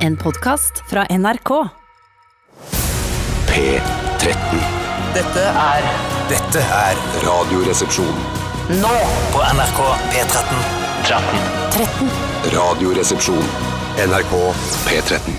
En podkast fra NRK. P13. Dette er Dette er Radioresepsjon. nå på NRK P13. 13. Radioresepsjon. NRK P13.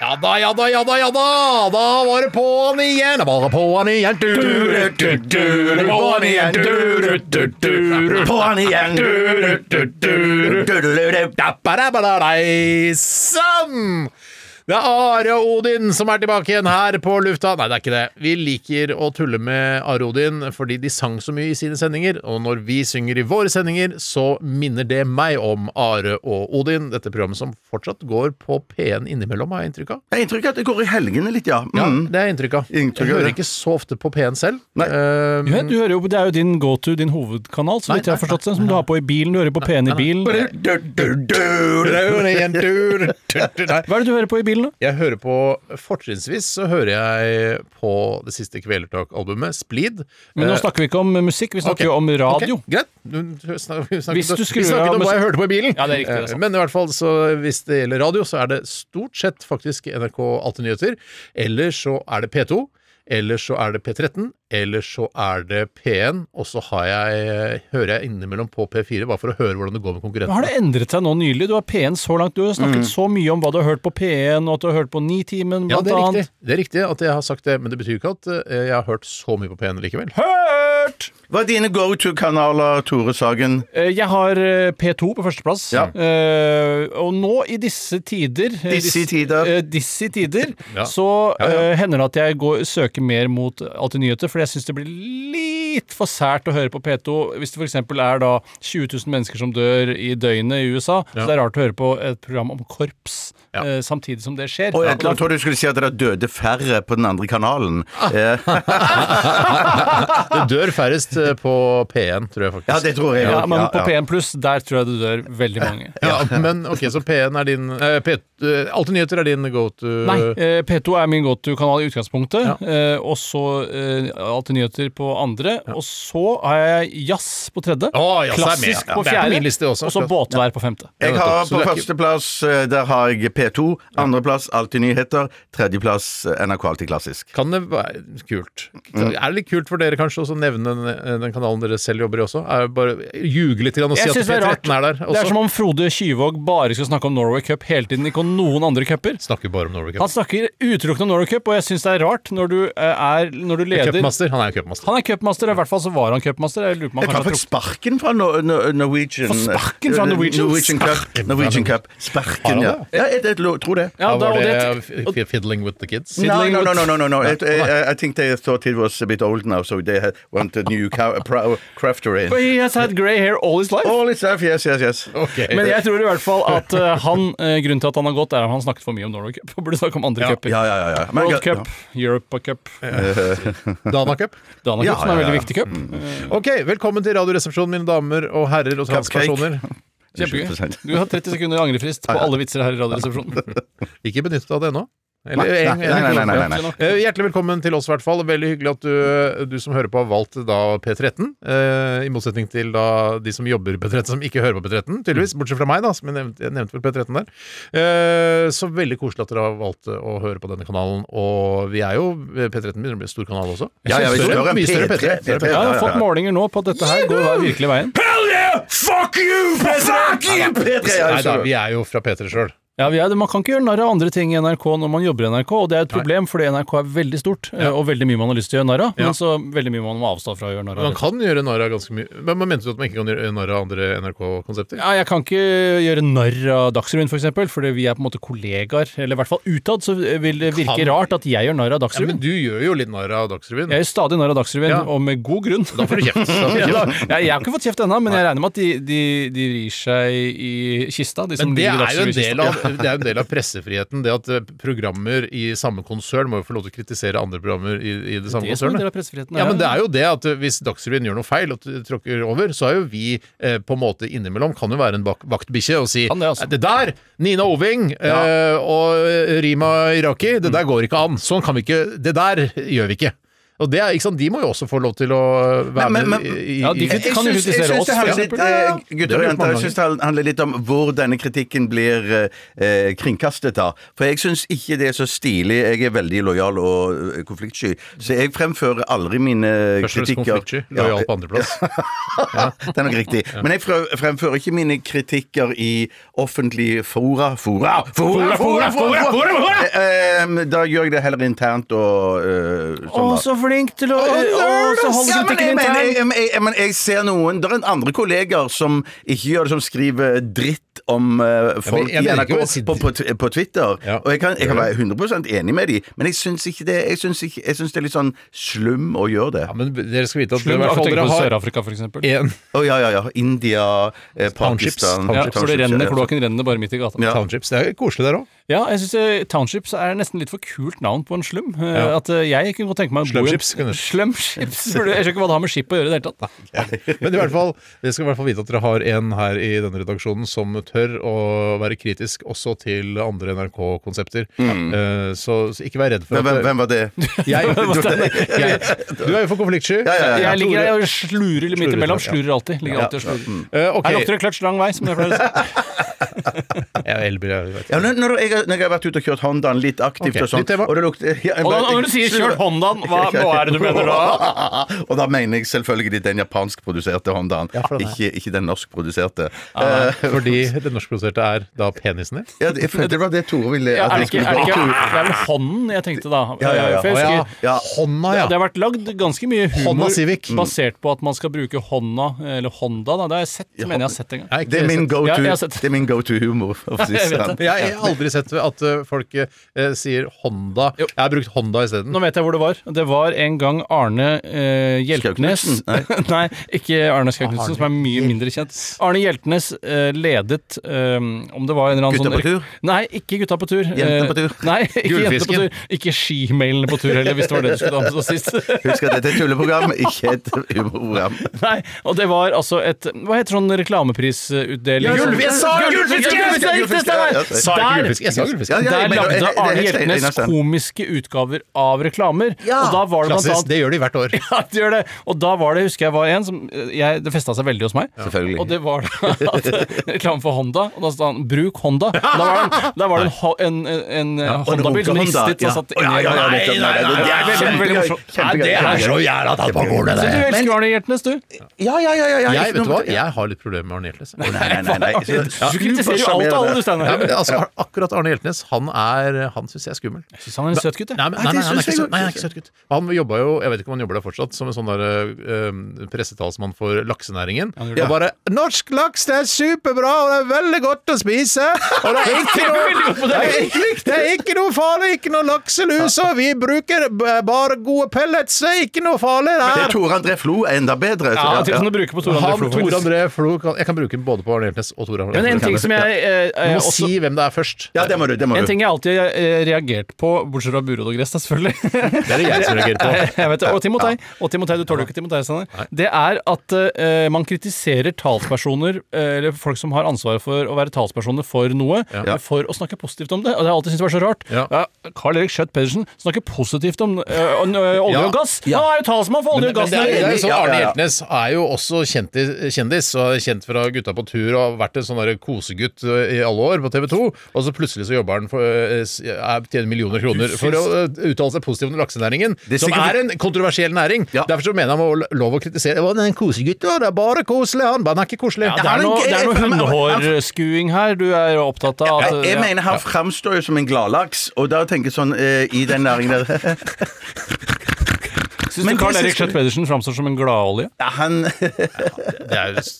Ja da, ja da, ja da, ja da! Da var det på'n igjen! Da var det på'n igjen! Du, du, du, du, du, på'n igjen! Du, du, du, du, du, på'n igjen! Du, du, du, du, du, du, du, du, da, ba, da, ba, da, dei, sann! Det er Are Odin som er tilbake igjen her på lufta. Nei, det er ikke det. Vi liker å tulle med Are Odin fordi de sang så mye i sine sendinger, og når vi synger i våre sendinger, så minner det meg om Are og Odin, dette programmet som fortsatt går på P1 innimellom, har jeg inntrykk av. Jeg har inntrykk av at det går i helgene litt, ja. Ja, Mm. det er inntrykk av. Inntrykk av jeg hører det. ikke så ofte på P1 selv. Nei. Eh, Ja, du hører jo, på- det er jo din go-to, din hovedkanal, så vidt jeg har forstått det, som du har på i bilen. Du hører på P1 i bilen. Nei. Hva er det du hører på i bilen, da? Jeg hører på Fortrinnsvis så hører jeg på det siste Kvelertak-albumet, Splid. Men nå Eh, snakker vi ikke om musikk, vi snakker jo om radio. Ok, greit. Du- du snak- Vi snakket, Hvis du vi skrur snakket av om hva jeg musikk- hørte på i bilen. Eh, Ja, det er riktig, det er sant. Men i hvert fall, så hvis det gjelder radio, så er det stort sett faktisk NRK Alltid Nyheter. Eller så er det P2. Eller så er det P13. Eller så er det P1. Og så har jeg, hører jeg innimellom på P4, bare for å høre hvordan det går med Men Har konkurrentene. det endret seg nå nylig? Du har P1 så langt, du har snakket så mye om hva du har hørt på P1, og at du har hørt på Nitimen, Mm. Ja, blant det er, riktig. annet. det er riktig at jeg har sagt det, men det betyr ikke at eh, jeg har hørt så mye på P1 likevel. Hørt! Hva er dine go to-kanaler, Tore Sagen? Eh, Jeg har eh, P2 på førsteplass. Ja. Eh, og nå i disse tider eh, Disse dis- tider. eh, disse tider Ja. Så Ja, ja. eh, hender det at jeg går, søker mer mot Alltid nyheter, fordi jeg syns det blir litt for sært å høre på P2 hvis det f.eks. er da 20 000 mennesker som dør i døgnet i USA. Så det er rart å høre på et program om korps Ja. eh, samtidig som det skjer. Og jeg jeg tror du skulle si at det døde færre på den andre kanalen. Eh, Det dør færrest eh, på P1, tror jeg faktisk. Ja, det tror jeg ja, også. men på Ja, ja. P1 pluss, der tror jeg det dør veldig mange. Ja, men ok, så P1 er din eh, P, eh, Alltid nyheter er din go to Nei, eh, P2 er min go to-kanal i utgangspunktet. Ja. eh, Og så eh, Alltid nyheter på andre. Og så har jeg jazz på tredje. Å, jazz er klassisk med. på Det er på min fjerde. liste også. Og så båtvær på femte. Jeg nettopp. har Så det På er ikke- førsteplass eh, der har jeg P2. Andreplass Alltid nyheter. Tredjeplass eh, NRK Alltid klassisk. Kan det være kult? Er det litt kult for dere kanskje også å nevne den, den kanalen dere selv jobber i også? Er det bare Ljuge litt grann og si Jeg at synes det er rart. P13 er der Det er som også? om Frode Kyvåg bare skal snakke om Norway Cup hele tiden, ikke om noen andre cuper. Snakker bare om Norway Han Cup. snakker utelukkende om Norway Cup, og jeg syns det er rart når du, eh, er, når du leder Cupmaster. Han er jo cupmaster. Han er cupmaster, i hvert fall så var han cupmaster. Jeg lurer på om Jeg han traff kanskje har fikk sparken fra no no Norwegian. eh, Få sparken fra Norwegian? Norwegian Cup. Sparken fra Norwegian Cup. Har Sparken, han ja. det? ja jeg, jeg, tror det. trukket- ja, Da da, var og det eh, det, f- f- Fiddling with the Kids. Nou, No, Fiddling no, no, with- no, no, no, no. It, I, I think they thought it was a bit old now, so they had, wanted new ca- pro- crafter in. But he has had grey hair all his life. All it's stuff, yes, yes, yes. Eh, Ok. Men jeg tror i hvert fall at eh, han, eh, grunnen til at han har gått, er at han snakket for mye om Norway Cup. Og burde snakke om andre Ja, cuper. Ja, ja, ja. ja. Men- World Cup, Europa Cup, eh, Dana Cup. Dana Ja, Cup, som ja, ja. Mm, er en veldig viktig cup. Ok, velkommen til Radioresepsjonen, mine damer og herrer og Cupcake. transpersoner. Kjempegøy. 20%. Du har 30 sekunder angrefrist på alle vitser her i Radioresepsjonen. Ikke benyttet av det ennå. Eller- Nei, en- nei, nei, nei, nei, nei, nei. Eh, Hjertelig velkommen til oss, i hvert fall. Veldig hyggelig at du, du som hører på, har valgt da P13. eh, I motsetning til da de som jobber i P13, som ikke hører på P13, tydeligvis. Bortsett fra meg, da, som jeg nevnte, jeg nevnte vel P13 der. Eh, Så veldig koselig at dere har valgt å høre på denne kanalen. Og vi er jo P13 begynner å bli en stor kanal også. Ja, ja, vi Større- større enn mye større P3. P3. Større Jeg P3. har fått målinger nå på at dette her går da virkelig veien. Fuck you, Fuck you, P3! Nei da, vi er jo fra P3 sjøl. Ja, vi er, det. Man kan ikke gjøre narr av andre ting i NRK når man jobber i NRK, og det er et problem, fordi NRK er veldig stort, eh, og veldig mye man har lyst til å gjøre narr av, Ja. men så veldig mye man må avstå fra å gjøre narr Man av. kan gjøre narr av ganske mye. Men men mente du at man ikke kan gjøre narr av andre NRK-konsepter? Ja, jeg kan ikke gjøre narr av Dagsrevyen, for eksempel, fordi vi er på en måte kollegaer, eller i hvert fall utad, så vil det virke Kan- rart at jeg gjør narr av Ja, men Dagsrevyen. du gjør jo litt narr av Dagsrevyen. Jeg gjør stadig narr av Dagsrevyen, Ja. og med god grunn. Da får du kjeft. Da får du Ja, kjeft. da, jeg, jeg har ikke fått kjeft ennå, men jeg regner med at de, de, de rir seg i kista. De som Men det er ligger i jo en Dagsrevyen-kista. del av, det er jo en del av pressefriheten. Det at eh, programmer i samme konsern må jo få lov til å kritisere andre programmer i, i det samme Det som er en del konsernet. av pressefriheten. Ja, men det er jo det at eh, Hvis Dagsrevyen gjør noe feil og t- tråkker over, så er jo vi eh, på en måte innimellom kan jo være en bak- vaktbikkje og si Kan det, altså. «Nei, det der! Nina Oving Mm. eh, og eh, Rima Iraki, det der går ikke an. Sånn kan vi ikke Det der gjør vi ikke. Og det er, ikke sant, De må jo også få lov til å være Men- men- med men- i, i, Ja, de i kan- Jeg syns- jeg kritisere syns oss, det handler for litt, eksempel. eh, Ja, det har gutter og vi gjort jenter, mange jeg syns det handler litt om hvor denne kritikken blir eh, kringkastet av. For jeg syns ikke det er så stilig. Jeg er veldig lojal og eh, konfliktsky, så jeg fremfører aldri mine Først og fremst kritikker konfliktsky. Ja, Lojal på andreplass. det er nok riktig. Men jeg frø- fremfører ikke mine kritikker i offentlige fora. Fora! Fora! Fora! fora, fora, Eh, em, Da gjør jeg det heller internt og eh, sånn. da. flink til å Eh, Ja, men jeg, mener, jeg, jeg, jeg, men jeg ser noen Det er en andre kolleger som ikke gjør det, som skriver dritt om eh, folk jeg i mener ikke NRK å si på, på, på Twitter. Ja. Og jeg kan, jeg kan være 100 enig med dem, men jeg syns ikke det Jeg syns, ikke, jeg syns det er litt sånn slum å gjøre det. Ja, men dere skal vite at dere, i Slum, hvert fall tenker dere på har Sør-Afrika, for eksempel. en Å ja, ja, ja. India, eh, Townships. Pakistan Ja, for det Townships, renner, ja. kloakken renner bare midt i gata. Ja. Townships. Det er koselig der òg. Ja, jeg synes eh, Townships er nesten litt for kult navn på en slum. Eh, Ja. At eh, jeg kunne godt tenke meg å bo i en- Slumships kunne det. Slumships! for Jeg skjønner ikke hva det har med skip å gjøre i det hele tatt. Men i hvert fall, dere skal i hvert fall vite at dere har en her i denne redaksjonen som tør å være kritisk også til andre NRK-konsepter. Eh, så, så ikke vær redd for Mm. Men hvem, at eh, hvem var det? Jeg, jeg, du er jo for konfliktsky. Ja, ja, ja. Jeg ligger Tore- der og slurer litt midt Slurer, imellom. ja. Slurer alltid. Ligger alltid og slurer. Eh, ok. Her lukter det kløtsj lang vei, som jeg pleier å si. Jeg er elbil, jeg vet. Ja, når, når, jeg, har- når jeg har vært ute og kjørt Hondaen litt aktivt Ok, og sånn nytt tema. Og det lukter ja, jeg Og da, bare- og når du sier 'kjørt Hondaen', hva, hva er det du mener da? og da mener jeg selvfølgelig den japanskproduserte Hondaen, for den er- ikke, ikke den norskproduserte. Eh, Fordi det norskproduserte er da penisen din. ja, det- jeg følte det var det Tore ville Ja, at er det, jeg skulle ikke, er dra det, ikke, ut. det er vel hånden jeg tenkte da. Ja, ja, ja. For jeg Å, husker, Ja. Hånda, ja. Det har vært lagd ganske mye Honda humor Civic. basert på at man skal bruke hånda, eller Honda, da. Det har jeg sett, mener jeg har sett en gang. Jeg har ikke Det er min sett- go-to Ja, jeg har sett- Det er min go-to-humor. for å si Jeg vet sånn. Jeg jeg har aldri sett at eh, folk eh, sier Honda. Jo. Jeg har brukt Honda isteden. Nå vet jeg hvor det var. Det var en gang Arne eh, Hjeltnes Skauknutsen? Nei. ikke Arne Skauknutsen, som er mye mindre kjent. Arne Hjeltnes eh, ledet eh, Om det var en eller annen sånn Gutta på tur? Nei, ikke Gutta på tur. Jentene på tur? Eh, Nei, ikke Jentene på Gullfisken? tur. Ikke Skimailene på tur heller, hvis det var det du skulle ha med seg sist. Husk at dette er et tulleprogram, ikke et humorprogram. Nei, og det var altså et Hva heter sånn reklameprisutdeling? Ja, gullfisk! Jeg sa gullfisk! Gullfisk! Gullfisk! Ja, ja, Sa Sa jeg ikke Der- gullfisk? Jeg sa gullfisk. Ja, ja, Der jeg mener- lagde det- det er Arne helt Hjeltnes enig, Øystein. komiske utgaver av reklamer. Og da var det blant Klassisk. annet Det gjør de hvert år. ja, det gjør det. Og da var det, husker jeg var en som eh, jeg, Det festa seg veldig hos meg. Selvfølgelig. Og det var da at reklame for Honda, og da sa han 'bruk Honda'. Da var det, en- da var det en, ho- en, en, en og en Honda-bil som Honda, ristet ja. og satt Å, ja, ja, ja, nettopp. Nei, nei, det nei, er veldig, veldig kjempegøy. morsomt. Kjempegøy. Nei, det er så jævla tatt på gården, Du elsker Arne Hjeltnes, du. Ja, ja, ja, ja, ja. Jeg, vet du hva? Ja. jeg har litt problemer med Arne Hjeltnes. jeg. Nei, nei, nei. Du kritiserer jo alt av alle, du, Steinar. Nei, men, altså, akkurat Arne Hjeltnes, han, er, han syns jeg er skummel. Jeg syns han er en søt gutt, jeg. Nei, men, nei, nei, han er synes jeg ikke søt- godt. nei, han er ikke søt gutt. Han jobba jo, jeg vet ikke om han jobber der fortsatt, som en sånn der, eh, eh, pressetalsmann for laksenæringen. Og bare 'Norsk laks, det er superbra, og det er veldig godt å spise'. Og det er ikke noe, det er ikke, det er ikke noe farlig, ikke noe lakselus, og vi bruker b- bare gode pellets, det er ikke noe farlig Det der. er Tore André Flo er enda bedre. Ja, sånn- til som du bruker på Tor André Han, Flo. Tor faktisk. André Flo kan, Jeg kan bruke den både på Arne Hjeltnes og Tor André Flo. Men en ting som jeg eh, Du eh, må også si hvem det er først. Ja, det må du. Det må En du. ting jeg alltid har eh, reagert på, bortsett fra Buråd og gress, da, selvfølgelig. Det er det jeg som reagerer på. Jeg vet det. Og Timotei. Og Timotei, du tåler jo ikke Timotei, Steinar. Det er at eh, man kritiserer talspersoner, eh, eller folk som har ansvaret for å være talspersoner for noe, eh, for å snakke positivt om det. Og det har jeg alltid syntes var så rart. Ja. Carl Erik Schjøtt Pedersen snakker positivt om eh, om, eh, olje Ja. og gass. Han er jo talsmann for olje Men og gass. det er, det er jo sånn, Ja, ja, Arne ja. Hjeltnes er jo også kjendis, kjendis og er kjent fra Gutta på tur og har vært en sånn der kosegutt eh, i alle år på TV 2. Og så plutselig så jobber han for eh, s- er- tjener millioner kroner for å eh, uttale seg positivt om laksenæringen, Det er som sikkert- er en kontroversiell næring. Ja. Derfor så mener han må lov å kritisere. «Å, Det er en kosegutt, ja, det er bare koselig. Han bare, han er ikke koselig. Ja, det er noe, det er noe hundehårskuing her du er jo opptatt av. At, eh, Jeg, jeg mener han framstår jo som en gladlaks, og da tenker jeg sånn eh, i den næringen der Syns Men du Carl det Erik synes- Schjøtt Pedersen framstår som en gladolje? ja, Han Det er jo s-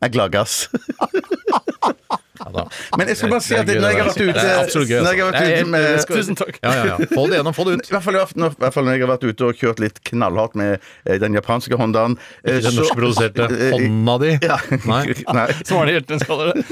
er gladgass. ja, da. Men jeg skal bare si at Det er gøy, når jeg har vært det der. ute Det er absolutt gøy, Når jeg altså. Det har vært er ute helt- med det skal- Tusen takk. Ja, ja, ja. Få det gjennom, få det ut. i hvert, fall, når, I hvert fall når jeg har vært ute og kjørt litt knallhardt med eh, den japanske Hondaen eh, Den så- norskproduserte Eh, eh, hånda di. Ja. Nei. Nei. Som Arne Hjeltnes kaller det.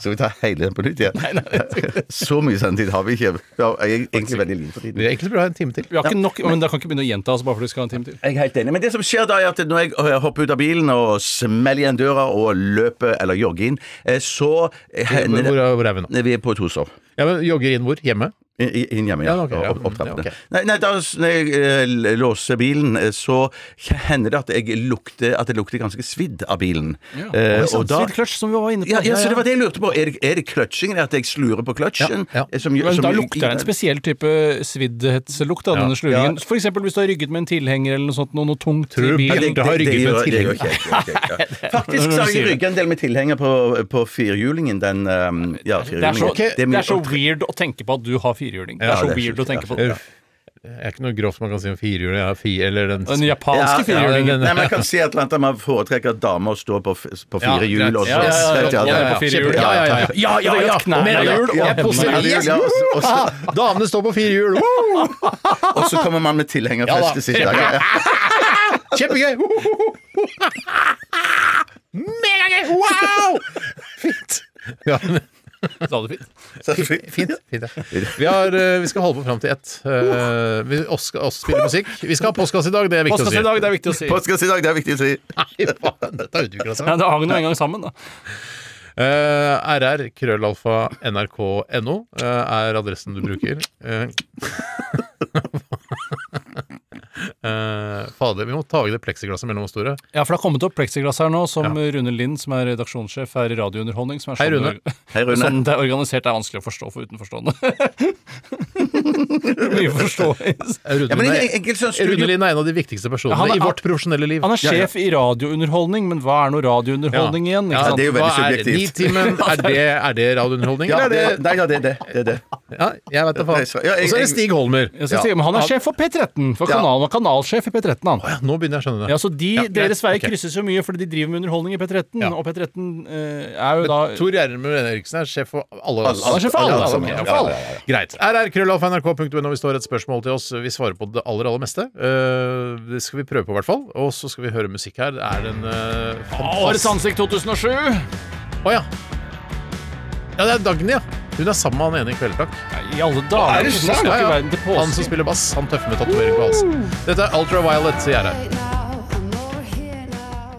Så vi tar hele den på nytt igjen? Så mye sendetid har vi ikke. Vi har jeg- egentlig veldig lite for tiden. Det er egentlig bra en time til. Vi har ikke nok, men da kan ikke begynne å gjenta oss bare fordi vi skal ha en time til. Jeg er helt enig. Men det som skjer da, er at når jeg eh, hopper ut av bilen og smeller igjen døra og løper eller jogger inn, eh, så hender Hvor, det hvor er vi nå? Vi er på Tosov. Ja, men Jogger inn hvor? Hjemme? I- i- Inn hjemme, ja. Ja, ok, ja. Opp, opp trappene. Ja, ok. Nei, nei, da s- når jeg eh, l- låser bilen, eh, så hender det at jeg lukter At det lukter ganske svidd av bilen. Eh, sånn og da- Svidkløtsj, sånn, som vi var inne på. ja, ja, så det var det jeg lurte på. Er det, er det kløtsjingen? At jeg slurer på kløtsjen? Ja, ja. eh, som gjør- Men som- da lukter det en spesiell type sviddhetslukt av denne sluringen. For eksempel hvis du har rygget med en tilhenger eller noe sånt, noe, noe tungt i Tror du Ja, bilen. det- Bjarte har det- det rygget med gjør- det tilhenger. gjør ikke jeg, det gjør ikke jeg. Faktisk så har jeg rygget en del med tilhenger på, på firhjulingen. Den um, ja, Det er, så, firehjulingen. det min er så opptre- weird å tenke på at du har firhjuling. Det Ja, er så det er weird å sjukt, tenke på. ja. Uff. Det er ikke noe grovt man kan si om firehjulet. Ja, fi, eller den Den Ja, japanske ja, firhjulingen. Nei, man kan si et eller annet at man foretrekker at damer står på, f- på Ja, fire hjul. greit. og så- Ja, ja, ja, Vet du, ja, ja, ja. på fire hjul. Ja, ja, ja. Ja, ja, ja. Knærne Mer hjul og hjul, hendene og hjul, Yes! ja, og så- og så- Ah, Damene står på fire hjul! Woo! Og så kommer man med Ja, da. tilhengerfeste siste dag. Ja, ja. Kjempegøy! Megagøy! Wow! Fint. Ja, men, Sa du fint? Så fint. fint, fint ja. vi, har, eh, vi skal holde på fram til ett. Eh, vi oss skal også spille musikk. Vi skal ha postkasse i dag, det er viktig å Postkasse si. i dag, det er viktig å si. Postkasse i dag, det er viktig å si. Nei, faen, Dette har utvikla seg. Nei, det hang nå en gang sammen, da. Eh, RR, krøllalfa, nrk.no eh, er adressen du bruker. Eh, eh, fader, vi må ta i det pleksiglasset mellom oss, Tore. Ja, for det har kommet opp plexiglass her nå, som Rune Lind, som er redaksjonssjef her i Radiounderholdning. Som er Hei, sånn Rune. det- Hei, Rune. Sånn det er organisert, det er vanskelig å forstå for utenforstående. Mye forståelse. Rune, Ja, men en, Lind en, er- enkel sånn Rune studio... Lind er en av de viktigste personene Han er- i vårt profesjonelle liv. Han er sjef i Radiounderholdning, men hva er nå radiounderholdning igjen? Ikke sant? det er jo veldig Hva subjektivt. Nitimen, er det, er det radiounderholdning? Ja, eller det, er det, nei, ja, det er det. det, er det. ja, jeg vet da faen. Nei, så- ja, jeg- Og så er det Stig Holmer. Jeg skal Ja. si, men han er sjef for P13, for Ja. kanalen, han er kanalsjef i P13, han. Ja, nå begynner jeg å skjønne det. Ja, så de, Ja, greit. Deres veier Ok. krysses jo mye, fordi de driver med underholdning i P13. Ja. Og P13 eh, er jo da Tor Gjermund Eriksen er sjef for alle oss. Han er sjef for alle, Alle altså. sammen, ja. Ja, for alle. Ja, ja, ja, Greit. rrkrøllalfa.nrk.no. Vi står et spørsmål til oss. Vi svarer på det aller, aller meste. Eh, det skal vi prøve på, i hvert fall. Og så skal vi høre musikk her. Det er en uh, Årets fantastisk ansikt 2007! Å ja. Ja, det er Dagny, ja. Hun er sammen med han ene i Kveldertak. I alle dager! det sant? Hvordan skal Ja, ikke ja. verden til Han som påske? spiller bass, han tøffe med tatovering på halsen. Dette er Ultraviolet, sier jeg her. now, I'm over here now.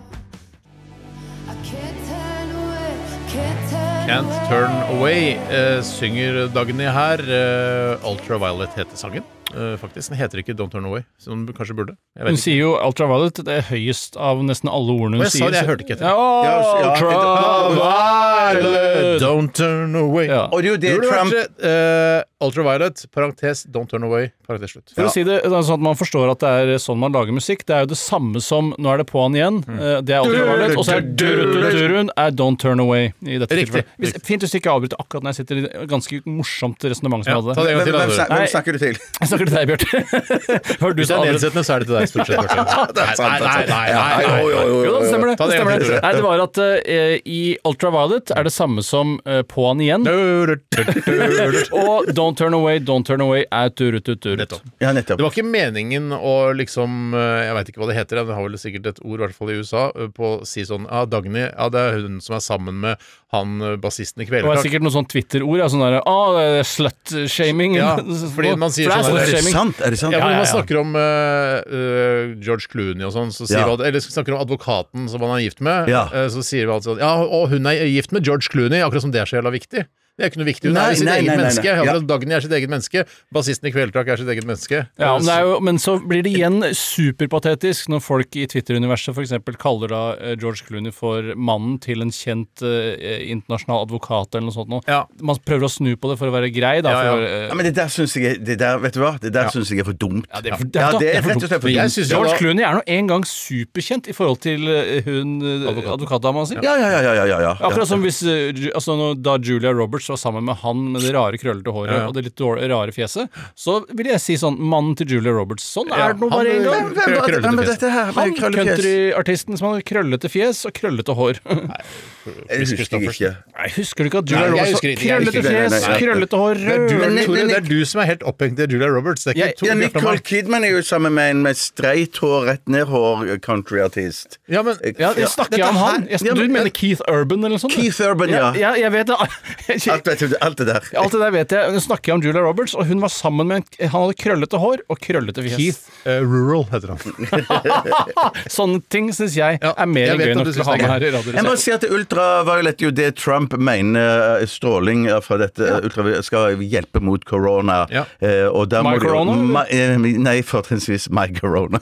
I can't turn away, can't turn Can't away. Turn Away eh, synger Dagny her. Eh, Ultraviolet heter sangen, eh, faktisk. Den heter ikke Don't Turn Away, som den kanskje burde. Jeg vet Hun ikke. sier jo ultraviolet. Det er høyest av nesten alle ordene Og hun jeg sa sier. det, jeg så- hørte ikke etter. Ja, Ja, så- ja. Ultraviolet. Eh, Don't Turn Away. Ja. Og det er jo det Burde Trump vært, eh, Ultraviolet, parentes Don't Turn Away, parentes slutt. For å si det, det er sånn at man forstår at det er sånn man lager musikk. Det er jo det samme som Nå er det på'n igjen. Mm. eh, Det er Ultraviolet. Og så er durun er Don't Turn Away i dette Riktig. tilfellet. Hvis, fint hvis du ikke avbryter akkurat når jeg sitter i et ganske morsomt resonnement Ja, som jeg hadde. ta det en gang Hvem, til. hvem, da, snak- du. hvem Nei. snakker du til? Jeg snakker til deg, Bjarte. Hører du Hvis det som er avbryter nedsettende, så er det til deg, stort sett. Bjarte. Det er sant, det er sant. Nei, nei, nei, nei, Ja, jo, jo, jo, jo, jo da, det jo. stemmer det. Ta det, det en gang stemmer til, det. Nei, det var at eh, i Ultraviolet er det samme som eh, på'n igjen. Det Og Don't Turn Away, Don't Turn Away er turututturut. Nettopp. Ja, nettopp. var ikke meningen å liksom eh, Jeg veit ikke hva det heter, det har vel sikkert et ord, i hvert fall i USA, eh, på å si sånn Ja, Dagny, ja, det er hun som er sammen med han eh, bassisten i Det var Kvelertak. sikkert noe sånn Twitter-ord. Ja, sånn derre ah, slut-shaming. Ja, fordi man sier For sånn der, Er det det er slut-shaming. sant? Er det sant? Ja, Ja, men ja, man ja. snakker om eh, eh, George Clooney og sånn, så sier Ja. man, eller snakker om advokaten som han er gift med. Ja. eh, så sier man alltid sånn Ja, og hun er gift med George Clooney, akkurat som det er så jævla viktig. Det er ikke noe viktig. Hun Nei, er jo sitt nei, eget nei, nei, nei. menneske. Akkurat Ja. som Dagny er sitt eget menneske. Bassisten i Kvelertak er sitt eget menneske. Ja, men, det er jo, men så blir det igjen superpatetisk når folk i Twitter-universet f.eks. kaller da eh, George Clooney for mannen til en kjent eh, internasjonal advokat eller noe sånt noe. Ja. Man prøver å snu på det for å være grei, da. Ja, ja. For, å være, eh, Ja, men det der syns jeg det der, Vet du hva? Det der synes jeg er for dumt. Ja, det er for- ja, det det er er for rett og slett for Men jeg dumt. synes jo George da- Clooney er nå en gang superkjent i forhold til eh, hun eh, Advokaten. advokatdama si. Ja, ja, ja, ja, ja, ja. Akkurat som hvis eh, Ju- altså, når- da Julia Roberts var sammen med han med det rare krøllete håret og det litt dårlig, rare fjeset, så vil jeg si sånn Mannen til Julia Roberts. Sånn Ja, er det nå han- bare en gang. Hvem var- Krøllete hvem var fjes. dette her? med Han krøllete fjes? countryartisten som hadde krøllete fjes og krøllete hår. Jeg husker ikke. Nei, husker du ikke at Julia Nei, jeg Roberts husker var ikke, jeg husker krøllete ikke. fjes, Nei, nei, nei. krøllete hår, Det er, du, Men- men- rød Tore, men- det er du som er helt opphengt i Julia Roberts. Det er ikke Jeg- Ja, Tore Bjarte og Nicole meg. Kidman er jo sammen med en med streit hår, rett ned hår countryartist. Ja, men Ja, jeg snakker jeg om Dette her- han? Jeg, Ja, du men- mener Keith Urban eller noe sånt? Keith Urban, ja. Ja, jeg vet det. Alt, vet du, alt det der. Alt det der vet jeg. Nå snakker jeg om Julia Roberts, og hun var sammen med en Han hadde krøllete hår og krøllete fjes. Keith eh, Rural heter han. Sånne ting syns jeg Ja, er mer jeg enn vet gøy at nok du til å synes ha det er med her i Jeg må radioen. si at Ultraviolet er jo det Trump Trump mener eh, stråling eh, fra dette eh, ultraviolet skal hjelpe mot korona. Ja. Eh, og da My må de jo- corona, eller? my- eh, nei, fortrinnsvis my corona.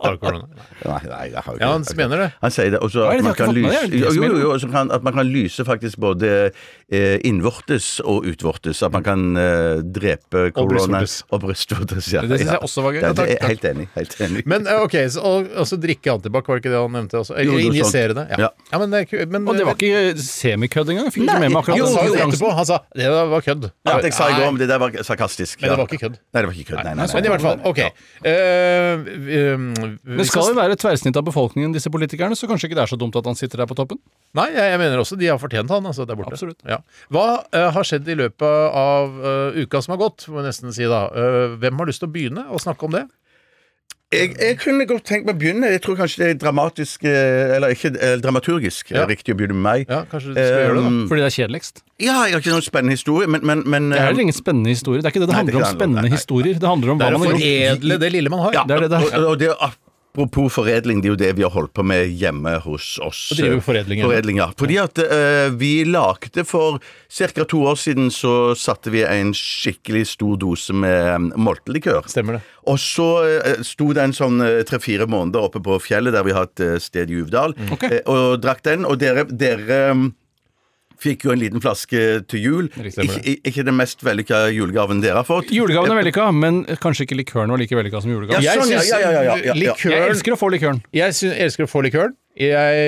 Har du korona? nei, nei, jeg har jo ikke Ja, han det. mener det. Han sier det. Og så Hva er at man det de har kan ikke fått med lyse det? Er det det jo, som jo, er jo, og så kan, at man kan lyse faktisk både eh, innvortes og utvortes. At man kan eh, drepe korona brystvortes. og brystvortes. Ja, Det synes ja. jeg også var gøy. Ja, det Takk, er, helt enig. Helt enig. Men eh, ok, så, og, og så drikke antibac, var det ikke det han nevnte? Også? Jo, Eller noe sånt. injisere det? Ja. Ja. ja, men det er ku- men, eh, Og det var ikke eh, semikødd engang. Fikk ikke Nei, med meg akkurat jo, Han den sa jo det referansen. etterpå. Han sa det var kødd. Alt jeg sa i går om det der var sarkastisk. Men det ja. var ikke kødd. Nei, det var ikke kødd. Nei, nei, nei, Men i hvert fall, OK. Eh, um, vi Men skal skal- det være et tverrsnitt av befolkningen, disse politikerne, så kanskje ikke det er så dumt at han sitter der på toppen? Nei, jeg, jeg mener også de har fortjent han. Altså, der borte. Absolutt. Ja. Hva eh, har skjedd i løpet av eh, uka som har gått, må jeg nesten si da. Eh, hvem har lyst til å begynne å snakke om det? Jeg, jeg kunne godt tenkt meg å begynne. Jeg tror kanskje det er dramatisk eh, Eller ikke eh, dramaturgisk eh, Ja. riktig å begynne med meg. Ja, kanskje du skal gjøre det, da. Um, Fordi det er kjedeligst. ja, jeg har ikke noen spennende historie, men, men, men Det er eh, heller ingen spennende historier. Det er ikke det det Nei, det er handler om. ikke det handler om. Nei, Spennende nei. historier. Det handler Det om er hva å man har gjort. foredle det lille man har. ja, det er det det er. Og, og det er apropos foredling, det er jo det vi har holdt på med hjemme hos oss. Og driver med foredling, ja. foredling ja. Fordi at eh, vi lagde for ca. to år siden så satte vi en skikkelig stor dose med eh, moltelikør. Stemmer det. Og så eh, sto den sånn eh, tre-fire måneder oppe på fjellet der vi har et eh, sted i Uvdal, Mm. Ok. eh, og drakk den. Og dere, dere mm, fikk jo en liten flaske til jul. Riktig, Ikke, stemmer i- ikke den mest vellykka julegaven dere har fått. Julegaven er vellykka, men kanskje ikke likøren var like vellykka som julegaven. Ja, Jeg sånn, ja, syns ja, ja, ja, ja, ja. Jeg likøren elsker å få likøren. Jeg syns- elsker å få likøren, jeg,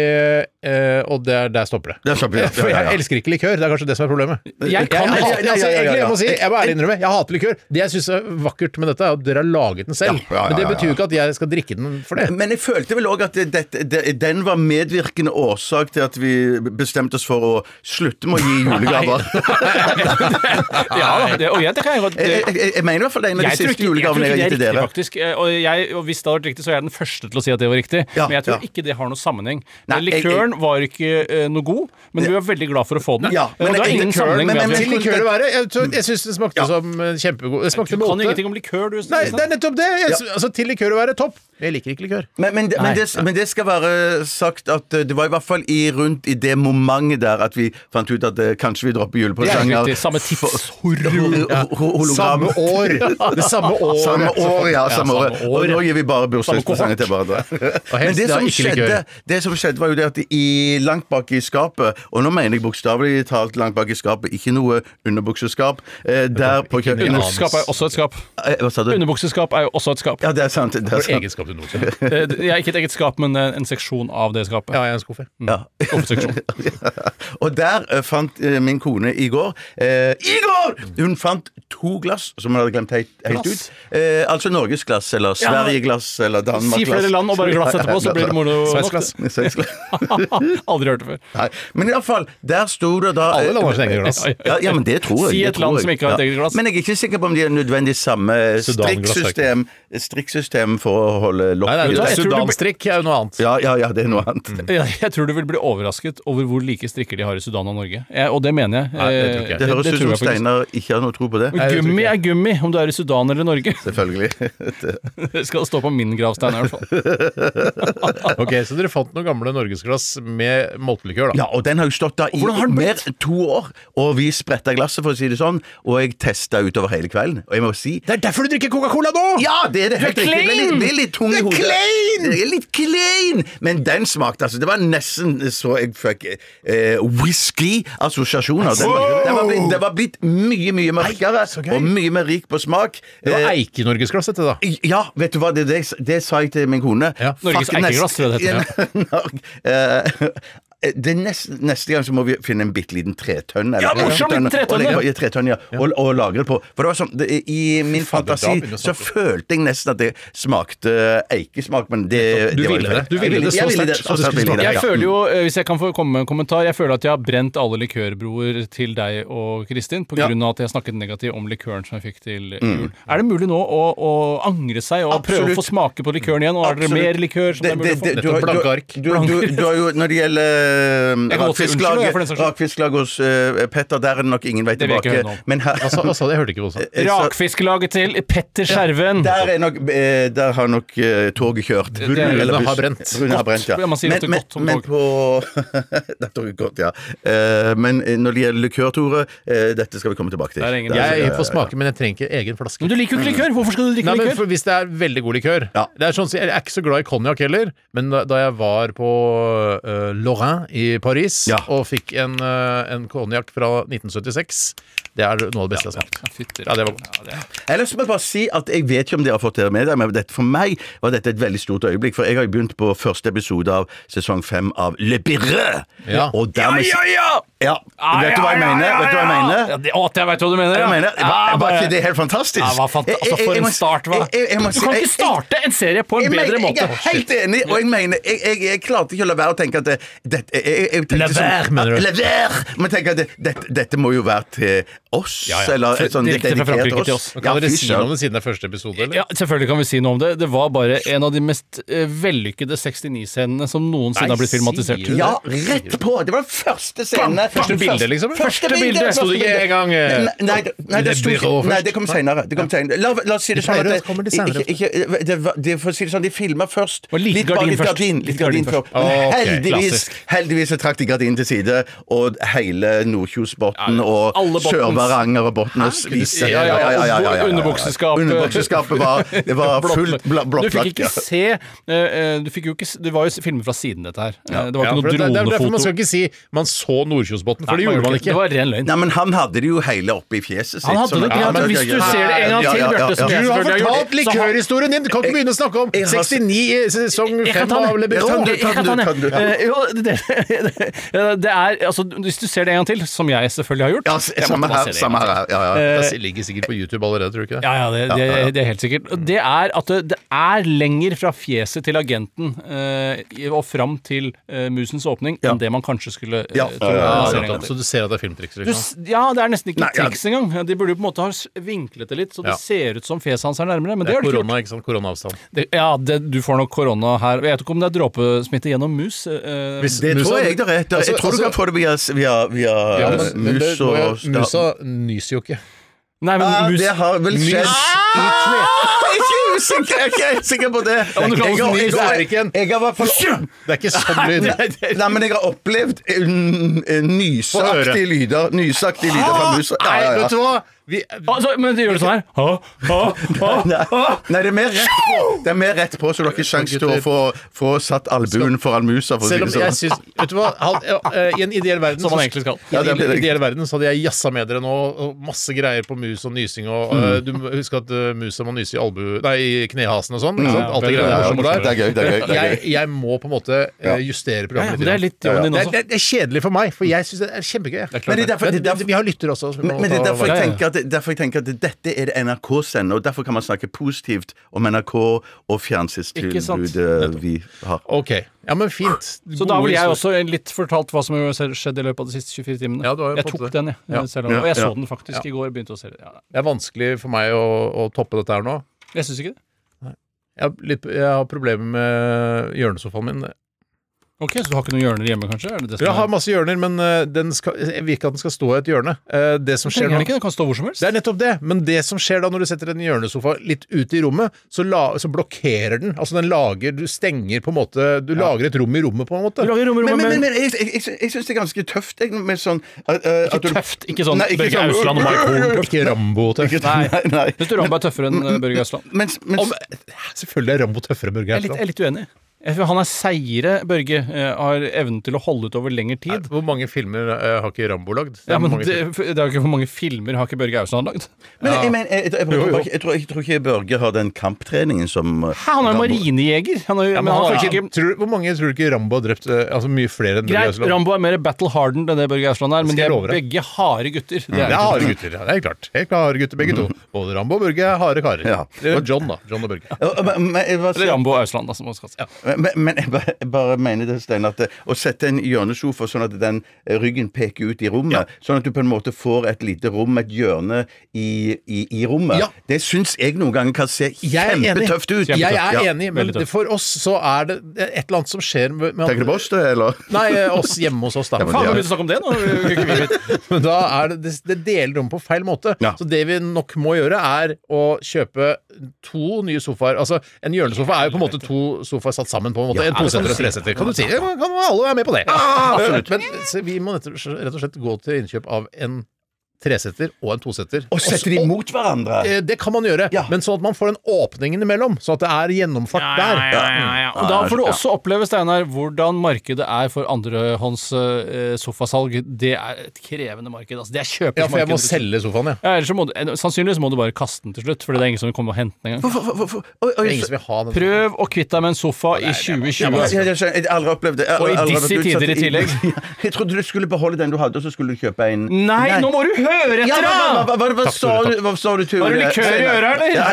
eh, og der, der stopper det. Der stopper det, ja. For Ja, ja, ja. jeg elsker ikke likør. Det er kanskje det som er problemet. Jeg Jeg, ja, ja, kan hater- Eh, altså, ja, ja, ja, egentlig, jeg må si, ja. jeg må ærlig innrømme, jeg hater likør. Det jeg syns er vakkert med dette, er at dere har laget den selv. Ja, ja, ja, Men det ja, ja. betyr jo ikke at jeg skal drikke den for det. Men jeg følte vel òg at det, det, det, den var medvirkende årsak til at vi bestemte oss for å slutte med å gi julegaver. Ja, det, og jeg, det kan jeg godt Eh, jeg, jeg, jeg mener i hvert fall det er en av de Jeg siste tror ikke, jeg tror julegavene jeg har ikke det er gitt til riktig, dere. faktisk. Eh, Og, jeg, og hvis det hadde vært riktig, så er jeg den første til å si at det var riktig. Ja, men jeg tror ja. ikke det har noen sammenheng. Nei, Men jeg- likøren var ikke eh, noe god, men vi var veldig glad for å få den. Ja, men, men det har jeg- ingen likøren- sammenheng men- men- med at men- vi Til likør å være. Jeg, tror- jeg syns det smakte Ja. som eh, kjempegod Det smakte Du kan jo måte. ingenting om likør, du. Nei, det er nettopp det! Jeg, Ja. sy- altså, til likør å være topp. Jeg liker ikke likør. Men, men, det- men, det, men det skal være sagt at eh, det var i hvert fall i, rundt i det momentet der at vi fant ut at eh, kanskje vi dropper Det er julepresanger. riktig. Samme tidshorion. Ho- ho- ho- Samme hologram. år! Det samme året. Samme år, ja. Samme år. Og nå gir vi bare bursdagspresanger til hverandre. Men det da som, ikke likør. skjedde, det som skjedde, var jo det at i langt bak i skapet, og nå mener jeg bokstavelig talt langt bak i skapet, ikke noe underbukseskap, eh, der på kjø- Underbukseskap er også et skap. Eh, Hva sa du? Underbukseskap er jo også et skap. Ja, det er sant. Det er sant. Egenskap du noe til. Eh, Jeg er ikke et eget skap, men eh, en seksjon av det skapet. Ja, jeg er en skuffe. Ja. Skuffeseksjon. Og der eh, fant eh, min kone i går eh, I går! Hun fant to glass som hun hadde glemt helt, helt ut. Glass? Eh, altså Norges glass, eller Sverige glass, eller Danmark glass. Si flere land og bare glass etterpå, så blir det moro. Svensk nok. glass. Svensk glass. Aldri hørt det før. Nei. Men i alle fall, der sto det da eh, Alle land har sine egne glass. Ja, ja, men det tror jeg. Si det et tror land jeg. som ikke har et Ja. eget glass. Men jeg er ikke sikker på om de har nødvendig samme Sudan-glass, strikksystem, strikksystem for å holde Nei, lokket nei, ute. jeg tror du- Mm. Sudanstrikk er jo noe annet. Ja, ja, ja, det er noe annet. Ja, Jeg tror du vil bli overrasket over hvor like strikker de har i Sudan og Norge. Jeg, og det mener jeg. Eh, Nei, det tror ikke jeg. Det høres ut som tror jeg faktisk. Steinar ikke har noe tro på det. det tror Gummi ikke er gummi om du er i Sudan eller Norge. Selvfølgelig. Det- Det skal stå på min gravstein i hvert fall. Ok, Så dere fant noen gamle norgesglass med moltelikør, da. Ja, og den har jo stått der i mer enn to år. Og vi spretta glasset, for å si det sånn, og jeg testa utover hele kvelden. Og jeg må si Det er derfor du drikker Coca-Cola nå! ja, det er det helt riktig. Det er litt, det er litt tung i hodet. klein! Det er litt klein! Men den smakte altså Det var nesten så jeg fikk eh, whisky-assosiasjoner. Den, var- den, var blitt- den var blitt mye, mye mørkere så gøy. og mye mer rik på smak. Det var Eh, Eike-Norgesglass, dette, da. ja, vet du hva, det, det, det sa jeg til min kone. Ja, Norges Fuck, nest- eikeglass, tror jeg det Ja, eh, det neste, neste gang så må vi finne en bitte liten tretønne. eller Ja, morsom to tønner, liten tretønne. Og, legge på- ja, tretønne, ja, og, og lagre det på. For det var sånn, det, I min fantasi begynner jeg å så følte jeg nesten at det smakte eikesmak, men det Du var ville feil. det. Du Jeg ville det så jeg ville sterkt at det sterkt skulle ville jeg smake. det, Jeg ja. føler jo, eh, hvis jeg kan få komme med en kommentar, jeg føler at jeg har brent alle likørbroer til deg og Kristin på Ja. Mm. grunn av at jeg snakket negativt om likøren som jeg fikk til jul. Er det mulig nå å, å angre seg og prøve Absolutt. å få smake på likøren igjen? Og er det Absolutt. mer likør som det er mulig å få? du har- Blanke ark. Du, du, du har jo, når det gjelder Jeg kan godt si unnskyld, jeg, for den rakfisklaget saks skyld. rakfisklaget hos eh, Petter. Der er det nok ingen vei Det vil jeg ikke tilbake. høre nå. Men her, Hva sa hva sa du? Jeg hørte ikke hva du sa. eh, så- Rakfisklaget til Petter Skjerven. Der, er nok, eh, der har nok eh, toget kjørt. Brune Eller buss. har brent. Brune har brent, ja. Ja, man sier ofte men, men, godt om men tog. på Det er toget godt, ja. Eh, men eh, når det gjelder likør, Tore, eh, dette skal vi komme tilbake til. Der er ingen- Der- Jeg får smake, men jeg trenger ikke egen flaske. Men du liker jo ikke likør! Hvorfor skal du like Nei, men likør? for Hvis det er veldig god likør Ja. det er sånn, som- Jeg er ikke så glad i konjakk heller, men da, da jeg var på øh, Lorrain i Paris Ja. og fikk en, øh, en konjakk fra 1976 Det er noe av det beste jeg har smakt. Fytter. Ja, det var godt. Ja, det er- Ellers må jeg bare si at jeg vet ikke om dere har fått dere med dere, men dette, for meg var dette et veldig stort øyeblikk. For jeg har jo begynt på første episode av sesong fem av Le Birre. Ja. Og dermed Ja, ja, ja! Vet du hva jeg Ja, ja, mener? ja, Vet du hva jeg ja, ja. mener? Ja, det- Å, jeg veit hva du mener. Jeg ja. mener, Ja, var, var bare- ikke det helt fantastisk? Ja, hva fant- Jeg- jeg- altså, for jeg må- en start, hva? jeg- jeg- jeg må Du si- kan jeg- ikke starte en serie på jeg en bedre mener- måte. Jeg er helt enig, og jeg mener Jeg, jeg, jeg klarte ikke å la være å tenke at det, dette- jeg, jeg, jeg tenkte La være, sånn- mener du? La være! Men tenk at det, dette, dette må jo være til oss, eller Fra- sånn direkte fra dedikert Frankrike til oss. Men Ja, Kan dere fy si noe søren. om det siden det er første episode? Eller? Ja, selvfølgelig kan vi si noe om det. Det var bare en av de mest eh, vellykkede 69-scenene som noensinne Nei, har blitt filmatisert. sier du det? Ja, rett på! Det var første scene. Første bilde, liksom? Første Første bilde! bilde. Sto det ikke første engang, eh, bilde. Nei, nei, det- nei, det Le sto Bureau ikke- nei, det kom senere. Det kom senere. La, la oss si det De sånn pleier at å- det, kommer de senere. ikke, ikke, det, var- det, For å si det sånn, de filma først. Og litt bare gardin litt først. gardin, Litt litt gardin gardin først. først. Men Ok, heldigvis, klassisk. heldigvis så trakk de gardinen til side, og hele Nordkjosbotn og alle Botns. Sør-Varanger og Botnås viste Ja, ja, ja, underbukseskapet. Underbukseskapet var, det var Blått- fullt bla- blått Du fikk ja. ikke se eh, eh, du fikk jo ikke, s- Det var jo filmet fra siden, dette her. Eh, Det var Ja, ikke for det, det er noe derfor man dronefoto. skal ikke si man så Nordkjosbotn, for Nei, det gjorde man Det ikke. var ren løgn. Nei, men han hadde det jo hele oppe i fjeset sitt. Han hadde sånn det at- ikke, Ja, men hvis du ser det en gang ja, til, ja, ja, Bjarte, som ja. jeg Du har selvfølgelig har fortalt gjort. Så han- likørhistorien din! Du kan ikke begynne å snakke om Jeg har- 69 i sesong Jeg 5 kan ta av Le den. Jeg Bureau. kan ta den, jeg kan ta den. Kan du- kan du- Eh, jo, det- Det er altså Hvis du ser det en gang til, som jeg selvfølgelig har gjort Ja, jeg måtte samme bare se her. det en Samme gang til. her ja, ja. Det ligger sikkert på YouTube allerede, tror du ikke det? Ja, ja, det, det, det er helt sikkert. Og Det er at det, det er lenger fra fjeset til agenten eh, i- og fram til eh, musens åpning Ja. enn det man kanskje skulle eh, Ja. tro. Ja, ja, Man ser en gang nettopp. til. Så du ser at det er filmtriks? Du Liksom. s- Ja, det er nesten ikke Nei, ja. triks engang. De burde jo på en måte ha s- vinklet det litt, så det Ja. ser ut som fjeset hans er nærmere. Men det har de ikke gjort. Korona, ikke sant? Koronaavstand. Det, ja, det, du får nok korona her. Jeg vet ikke om det er dråpesmitte gjennom mus. eh, Det tror jeg det er. Jeg tror Altså, du kan altså- få det via, via, via Ja, eh, men, men det, mus og nå- musa nyser jo ikke. nei, men Ja, mus det har vel Mus- skjedd Ah, Jeg er ikke usikker, jeg er ikke helt sikker på det. Ja, men du kan Jeg også har- nyse, jeg har- er det ikke en- Jeg har i hvert fall Det er ikke sånn lyd. Nei, men jeg har opplevd eh, n- eh, nyseaktige lyder Nyseaktige lyder fra musa. Ja, ja, ja. Ah, Nei, vet du hva? Vi, altså, Men det gjør det sånn her. Ha, ha, ha, ha. Nei, nei, det er mer rett på, det er mer rett på så dere har ikke sjanse til å få, få satt albuen foran musa. For å si selv om det sånn. jeg syns Vet du hva? Han, ja, eh, I en ideell verden Som man så- egentlig skal. I en Ja, det er- ideell verden så hadde jeg jassa med dere nå, og masse greier på mus og nysing og Mm. eh, Du må huske at eh, musa må nyse i albu... Nei, i knehasen og sånn. Ikke sant? Alt det Ja, greiene ja, morsomme der. det er gøy, det er gøy, det er Jeg, gøy. jeg må på en måte eh, justere Ja, ja, programmet men det er litt jobben din Det også. er, det er- det er kjedelig for meg, for jeg syns det er kjempegøy. jeg. Men det er derfor- det er derfor- vi har lyttere også. som vi Men, må men det er ta derfor vare jeg, på. tenker at, derfor jeg tenker at dette er det NRK sender, og derfor kan man snakke positivt om NRK og Ikke sant. fjernsynstilbudet vi har. Ok. Ja, men fint. Så da ville jeg også litt fortalt hva som har skjedd i løpet av de siste 24 timene. Ja, du har jo jeg fått det. tok den, jeg. Ja. Selv om, og jeg Ja, så ja. den faktisk i går. Begynte å se det. Ja. Det er vanskelig for meg å, å toppe dette her nå. Jeg syns ikke det. Jeg har, litt, jeg har problemer med hjørnesofaen min. Ok, Så du har ikke noen hjørner hjemme, kanskje? Er det det som Jeg har er- masse hjørner, men eh, den skal, jeg vil ikke at den skal stå i et hjørne. Eh, Det som skjer Trenger nå den ikke, den kan stå hvor som helst. det er nettopp det, men det som skjer da når du setter en hjørnesofa litt ute i rommet, så, la, så blokkerer den. Altså den lager Du stenger på en måte Du lager et rom i rommet, på en måte. Du lager rom i Men, rommet, men, men, men men jeg, jeg, jeg, jeg syns det er ganske tøft jeg, med sånn at, eh, at ikke du- tøft. Ikke sånn Nei, ikke Børge sånn- Ausland og Mike Horn. Ikke Rambo tøff. Nei. Nei, nei. Jeg tror Rambo er tøffere enn eh, Børge Ausland. Mens, mens, Om- Selvfølgelig er Rambo tøffere, Børge. Jeg er litt, jeg er litt uenig. Jeg tror han er seigere, Børge. eh, Har evnen til å holde ut over lengre tid. Hvor mange filmer eh, har ikke Rambo lagd? Ja, men Mange det, filmer. det er jo ikke for mange filmer har ikke Børge Ausland lagd. men jeg, mener, jeg, jeg, jeg, Jo, jo. tror ikke- jeg, tror- jeg tror ikke Børge har den kamptreningen som eh, Hæ, han er jo Rambo- marinejeger! Han er, jo- Ja, men han har har kanskje ikke- ikke tror, hvor mange tror du ikke Rambo har drept? eh, Altså Mye flere enn Børge Greit, Ausland? Rambo er mer battle hardened enn det Børge Ausland er, men de skal jeg er love deg. begge harde gutter. Det er Det er ikke harde gutter, ja, det er klart. Helt klare gutter, begge to. Både Rambo og Børge er harde karer. Ja. Eller John, da. John og Børge. Ja, men- men jeg var så- Eller Rambo og Ausland, da, som man skal si. Eh, Men, men jeg, bare, jeg bare mener det, Stein, at eh, å sette en hjørnesofa sånn at den eh, ryggen peker ut i rommet, sånn at du på en måte får et lite rom, et hjørne i, i, i rommet, Ja. det syns jeg noen ganger kan se Jeg er enig. kjempetøft ut. Jeg er Ja. enig, men Veldig tøft. for oss så er det et eller annet som skjer med, med Tenker du på oss, det, eller? Nei, oss hjemme hos oss, da. men det Faen, vi er- begynte å snakke om det nå! Men da er det, det, det deler rom på feil måte. Ja. Så det vi nok må gjøre, er å kjøpe to nye sofaer. Altså, En hjørnesofa er jo på en måte to sofaer satt sammen på en måte. en toseter og en treseter. Kan du si det? Kan alle være med på det? absolutt. Men så vi må nett- rett og slett gå til innkjøp av en treseter og en toseter. Og setter de mot hverandre? Eh, Det kan man gjøre, Ja. men sånn at man får den åpningen imellom. Sånn at det er gjennomfart der. Og da får du også oppleve, Steinar, hvordan markedet er for andrehånds eh, sofasalg. Det er et krevende marked. Altså. Det er kjøpersmarked. Ja, for jeg må selge sofaen, jeg. Ja, ellers så må du, eh, sannsynligvis må du bare kaste den til slutt, Fordi det er ingen som vil komme og hente den engang. Hvorfor- hvorfor- hvorfor- oi, oi, Det er ingen som vil ha den. Prøv å kvitte deg med en sofa i Ja, 2020. altså, jeg, jeg, skjønner. jeg har aldri opplevd det. Jeg har Og i aldri vært disse utsatt tider i tillegg. Ja, jeg trodde du skulle beholde den du hadde, og så skulle du kjøpe en Nei, nå må du høre ja, etter, hva, hva, da! hva, hva, hva, sa du, hva sa du, Ture? Har du likør i øret, eller? Ja,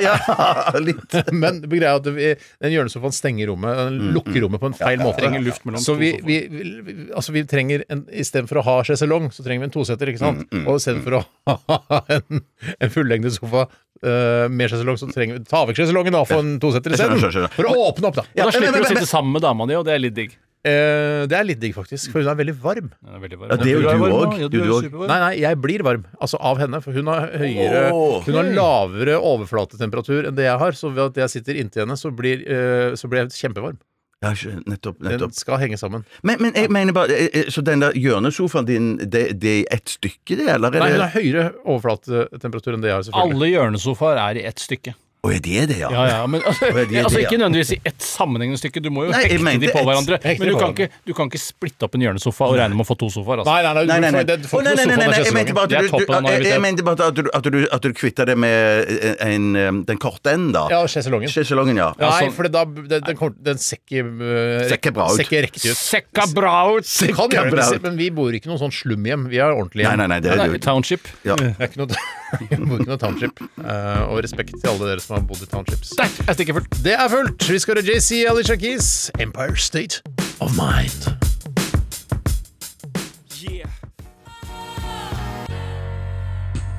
ja, litt. Men greia er at vi, den hjørnesofaen stenger rommet, Mm, den lukker rommet på en feil måte. Trenger luft mellom så to vi, sofaer. vi, vi, altså vi trenger en, istedenfor å ha sjeselong, så trenger vi en toseter, ikke sant? Mm, Og istedenfor å ha en, en fullengde sofa eh, med sjeselong, så trenger vi ta vekk sjeselongen da, og få en toseter Jeg skjønner, isteden. skjønner, skjønner. For å åpne opp, da. Da men- slipper men- du å men- sitte sammen med dama di, og det er litt digg. Eh, det er litt digg, faktisk, for hun er veldig varm. Den er veldig varm. Ja, det er jo du varm, òg. da. Ja, Du du er òg. supervarm. Nei, nei, jeg blir varm. Altså av henne. For hun har høyere Åh, Mm. Hun har lavere overflatetemperatur enn det jeg har. Så ved at jeg sitter inntil henne, så blir, eh, så blir jeg kjempevarm. Ja, skjønner. nettopp. Den nettopp. skal henge sammen. Men, men jeg mener bare eh, eh, Så den der hjørnesofaen din, det, det er ett stykke, det, eller? Nei, hun Er det, har høyere overflatetemperatur enn det jeg har, selvfølgelig. Alle hjørnesofaer er i ett stykke. Å, er det det, ja? Ja, ja, men altså, de- de- altså ja. ikke nødvendigvis i ett sammenhengende stykke. Du må jo Nei, jeg hekte de mente på ett- hverandre. hekte Men du på kan, hverandre. ikke, du kan ikke splitte opp en hjørnesofa og regne med å få to sofaer. Altså. Nei, nei, nei, du Nei, nei, nei. får- det- du får Å, nei, ikke sofaen nei, nei, nei, av nei, jeg sjeselongen. mente bare at Det er du, toppen av du, jeg, jeg naivitet. mente bare at du, at du, at du kvitta det med eh, en, en, den korte enden, da. Ja, sjeselongen. Sjeselongen, ja. Nei, sånn. for det da, den, den, kommer- den ser ikke eh, Ser ikke bra ut. Ser ikke riktig ut. Sekka bra ut! Det kan gjøre bra det, ut. men vi bor ikke i noe sånn slumhjem. Vi har ordentlig hjem. Nei, nei, nei, det er Nei, det jo ikke. Township. Ja. Det er ikke noe, vi bor ikke noe township. Eh, og respekt til alle dere som har bodd i townships. Der er stikket fullt. Det er fullt. Vi skal høre JC Alicia Keys, 'Empire State of Mind'.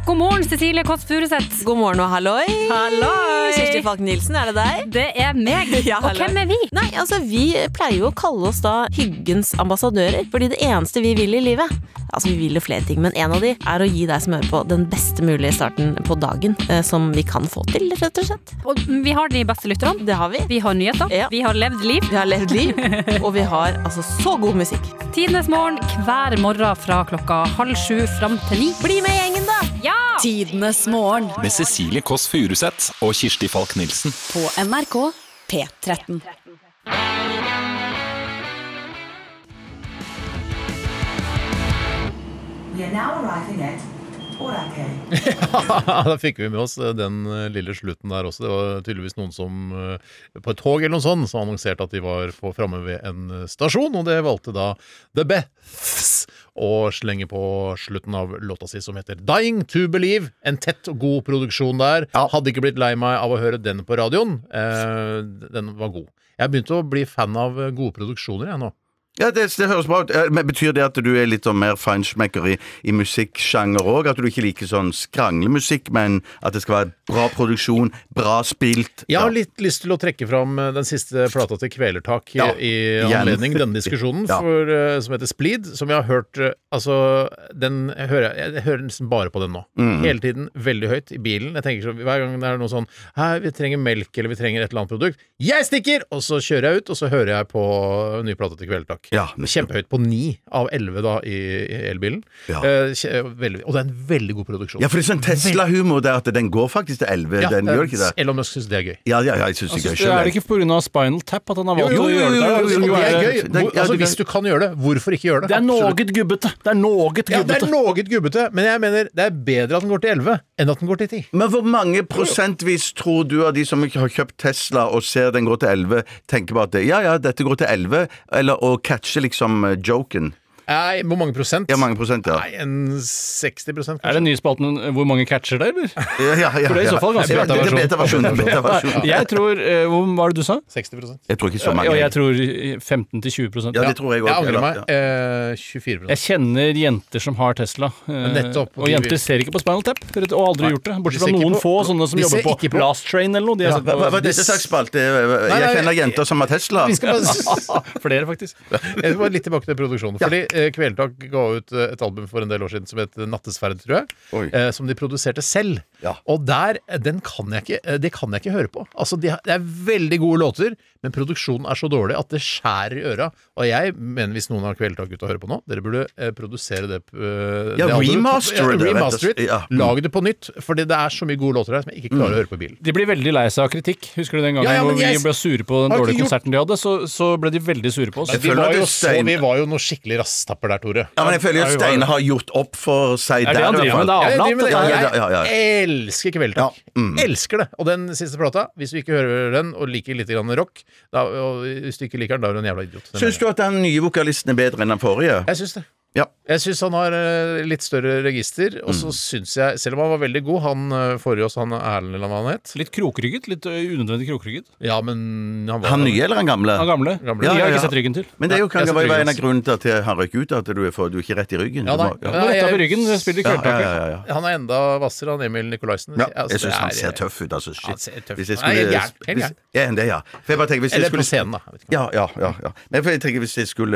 God morgen, Cecilie Kåss Furuseth. God morgen og halloi. Halloi. Kjersti Falk Nilsen, er det deg? Det er meg. Ja, og hallo. hvem er vi? Nei, altså Vi pleier jo å kalle oss da hyggens ambassadører, fordi det eneste vi vil i livet Altså, Vi vil jo flere ting, men en av de er å gi deg som hører på, den beste mulige starten på dagen eh, som vi kan få til, rett og slett. Og mm, vi har de beste lytterne. Det har vi. Vi har nyheter. Ja. Vi har levd liv. Vi har levd liv, og vi har altså så god musikk. Tidenes morgen hver morgen fra klokka halv sju fram til ni. Bli med i gjengen, da! Ja! Tidenes morgen Med Cecilie Kåss Furuseth og Kirsti Falk Nilsen. på NRK P13. We are now arriving at Orake. da fikk vi med oss eh, den eh, lille slutten der også. Det var tydeligvis noen som eh, på et tog eller noe sånt som annonserte at de var på- framme ved en eh, stasjon, og det valgte da The Beths å slenge på slutten av låta si som heter 'Dying to Believe'. En tett og god produksjon der. Hadde ikke blitt lei meg av å høre den på radioen. Eh, den var god. Jeg begynte å bli fan av eh, gode produksjoner, jeg nå. Ja, det, det høres bra ut. Eh, Men Betyr det at du er litt sånn mer feinschmecker i, i musikksjanger òg? At du ikke liker sånn skranglemusikk, men at det skal være bra produksjon, bra spilt? Jeg har litt lyst til å trekke fram eh, den siste plata til Kvelertak i- Ja, i igjen. anledning denne diskusjonen, Ja. for, eh, som heter Splid, som jeg har hørt eh, Altså, den jeg hører jeg, jeg hører nesten bare på den nå. Mhm. Hele tiden, veldig høyt, i bilen. Jeg tenker så, Hver gang det er noe sånn Hei, vi trenger melk, eller vi trenger et eller annet produkt. Jeg stikker! Og så kjører jeg ut, og så hører jeg på eh, ny plate til Kvelertak. Ja, nettopp. Kjempehøyt. På ni av elleve, da, i, i elbilen. Ja. Eh, kje- veldig, og det er en veldig god produksjon. Ja, for det er sånn Tesla-humor der at den går faktisk til 11. Ja, den eh, gjør ikke det? Elon Musk syns det er gøy. Ja, ja, ja jeg syns det er gøy altså, Er det sjøl. ikke pga. Spinal Tap at han har Jo, valgt jo, å jo, gjøre jo, det? jo, jo, Det jo, skulle det er være- gøy. Hvor, altså, hvis du kan gjøre det, hvorfor ikke gjøre det? Det er noe gubbete. Det er noe Ja, det er gubbete. noget gubbete, men jeg mener det er bedre at den går til 11 enn at den går til 10. Men hvor mange prosentvis tror du av de som ikke har kjøpt Tesla og ser den går til 11, tenker bare at det, ja ja, dette går til 11, eller, og catcher liksom eh, joken? Nei, hvor mange prosent? Ja, mange prosent, ja. Nei, en 60 prosent, Er kanskje. det nye spalten eh, hvor mange catcher det, eller? Ja, ja, ja, For det er i så fall ganske ja, det er beta-versjon. beta-versjon, beta-versjon. Jeg tror eh, Hvor var det du sa? 60 prosent. Jeg tror ikke så mange. Og jeg tror 15-20 Ja, det tror jeg Jeg også. angrer eller- meg. Eh, 24 Jeg kjenner jenter som har Tesla. eh, Nettopp. Og jenter ser ikke på Spinal Tap. rett- Og aldri gjort det. Bortsett fra ser ikke noen på- få sånne som de ser jobber på, ikke på- Last Train eller noe. De har sett Hva, hva, hva er dette Dis- slags spalte? Jeg nei, kjenner jeg- jenter som har Tesla. Vi skal bare Flere, faktisk. Jeg var litt tilbake til produksjonen. Fordi eh, Kvelertak ga ut eh, et album for en del år siden som het Nattesverd, tror jeg. Oi. Eh, som de produserte selv. Ja. Og der, eh, den kan jeg ikke, eh, det kan jeg ikke høre på. Altså, de har- Det er veldig gode låter, men produksjonen er så dårlig at det skjærer i øra. Og jeg mener, hvis noen har Kvelertak-gutta å høre på nå, dere burde eh, produsere det. eh, Ja, det albumet. remastere det, rett og Remaster it. slett. Ja. Mm. Lag det på nytt. Fordi det er så mye gode låter her som jeg ikke klarer å høre på i bilen. De blir veldig lei seg av kritikk. Husker du den gangen Ja, ja, hvor men vi jeg- ble sure på den Har ikke dårlige gjort- konserten de hadde? Så, så ble de veldig sure på oss. Men Vi føler var, at jo det så, stein- vi var jo noen skikkelig rasstapper der, Tore. Ja, men jeg føler jo at Steine har gjort opp for seg Er det der. han i hvert driver fall. med? Det er Jeg, avlat. driver med det. Ja, ja, ja, ja, ja. jeg elsker Kvelertak. Ja, mm. Elsker det. Og den siste plata, hvis du ikke hører den og liker litt grann rock, da, og hvis du ikke liker den, da er du en jævla idiot. Den Syns mener jeg. du at den nye vokalisten er bedre enn den forrige? Jeg syns det. Ja. Mm. Jeg syns han har eh, litt større register, og så syns jeg, selv om han var veldig god, han eh, forrige oss, han Erlend eller hva han het Litt krokrygget. Litt ø, unødvendig krokrygget. Ja, men han var Han nye eller han gamle? Han gamle. Gamle. De Ja, har ja, ikke ja. sett ryggen til. Men det er jo kan jeg det være setter en av pris. grunnene til at jeg- han røyk ut, at du er, for, du er ikke rett i ryggen. Ja, Du nei. må- ja. Nå retta på ryggen, spiller Ja, ja, kvelertaket. ja, ja, ja. Han er enda hvassere, han Emil Nikolaisen. Ja, Altså, jeg syns det han er- ser tøff ut, altså. Han ser tøff ut. Shit. Hvis Nei, jeg skulle helt gæren, helt hvis- gæren. Ja, det, ja. For jeg bare tenker, hvis jeg eh, Eller på skulle scenen, da. Jeg vet ikke. Ja, ja, ja, ja. Men for jeg tenker Hvis jeg skulle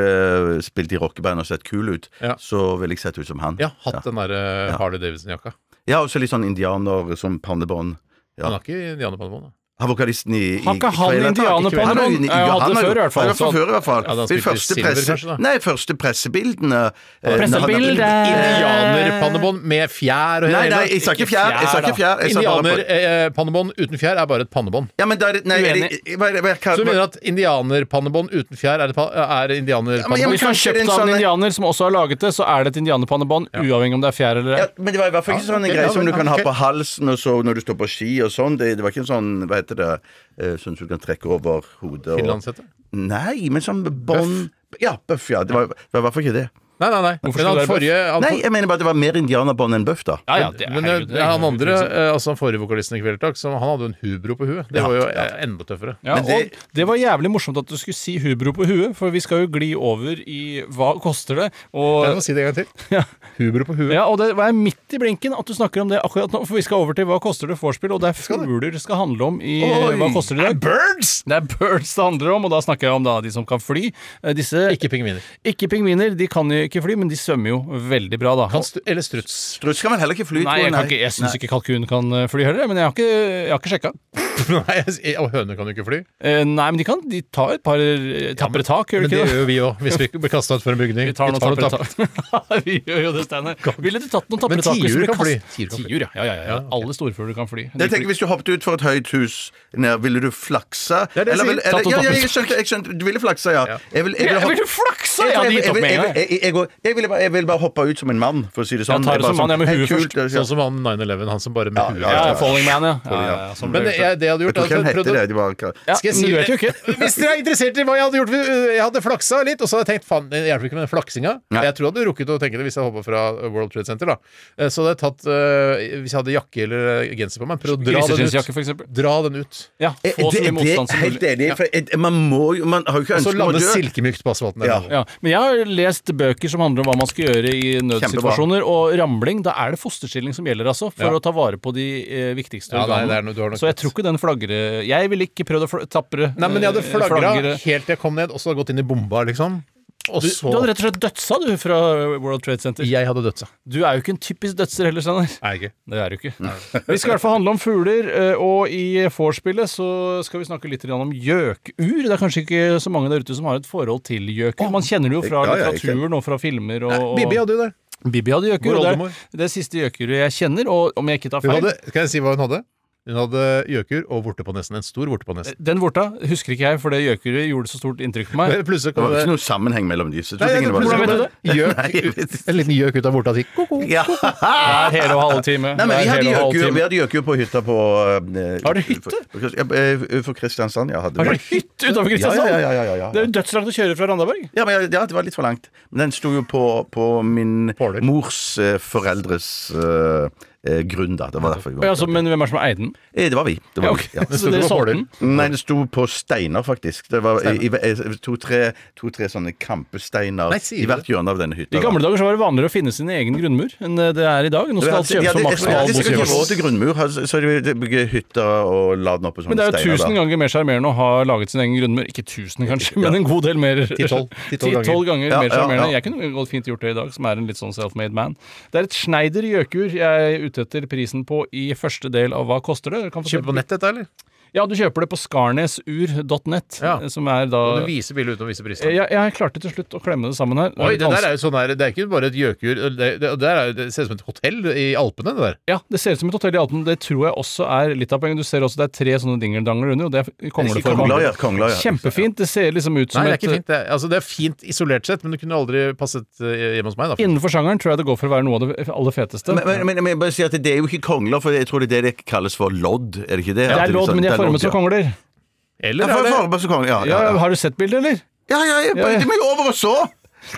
eh, spilt i rockeband og sett kul ut, Ja. så ville jeg sett ut som han. Ja, hatt den derre Harley Davidson-jakka. Ja, også litt sånn indianer som pannebånd. Ja. Han har ikke indianerpannebånd. da. Han vokalisten i, i Har ikke han Trailer Park, indianerpannebånd? ikke vel? Han hadde ja, det har jo- før i hvert fall, Han har så fra han- før i hvert fall. sånn. Ja, da han De spilte første silver, presse- kanskje, da? Nei, første pressebildene eh, når Pressebildet! han hadde- Indianerpannebånd med fjær og Nei, hele- nei, jeg sa ikke fjær. Jeg sa ikke fjær. Jeg sa bare på- Indianerpannebånd eh, uten fjær er bare et pannebånd. Ja, men da er det Nei, er det, hva, hva, hva, Så du mener at indianerpannebånd uten fjær er, et pa- eh, er men jeg indianerpannebånd? må- Hvis du har kanskje det er en kjøpt av en sånn- indianer som også har laget det, så er det et indianerpannebånd, uavhengig om det er fjær eller ei. ja, men det var i hvert fall ikke sånn en ok, greie ja, som men- du kan ha ok. på halsen og så når du står på ski og sånn. Det, det var ikke en sånn, hva heter det, eh, sånn som du kan trekke over hodet og Finlandshette? Nei, men sånn bånd Ja, bøff, ja. Det var, det var i hvert fall ikke det. Nei, nei, nei. Hvorfor Men skulle han det være forrige han, Nei, jeg mener bare at det var mer indianerbånd enn bøff, da. Ja, ja, det er men herregud, eh, det er- liksom. han andre, eh, altså han forrige vokalisten i Kvelertak, så han hadde jo en hubro på huet. Det var jo eh, enda tøffere. Ja, Men det- og det var jævlig morsomt at du skulle si hubro på huet, for vi skal jo gli over i hva koster det. Jeg Og, må si det en gang til. Hubro på huet. ja, og det er midt i blinken at du snakker om det akkurat nå, for vi skal over til hva koster det vorspiel, og det er fugler det skal handle om i Oi! hva koster det i dag. Birds! Det er birds det handler om, og da snakker jeg om da de som kan fly. Eh, Disse Ikke pingviner. ikke pingviner, de kan jo ikke fly, men de svømmer jo veldig bra, da. Kan stu- Eller struts. Struts kan vel heller ikke fly, Nei, tror jeg, kan ikke, jeg syns Nei. ikke kalkun kan eh, fly heller, men jeg har ikke, jeg har ikke sjekka. Nei, jeg- og høner kan jo ikke fly. Eh, nei, men de kan. De tar et par eh, tapre tak, Men gjør de ikke det det? gjør jo vi òg, hvis vi blir kasta ut fra en bygning. Vi tar noen tar tapre tap- tak. Vi gjør jo det, Steinar. Ville du tatt noen tapre Men tak? hvis tiur du ble kan fly. kast- Tiur, ja. ja, ja, ja. Alle storfugler kan fly. Jeg tenker Hvis du hoppet ut for et høyt hus, ned, ville du flaksa? er det jeg sier. vil- eller, Tatt og ja, ja, tatt. jeg skjønte, jeg skjønte, du ville flaksa, ja. Jeg vil- jeg Ja, ville hopp- vil du flakse? Jeg- Ja, jeg- de jeg- gikk opp med en gang. jeg- jeg- jeg- jeg ville bare- Jeg ville bare hoppe ut som en mann, for å si det sånn. Jeg tar det bare som mann, jeg med sånn, huet «Hei, kult, først». ja, Sånn som han 9-11, han som bare med huet. ja, Ja, ja, Falling Man, ja. ja, ja, sånn ja, som Men det, ble- jeg, det jeg hadde Jeg gjort er tror ikke at han jeg hette prøvde- det. De var, Ja, Skal jeg si men du det? vet jo ikke. Hvis dere er interessert i hva jeg hadde gjort eh, Jeg hadde flaksa litt, og så hadde jeg tenkt faen, det hjelper ikke med den flaksinga. Nei. Jeg tror jeg hadde rukket å tenke det hvis jeg hoppa fra World Trade Center. da Eh, Så hadde jeg tatt eh, Hvis jeg hadde jakke eller eh, genser på meg, prøvd å dra den Grisetrynsjakke, ut. for eksempel. Dra den ut. Ja, Eh, få så det, mye det motstand er som helt mulig. enig, for eh, man må jo Man har jo ikke Og så ønske om å lande dø. silkemykt på asfalten. der Ja. nede. Ja, men jeg har lest bøker som handler om hva man skal gjøre i nødsituasjoner, og ramling. Da er det fosterstilling som gjelder, altså, for Ja. å ta vare på de eh, viktigste Ja, nei, organene. det er noe- du har nok Så jeg rett. tror ikke den flagre Jeg ville ikke prøvd å fl tapre Nei, men jeg hadde eh, flagra flagre. helt til jeg kom ned, og så hadde jeg gått inn i bomba, liksom. Og Du, så du hadde rett og slett dødsa, du, fra World Trade Center. Jeg hadde dødsa. Du er jo ikke en typisk dødser heller, Steinar. Nei, ikke. Det er du ikke. Vi skal i hvert fall handle om fugler, eh, og i vorspielet så skal vi snakke litt grann om gjøkur. Det er kanskje ikke så mange der ute som har et forhold til gjøkur. Man kjenner det jo fra Ja, ja, jeg litteraturen og fra filmer. Og, og... Bibi hadde jo det. Bibi hadde gjøkur, Vår og det oldemor. er det siste gjøkuret jeg kjenner. Og om jeg ikke tar Hun feil hadde, skal jeg si hva hun hadde? Hun hadde gjøkur og vorte på nesen. En stor vorte på nesen. Den vorta husker ikke jeg, for det gjøkere gjorde så stort inntrykk på meg. Men Plutselig Det kom var det ikke noe sammenheng mellom disse to Nei, tingene. plutselig var kom det. det gjøk- Nei, jeg vet ikke. en liten gjøk ut av vorta og sier ko-ko. Ja. Hver hele og halve time. Nei, men vi Hver hele hadde og halve gjøkur- time. vi hadde gjøkur på hytta på eh, Har dere hytte? For, for, ja, eh, for Kristiansand, ja. Hadde Har vi. dere hytte utenfor Kristiansand? Ja, ja, ja, ja, ja, ja. Det er jo dødslangt å kjøre fra Randaberg. Ja, men, jeg- ja, det var litt for langt. Men den sto jo på, på min Påler. mors eh, foreldres eh, eh, grunn, da. Det var derfor. vi Ja, var altså, opptatt. men hvem er det som har eid den? Eh, det var vi. Det var Ja, vi, ok. ja. Så dere solgte den? Nei, det sto på steiner, faktisk. Det var i- i- eh, to-tre to, tre sånne kampesteiner Nei, sier du i hvert hjørne av denne hytta. I gamle dager så var det vanligere å finne sin egen grunnmur enn eh, det er i dag. Ja, Nå skal alt de hadde- jeg- kjøpes som jeg hadde maksimalt. sikkert ikke råd til grunnmur, Altså, så så de de bygger hytter og la den opp på sånne Men det er jo steiner. da. tusen ganger mer sjarmerende å ha laget sin egen grunnmur. Ikke tusen, kanskje, men en god del mer. Ti-tolv. Ti-tolv ganger. Ti-tolv ganger Ja, mer ja, sjarmerende. ja. Jeg kunne godt fint gjort det i dag, som er en litt sånn self-made man. Det er et Schneider gjøkur jeg er ute etter prisen på i første del av Hva koster det? Dere kan få se- Kjøpe på nettet, dette, eller? Ja, du kjøper det på skarnesur.net, Ja. som er da Kan du vise bildet uten å vise prisen? ja, jeg klarte til slutt å klemme det sammen her. Det er Oi, det litt der vanskelig. er jo sånn her, det er ikke bare et gjøkur. Det, det, det, der er, jo- det ser ut som et hotell i Alpene, det der. Ja, det ser ut som et hotell i Alpen. Det tror jeg også er litt av poenget. Du ser også det er tre sånne dingeldangler under, og det er Kongler, kongleforma. ja. Kongler, ja. Kjempefint. Det ser liksom ut som Nei, det er ikke et fint. Det er, altså, det er fint isolert sett, men det kunne aldri passet eh, hjemme hos meg. Da. Innenfor sjangeren tror jeg det går for å være noe av det aller feteste. Men, men, men jeg må bare si at det er jo ikke kongler, for jeg tror det er det det kalles for lodd. Er det ikke det? Det At er lodd, sånn- men de det er formet som lodd, ja. kongler. Ja, Eller for, er det formet som kongler. Ja, ja, Ja, ja. Har du sett bildet, eller? ja, ja, jeg, Ja, ja. De er jo over og så!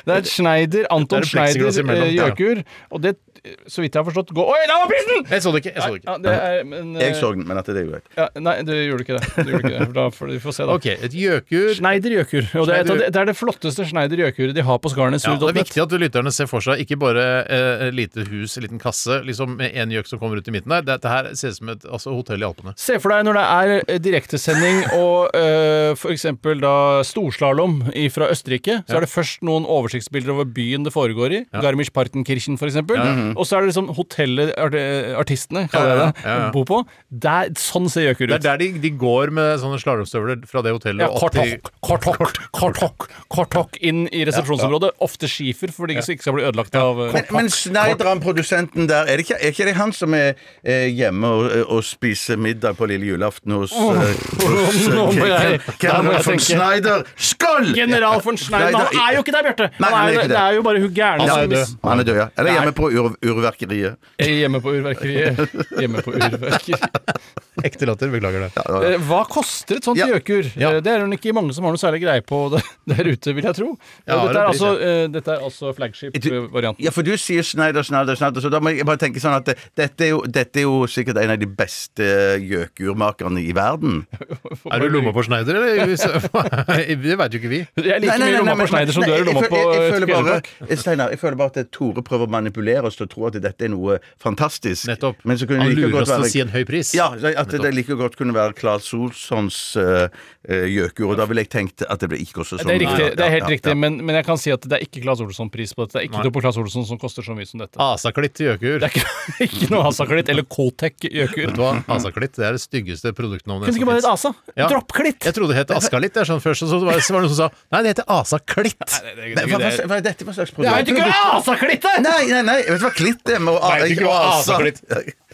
Det er et Schneider, Anton Det er et Schneider plexiglass eh, imellom, ja. Gjøkur, og det, eh, så vidt jeg har forstått, går Oi, der var prisen! Jeg så det ikke. Jeg så det ikke. Ja, det er, men, eh, Jeg så den, men at det er greit. ja, Nei, du gjorde ikke det. Du gjorde ikke det. for Da får vi får se, da. Ok, et gjøkur. Schneider Gjøkur. Og det, er et av de- det er det flotteste Schneider Gjøkuret de har på Skarnes. Ja, det er viktig at lytterne ser for seg ikke bare eh, lite hus, liten kasse, liksom med en gjøk som kommer ut i midten der. Dette her ser ut som et altså, hotell i Alpene. Se for deg når det er eh, direktesending og eh, for eksempel da storslalåm fra Østerrike. Så er det først noen oversiktsbilder over byen det foregår i. Garmisch-Partenkirchen f.eks. eksempel Og så er det liksom hotellet art eh, artistene, kaller jeg det, Ja, ja, ja, ja. bor på. Der, sånn ser gjøkur Det er ut. der de, de går med sånne slalåmstøvler fra det hotellet Ja, og opp til kortokk, kortokk, kortokk, kortokk inn i resepsjonsområdet. Ofte skifer, for de ikke skal bli ødelagt av eh, Men, men Schneider, han produsenten der, er det ikke, er ikke det han som er eh, hjemme og, og spiser middag på lille julaften hos eh, hos, eh, nå må jeg- Ken- da Ken må jeg von tenke. Schneider. Skål! General von Schneider Han er jo ikke der, Bjarte! Nei, Han han er er, ikke det det. er jo bare hun gærne Ja, som- Han er død. Han er død, ja. Eller hjemme på ur, urverkeriet. Hjemme på urverkeriet. Hjemme på urverkeriet. Ekte latter, beklager det. Eh, Hva koster et sånt Ja. gjøkur? Ja. Eh, Det er det ikke mange som har noe særlig greie på det, der ute, vil jeg tro. Ja, det Eh, dette, er blir altså, eh, dette er altså flagship-varianten. Ja, for du sier Schneider, Schneider, Schneider, så da må jeg bare tenke sånn at det, dette, er jo, dette er jo sikkert en av de beste gjøkurmakerne i verden. Er du i lomma på Schneider, eller? Det veit jo ikke vi. Jeg liker mye lomma på Schneider som du nei, er i lomma jeg på føler- jeg føler Kjellberg. bare- Eh, Steinar, jeg føler bare at Tore prøver å manipulere oss til å tro at dette er noe fantastisk. Nettopp. Men så kunne Han det like lurer godt oss til være- å si en høy pris. Ja, at Nettopp. det like godt kunne være Claes Solsons eh, eh, gjøkur, og da ville jeg tenkt at det ble ikke også sånn. Det er, riktig, det er helt Ja, ja, riktig, ja. men, men jeg kan si at det er ikke Claes Olsson-pris på dette. Det er ikke noe på Claes Olsson som koster så mye som Ah. dette. Asaklitt gjøkur. Det er ikke, ikke noe Asaklitt eller Kotec-gjøkur. Vet du hva? Asaklitt det er det styggeste produktnavnet. Kunne som ikke bare hett finnes. Asa? Ja. Droppklitt! Jeg trodde det het Askalitt det er sånn først, og så var det var det noen som sa nei, det heter Asaklitt. Men Hva, hva, hva er dette for slags Det er produkt? jo ikke Asaklitt, det! Nei, nei, nei, vet du hva klitt er? Med, Nei, det er ikke asaklitt.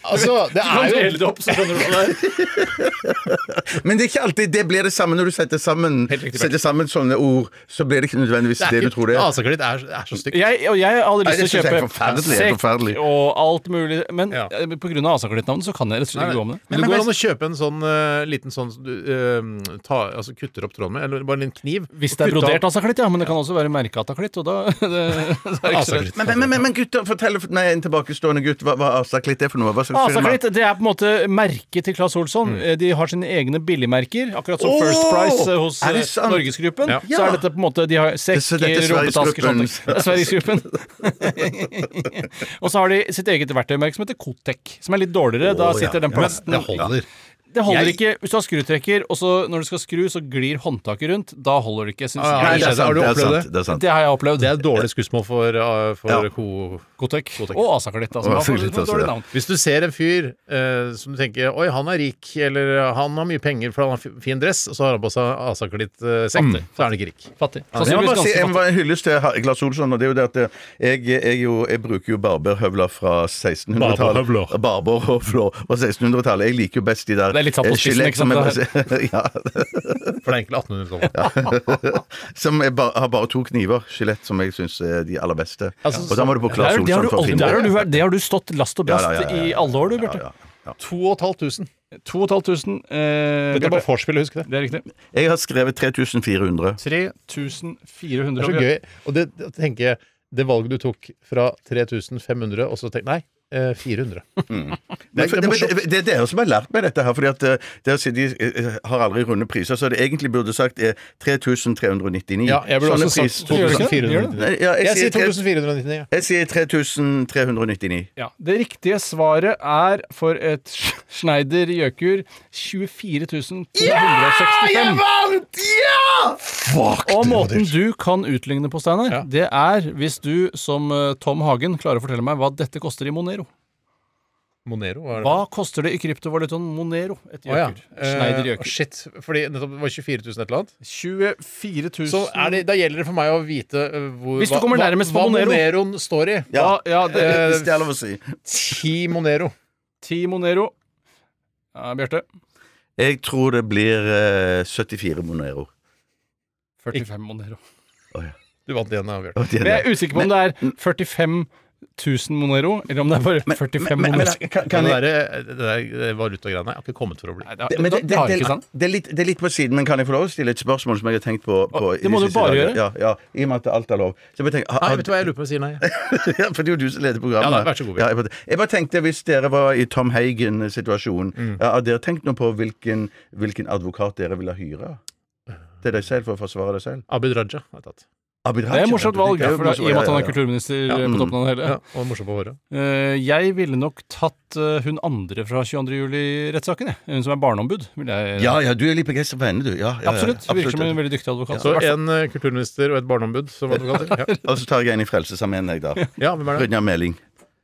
Altså, det Kan er du jo dele det opp, så skjønner du hva det er. Men det er ikke alltid det blir det samme når du setter sammen, setter sammen sånne ord. Så blir det ikke nødvendigvis det, du tror det er. Asaklitt er, er så stygt. Jeg, og jeg hadde Nei, det lyst til å synes jeg er kjøpe forferdelig, det er forferdelig. og alt mulig, men Ja. eh, på grunn av Asaklitt-navnet så kan jeg rett og slett ikke gå om det. Men det går an å kjøpe en sånn eh, liten sånn som du eh, ta, altså kutter opp tråden med, eller bare en liten kniv. Hvis det er brodert Asaklitt, ja, men det kan også være merkeataklitt, og da det, det er ikke så Asaklitt. rett. Men, men, men, men gutter, fortell meg en tilbakestående gutt hva, hva asaklitt er for noe. Hva slags Asaklitt det er på en måte merket til Claes Olsson. Mm. Eh, De har sine egne billigmerker, akkurat som First Price eh, hos Er det eh, sant? Norgesgruppen. Ja. Så er dette på en måte De har Så sekker, dette er rumpetasker sånne ting. Sverigesgruppen. Det er Sverigesgruppen. og så har de sitt eget verktøymerke som heter Kotec, som er litt dårligere. Da sitter den plasten Det holder. Det holder Jeg- ikke hvis du har skrutrekker, og så når du skal skru, så glir håndtaket rundt. Da holder det ikke, syns Ah, ja. Nei, jeg. det er sant. Har du Det er opplevd sant. Det er sant. Det har jeg opplevd. Det er et dårlig skussmål for, uh, for Ja. ko... Godtek. Godtek. Og Asaker ditt. Altså. Og Man får- Asaker ditt man får også, dårlig ja. navn. Hvis du ser en fyr eh, som du tenker Oi, han er rik, eller han har mye penger for han har fi- fin dress, og så har han på seg Asaker-ditt-sekk, så er han ikke rik. Fattig. Jeg må Sannsynligvis bare si, jeg ganske må fattig. bare hylles til Glass Olsson, og det er jo det at eh, jeg, jeg, jo, jeg bruker jo barberhøvler fra 1600-tallet. Barberhøvler. Barberhøvler fra 1600-tallet. Jeg liker jo best de der Det er litt satt på eh, spissen, ikke sant? ja, For det er egentlig 1800-tallet. som jeg bare, har bare to kniver. Skjelett, som jeg syns er de aller beste. Altså, og da må du på Glass Der, det, har Olsson du for å aldri, finne der har du, det. vært- det har du stått last og brast Ja, ja, ja, ja, ja. i alle år, du, Bjarte. Ja, ja, ja. 2500. 2500. Dette Eh, er bare Bjarte. vorspiel, husk det. det er riktig. Jeg har skrevet 3400. 3400. Det er så gøy. Og det, det tenker jeg Det valget du tok fra 3500, og så tenk Nei, eh, 400. Det, Det er- det er morsomt. det, det er dere som har lært meg dette her, fordi at eh, dere sier de eh, har aldri runde priser, så det egentlig burde sagt eh, er 3399. Ja, jeg burde Sånne også Sånn pris- sagt Nei, 2499. ja, Jeg sier tre- 2499. ja. Jeg sier 3399. Ja, Det riktige svaret er for et Sch- Schneider Jøkur 24 265. vant! Ja! Fuck! Og måten du kan utligne på, Steinar, Ja. det er hvis du som eh, Tom Hagen klarer å fortelle meg hva dette koster i Monero. Monero var Hva koster det i kryptovalutaen Monero? Et Å ja. jøker. Schneider Eh, jøker. shit. Fordi nettopp det var 24 000 et eller annet. 24 000 Så er det, da gjelder det for meg å vite eh, hvor, Hvis du kommer hva, nærmest på hva Monero. Moneroen står i. ja, ja, det er Hvis det er lov å si. Ti Monero. 10 Monero. Ja, Bjarte. Jeg tror det blir eh, 74 Monero. 45 Monero. Du vant igjen, da, Bjørn. Og det er Men jeg det. er usikker på om det er 45 000 Monero, eller om det er bare 45 men- Monero. men- Kan kan- kan det jeg- der, eh, det der valutagreiene er ikke kommet for å bli. Nei, det, det- men det, det- det har jeg ikke det- sant. det er litt- det er litt på siden, men kan jeg få lov å stille et spørsmål som jeg har tenkt på, på i det må de du siste bare dagene? gjøre. Ja, ja, I og med at alt er lov. Så jeg bare tenker, har- Nei, har- vet du hva jeg lurer på om jeg sier nei? Ja, for det er jo du som leder Ja, programmet. da, vær så god, Bjørn. Ja, jeg, bare, jeg bare tenkte, hvis dere var i Tom Hagen-situasjonen, Mm. ja, har dere tenkt noe på hvilken, hvilken advokat dere ville hyre? Til deg selv, for å forsvare deg selv? Abid Raja har jeg tatt. Abid Det er Raja, et morsomt du tenker, valg, det er jo for da, morsomt, i og med at ja, han er ja, ja. kulturminister eh, mm. på toppen av det hele. Ja, og morsom på håret. Eh, jeg ville nok tatt eh, hun andre fra 22. juli-rettssaken, jeg. Hun som er barneombud. Ville jeg, Ja, ja, du er litt begeistra for henne, du. Ja, ja, ja, absolutt. Hun Virker som en veldig dyktig advokat. Så I hvert fall. en eh, kulturminister og et barneombud som advokater. Ja. Og så tar jeg en i Frelsesarmeen, jeg, da. ja, hvem er det? Brynjar Meling.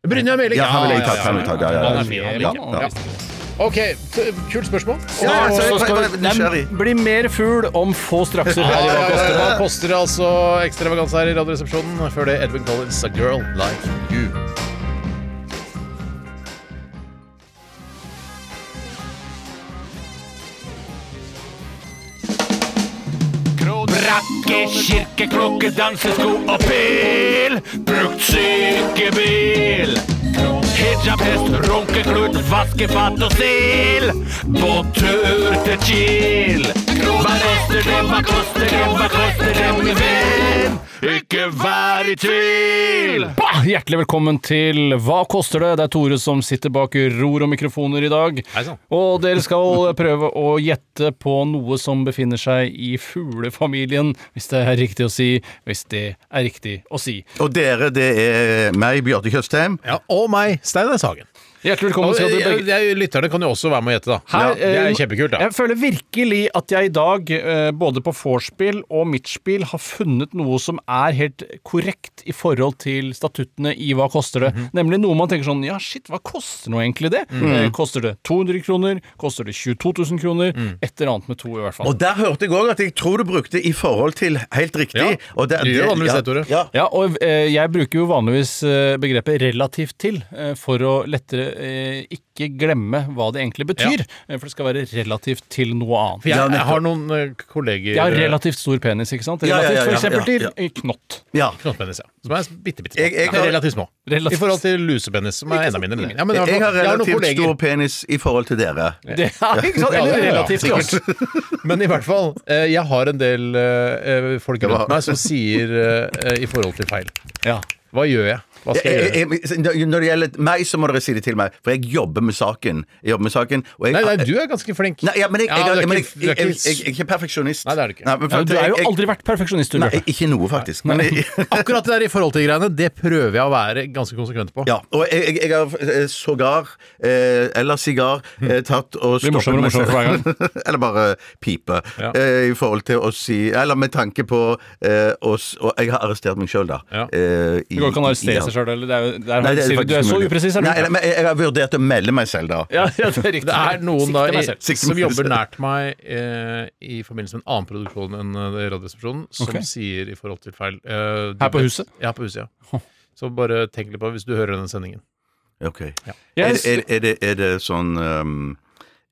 Brynja Meling! Ja, han vil jeg ta. Han vil jeg ta, ja, ja, ja. Han er fin, han liker jeg. Ja. OK, så, kult spørsmål. Ja, ja, så jeg- Så skal jeg- jeg- nysgjerrig. den bli mer fugl om få strakser her Ja, i ja, ja, Valgkosten. Hva koster det altså ekstravaganse her i Radioresepsjonen? Før det Edwin Collins, A Girl Like You. Brakke, kirke, klokke, dansesko og pil. Brukt sykebil. Hijab, hest, runkeklut, vaskefat og stil. På tur til Kiel. Hva koster det, hva koster det, hva koster det, min venn? Ikke vær i tvil. Bah! Hjertelig velkommen til Hva koster det? Det er Tore som sitter bak ror og mikrofoner i dag. Hei sann. Og dere skal prøve å gjette på noe som befinner seg i fuglefamilien, hvis det er riktig å si. Hvis det er riktig å si. Og dere, det er meg, Bjarte Tjøstheim. Ja, og meg, Steinar Sagen. Hjertelig Og, velkommen skal dere begge. eh, lytterne kan jo også være med å gjette, da. Her, ja, det eh, er kjempekult, da. Jeg føler virkelig at jeg i dag, eh, både på vorspiel og midtspill, har funnet noe som er helt korrekt i forhold til statuttene i Hva koster det? Mhm. Nemlig noe man tenker sånn Ja, shit, hva koster nå egentlig det? Mm. Eh, koster det 200 kroner? Koster det 22 000 kroner? Mm. Et eller annet med to, i hvert fall. Og der hørte jeg òg at jeg tror du brukte i forhold til helt riktig. Ja, og der, du gjør vanligvis det, Tore. Ja, Ja, og eh, jeg bruker jo vanligvis eh, begrepet relativt til eh, for å lettere eh, ikke glemme hva det egentlig betyr. eh, For det skal være relativt til noe annet. For jeg, Ja, nettopp. jeg har noen eh, kolleger Jeg har eh, relativt stor penis, ikke sant? Ja, ja, Relativt ja, ja, for eksempel ja, ja. til knott. ja. knottpenis, eh, ja. Som er bitte, bitte små. Jeg- jeg Eller har- relativt små. Relativt- I forhold til lusepenis, som er enda mindre. enn det. Ja, men i hvert Jeg fall, har noen relativt kolleger- stor penis i forhold til dere. Det er ikke sant? Ja, Eller ja, ja, relativt til oss. sikkert. Men i hvert fall, eh, jeg har en del eh, eh, folk rundt meg som sier eh, eh, i forhold til feil. Ja. Hva gjør jeg? Hva skal jeg gjøre? Jeg- jeg- jeg- Når det gjelder meg, så må dere si det til meg, for jeg jobber med saken. Jeg jobber med saken og jeg, Nei, nei, du er ganske flink. Nei, ja, men jeg, jeg, Ja, du er men jeg, ikke- jeg, du er jeg, jeg, ikke- jeg er ikke perfeksjonist. Nei, det er du ikke. men Ja, for- du har jo jeg- aldri vært perfeksjonist, du, Nei, Bjarte. ikke noe, faktisk. Men jeg, Akkurat det der i forhold til greiene, det prøver jeg å være ganske konsekvent på. ja, og jeg, jeg, jeg har eh, sågar, eh, eller sigar, Mm. eh, tatt og Blir morsommere og meg selv. morsommere for eller bare pipe. Ja. Eh, I forhold til å si Eller med tanke på eh, oss Og jeg har arrestert meg sjøl, da. Ja. Eh, i- Du går ikke an å i- arrestere ja. seg sjøl, eller? Det er, jo- der, Nei, det sier du- du er faktisk så mulig. upresis, er du? Nei, nei, men jeg, jeg har vurdert å melde meg selv, da. ja, ja, det er riktig. Det er noen da Sikter i, meg selv. Sikter som meg jobber selv. nært meg eh, i forbindelse med en annen produksjon enn eh, Radioresepsjonen, som Ok. sier i forhold til feil eh, du Her på vet- huset? Ja, på huset, ja. Så bare tenk litt på det hvis du hører denne sendingen. Ok. Er, Jeg- er, er, det, er det sånn um,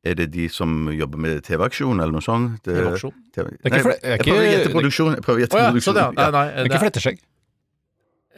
Er det de som jobber med TV-aksjon, eller noe sånt? Det, TV-aksjon? TV er ikke Nei, fl- det er jeg prøver å ikke- gjette produksjon. Jeg prøver å Å gjette ja, produksjon. sånn ja. Nei, Ja. nei, Det er ikke fletteskjegg.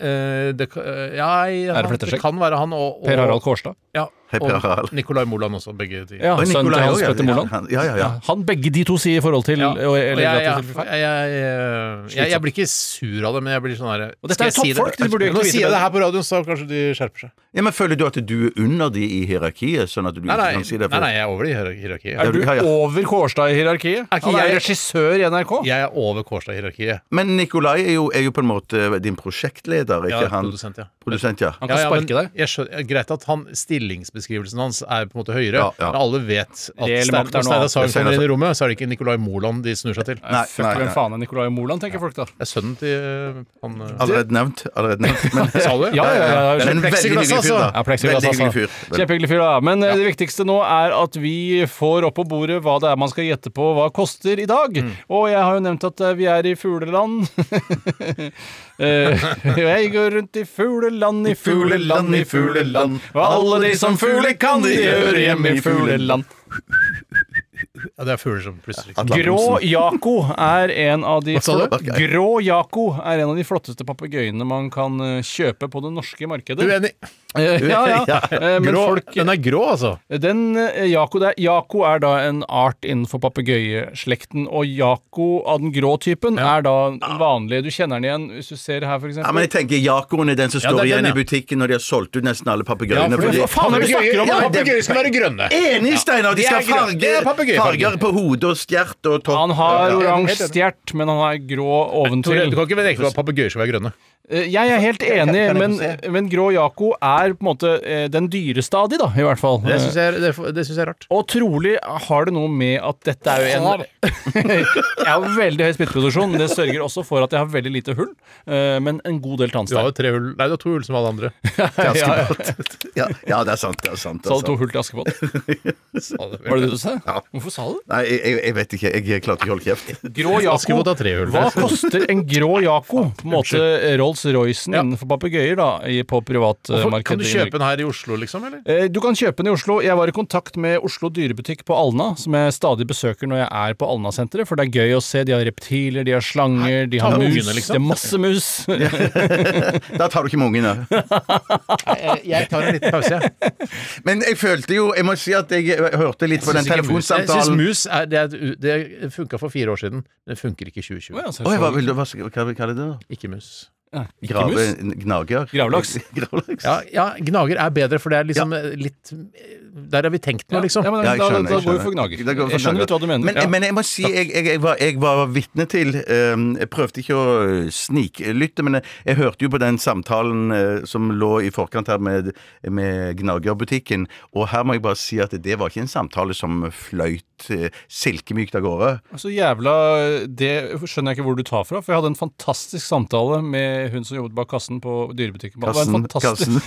Eh, det, ka- eh, ja, jeg- Er det han- Fletterskjegg? det kan være han og, og Per Harald Kårstad. Ja, Hei, Per og Harald. Nicolai Moland også, begge de. Ja, Og sønnen til Nikolai Hans også, ja. Petter Moland. Han- Ja, ja, ja. Han begge de to sier i forhold til Ja. og, Og jeg, eller jeg, at jeg, det- jeg, jeg, jeg, jeg blir ikke sur av det, men jeg blir sånn her dette er Skal jeg si toppfolk, det? de burde jo Nå ikke vite sier jeg det. det her på radioen, så kanskje de skjerper seg. ja, Men føler du at du er under de i hierarkiet, sånn at du Nei, ikke nei, kan si det? nei, nei jeg er over i hierar- hierarkiet. Ja, Er du- du ja. over Kårstad i hierarkiet? Er ikke Han er jeg regissør i NRK? Jeg er over Kårstad-hierarkiet. Men Nikolai er jo, er jo på en måte din prosjektleder, Ja, ikke han? produsent, ja. Produsent, ja. Han kan men sparke deg. Jeg skjønner, greit at han, Stillingsbeskrivelsen hans er på en måte høyere, Ja, ja. men alle vet at Reell Stein- når makt er noe Steinar annet. Sagen Steinar kommer inn i rommet, så er det ikke Nicolai Moland de snur seg til. Nei, Fuck, nei, hvem nei. faen er Nicolai Moland, tenker folk da. Det er sønnen til øh, han øh, Allerede nevnt. Allerede nevnt. Men, Sa du? Ja, ja, ja. Det er en veldig Plexiglass, hyggelig fyr, altså. da. Ja, plexiglass, Veldig hyggelig altså. fyr. Kjempehyggelig fyr, da. Men eh, det viktigste nå er at vi får opp på bordet hva det er man skal gjette på hva koster i dag. Mm. Og jeg har jo nevnt at eh, vi er i fugleland. Eh, jeg går rundt i fugleland, i fugleland, i fugleland. Og alle de som fugler kan, de hører hjemme i fugleland. Ja, det er fugler som plutselig Atle Grå Antonsen. Jako er en av de Hva sa du? Grå Jako er en av de flotteste papegøyene man kan eh, kjøpe på det norske markedet. Uenig. Eh, Ja, ja. Eh, Men Grå. folk Den er grå, altså. den eh, Jako der Jako er da en art innenfor papegøyeslekten, og Jako av den grå typen er da den vanlige. Du kjenner den igjen hvis du ser her, for Ja, men jeg eksempel. tenker Jakoen er den som Ja, står det er igjen den, i ja. butikken når de har solgt ut nesten alle papegøyene. for fordi- hva faen er det du snakker om? Ja, det- Papegøyer skal være grønne. Enig, Steinar! De Det skal er ha grønt. Det er farger, papegøyefarger. farger på hodet og stjert og topp. Han har Ja, ja. oransje stjert, men han har grå Tore, du oventil. kan ikke vite at papegøyer skal være grønne. Eh, Jeg er helt enig, men, men grå Jako er på en måte eh, den dyreste av de, da, i hvert fall. Eh, Det syns jeg, er- det, det synes jeg er rart. Og trolig har det noe med at dette er jo en Jeg har veldig høy spyttproduksjon, men det sørger også for at jeg har veldig lite hull, eh, men en god del Du har tannstein. jo tre hull Nei, du har to hull som alle andre. Ja, ja, det er sant. det er sant, det Sa er du to sant. hull til Askepott? Var det det du sa? Hvorfor sa du det? Nei, jeg, jeg- jeg vet ikke. Jeg klarte ikke å holde kjeft. Grå Jako. Askepott har tre hull. Hva koster en grå Jako? På en måte Rolls-Roycen Ja. innenfor papegøyer, da, i- på Hvorfor- privatmarkedet. Kan du i kjøpe Norge. den her i Oslo, liksom? eller? Eh, Du kan kjøpe den i Oslo. Jeg var i kontakt med Oslo dyrebutikk på Alna, som jeg stadig besøker når jeg er på Alna-senteret, for det er gøy å se. De har reptiler, de har slanger, de ta har med mus. ungene, liksom. Det er masse mus. Da tar du ikke med ungene. Eh, Jeg tar en liten pause, jeg. Men jeg følte jo Jeg må si at jeg hørte litt på den Synes ikke mus- Jeg syns telefonsamtalen mus er, det, er, et u- det funka for fire år siden. men Det funker ikke i 2020. Å ja, så Oi, hva så- vil du hva, skal- hva kaller du det? da? Ikke mus. sånn- Ikke Grave, mus? gnager? Gravlaks. Gravlaks. Ja, ja, gnager er bedre, for det er liksom eh, litt Der har vi tenkt nå, liksom. Ja, men Ja, da, jeg da, skjønner, jeg da går vi skjønner. for gnager. Da går vi for Jeg skjønner gnager. litt hva du mener. Men, ja. men jeg må si, jeg, jeg, jeg, var, jeg var vitne til eh, Jeg prøvde ikke å eh, sniklytte, men jeg, jeg hørte jo på den samtalen eh, som lå i forkant her med, med Gnagerbutikken, og her må jeg bare si at det var ikke en samtale som fløyt eh, silkemykt av gårde. Så Altså, jævla Det skjønner jeg ikke hvor du tar fra, for jeg hadde en fantastisk samtale med hun som jobbet bak kassen på dyrebutikken. Det var en fantastisk,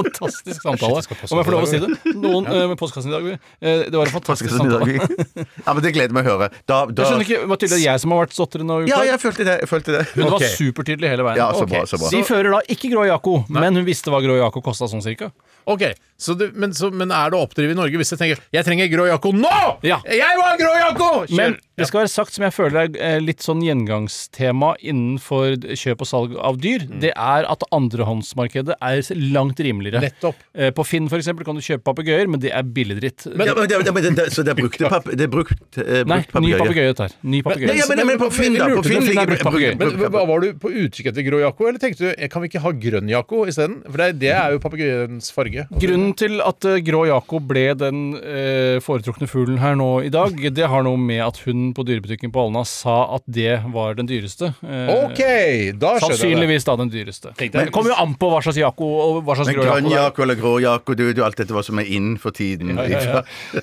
fantastisk samtale. skal postkassen Om jeg får lov å i si det? Noen eh, med postkassen i dag. eh, Det var en fantastisk samtale. ja, men det gleder jeg meg å høre. Da, da, Jeg skjønner ikke, det var tydelig jeg som har vært sotrende og Ja, uklar. jeg følte det. Jeg følte det. Hun Ok. var supertydelig hele veien. Ja, så Ok. bra, så bra. De fører da ikke Grå Jako, men hun visste hva Grå Jako kosta sånn cirka. Ok, så det, men, så, men er det å oppdrive i Norge hvis jeg tenker 'jeg trenger grå jakko nå'? Ja. Jeg må ha grå jakko! Kjør! Men det skal være sagt som jeg føler er eh, litt sånn gjengangstema innenfor kjøp og salg av dyr, Mm. det er at andrehåndsmarkedet er langt rimeligere. Nettopp. Eh, På Finn f.eks. kan du kjøpe papegøyer, men det er billigdritt. Ja, men det- det- men det- det- Så det er brukte pap- det er brukt, eh, Nei, brukt ny papegøye? papegøye dette her. Ny Nei, ja, papegøye. men, men på Finn, da. På Lurte du Finn på Finn er ligger brukt papegøye? Men hva Var du på utkikk etter grå jakko, eller tenkte du eh, kan vi ikke ha grønn jakko isteden? For det, er- det er jo papegøyens farge. Grunnen til at eh, grå Jakob ble den eh, foretrukne fuglen her nå i dag, det har noe med at hun på dyrebutikken på Alna sa at det var den dyreste. Eh, OK, da skjønner jeg det. Sannsynligvis da den dyreste. Tenkte jeg. det kommer jo an på hva slags Jako og hva slags Men grå grønn Jako. jakko eller grå jakko, du, du, alt dette hva som er inn for tiden.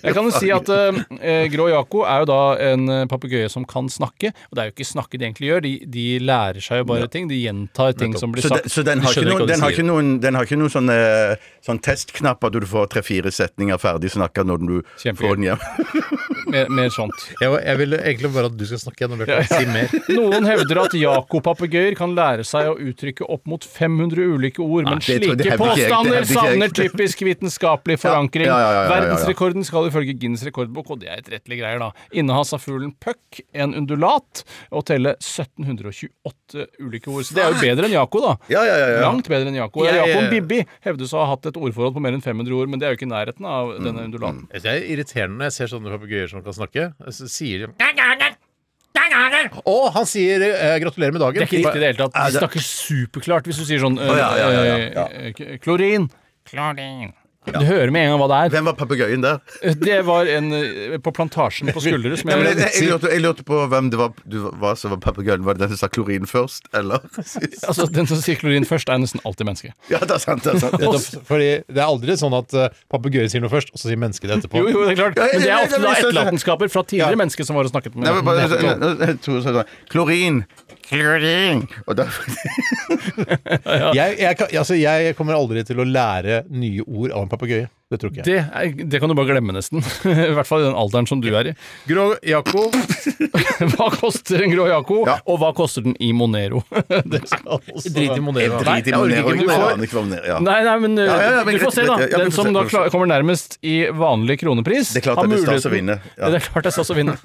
Jeg kan jo si at eh, grå Jako er jo da en eh, papegøye som kan snakke. Og det er jo ikke snakke de egentlig gjør, de, de lærer seg jo bare ting. De gjentar ting som blir Så, sagt. den, så den, har ikke De skjønner noen, hva de den har sier. ikke noen, den har ikke noen sånne, sånn testknapper du får tre-fire setninger ferdig snakka når du Kjempegøy. får den hjem. mer, mer sånt. Jeg, jeg vil egentlig bare at du skal snakke gjennom Bjarte. Si mer. Noen hevder at Jako-papegøyer kan lære seg å uttrykke opp mot 500 ulike ord, men det tror- det slike hevder ikke jeg, det påstander hevder ikke jeg. savner typisk vitenskapelig forankring. ja, ja, ja, ja, ja. Verdensrekorden skal ifølge Guinness rekordbok, og det er etterrettelige greier, da, innehas av fuglen puck, en undulat, og telle 1728 ulike ord. Så det er jo bedre enn Jako, da. Ja, ja, ja, ja. Langt bedre enn Jako. Jeg- Jakob Bibbi hevdes å ha hatt et ordforråd på mer enn 500 ord, men det er jo ikke i nærheten av denne undulaten. Jeg synes Det er irriterende når jeg ser sånne papegøyer som kan snakke. Så sier de Å, han sier eh, 'gratulerer med dagen'. Det er ikke riktig i det hele tatt. Nei, De det- snakker superklart hvis du sier sånn altså- ja, ja, ja, ja. eh, eh, Klorin. Klorin. Du hører med en gang hva det er. Hvem var papegøyen der? Det var en eh, på Plantasjen på Skulderud som Ja, men jeg, jeg jeg, lurte, jeg lurte på hvem det var, du, var som var papegøyen. Var det den som sa klorin først, eller? Altså, den som sier klorin først, er nesten alltid menneske. Ja, det er sant. Det er sant. Nettopp, Fordi det er aldri sånn at eh, papegøyer sier noe først, og så sier mennesket det etterpå. Jo, jo, det er klart. Ja, ja, Men det er ja, ofte ja, men da så- etterlatenskaper fra Ja. tidligere mennesker som var og snakket Nei, men med bare, så- nå- nå- jeg tror sånn, klorin. Klorin. Og da, Jeg, jeg, kan- altså, jeg kommer aldri til å lære nye ord av en papegøye. Det tror ikke jeg. det, er, det kan du bare glemme, nesten. I hvert fall i den alderen som du er i. Grå Jakob Hva koster en grå Jako, Ja. og hva koster den i Monero? Det Drit i Monero. drit i jeg orker Monero. Jeg ikke, du får- aner ikke hva Monero ja. Nei, nei, men ja, ja, eh, men du får greit, se, da. greit, ja, ja, Den vi får som se, vi da får klar, se. kommer nærmest i vanlig kronepris, Det er klart har at det er stas muligheten- å vinne, ja. Ja. Det er klart det er stas å vinne.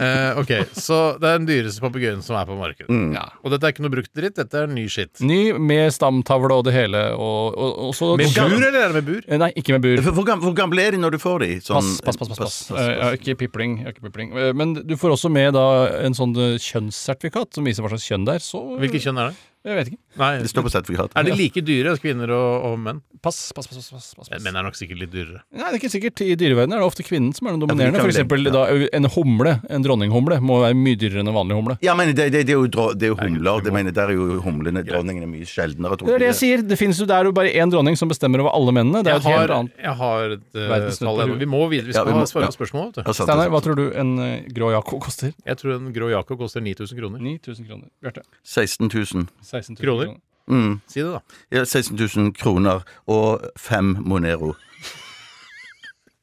Eh, ok, Så det er den dyreste papegøyen som er på markedet. Ja. Og dette er ikke noe brukt dritt, dette er ny skitt. Ny med stamtavle og det hele, og, og, og så Med og- bur, eller er det med bur? Eh, Nei, ikke med bur. For Hvor, gam- hvor gamle er de når du får de? Sånn- Pass, pass, pass. pass, pass. Eh, ja, ikke pipling. ja, Ikke pipling. Eh, Men du får også med da en sånn eh, kjønnssertifikat som viser hva slags kjønn det er. Så Hvilket kjønn er det? Jeg vet ikke. Nei, Det står på sertifikatet. Er de like dyre, kvinner og, og menn? Pass, pass, pass. pass, pass, pass. Menn er nok sikkert litt dyrere. Nei, det er ikke sikkert. I dyreverdenen er det ofte kvinnen som er den men det dominerende. kan For vi eksempel legge- da, en humle, en dronninghumle, må være mye dyrere enn en vanlig humle. Ja, men det, det, det er jo, dro- det er jo humler. Det mener, der er jo humlene Dronningene mye sjeldnere. tror Det er det jeg jeg. sier. Det finnes jo, det er jo bare én dronning som bestemmer over alle mennene. Det er Jeg jo et har, helt annet. jeg har et eh, Verdens tall snøtter. igjen. Vi må videre. Vi skal Ja, vi må- ha svare ja. på spørsmål. Vet du. Ja, sant, Steinar, sant. hva tror du en eh, grå Jaco koster? Jeg tror en grå Jakob koster 9000 kroner. 9000 kroner. Bjarte? 16 000. 16 000 Kroner? kroner. Si det, da. Ja, 16 000 kroner og fem Monero.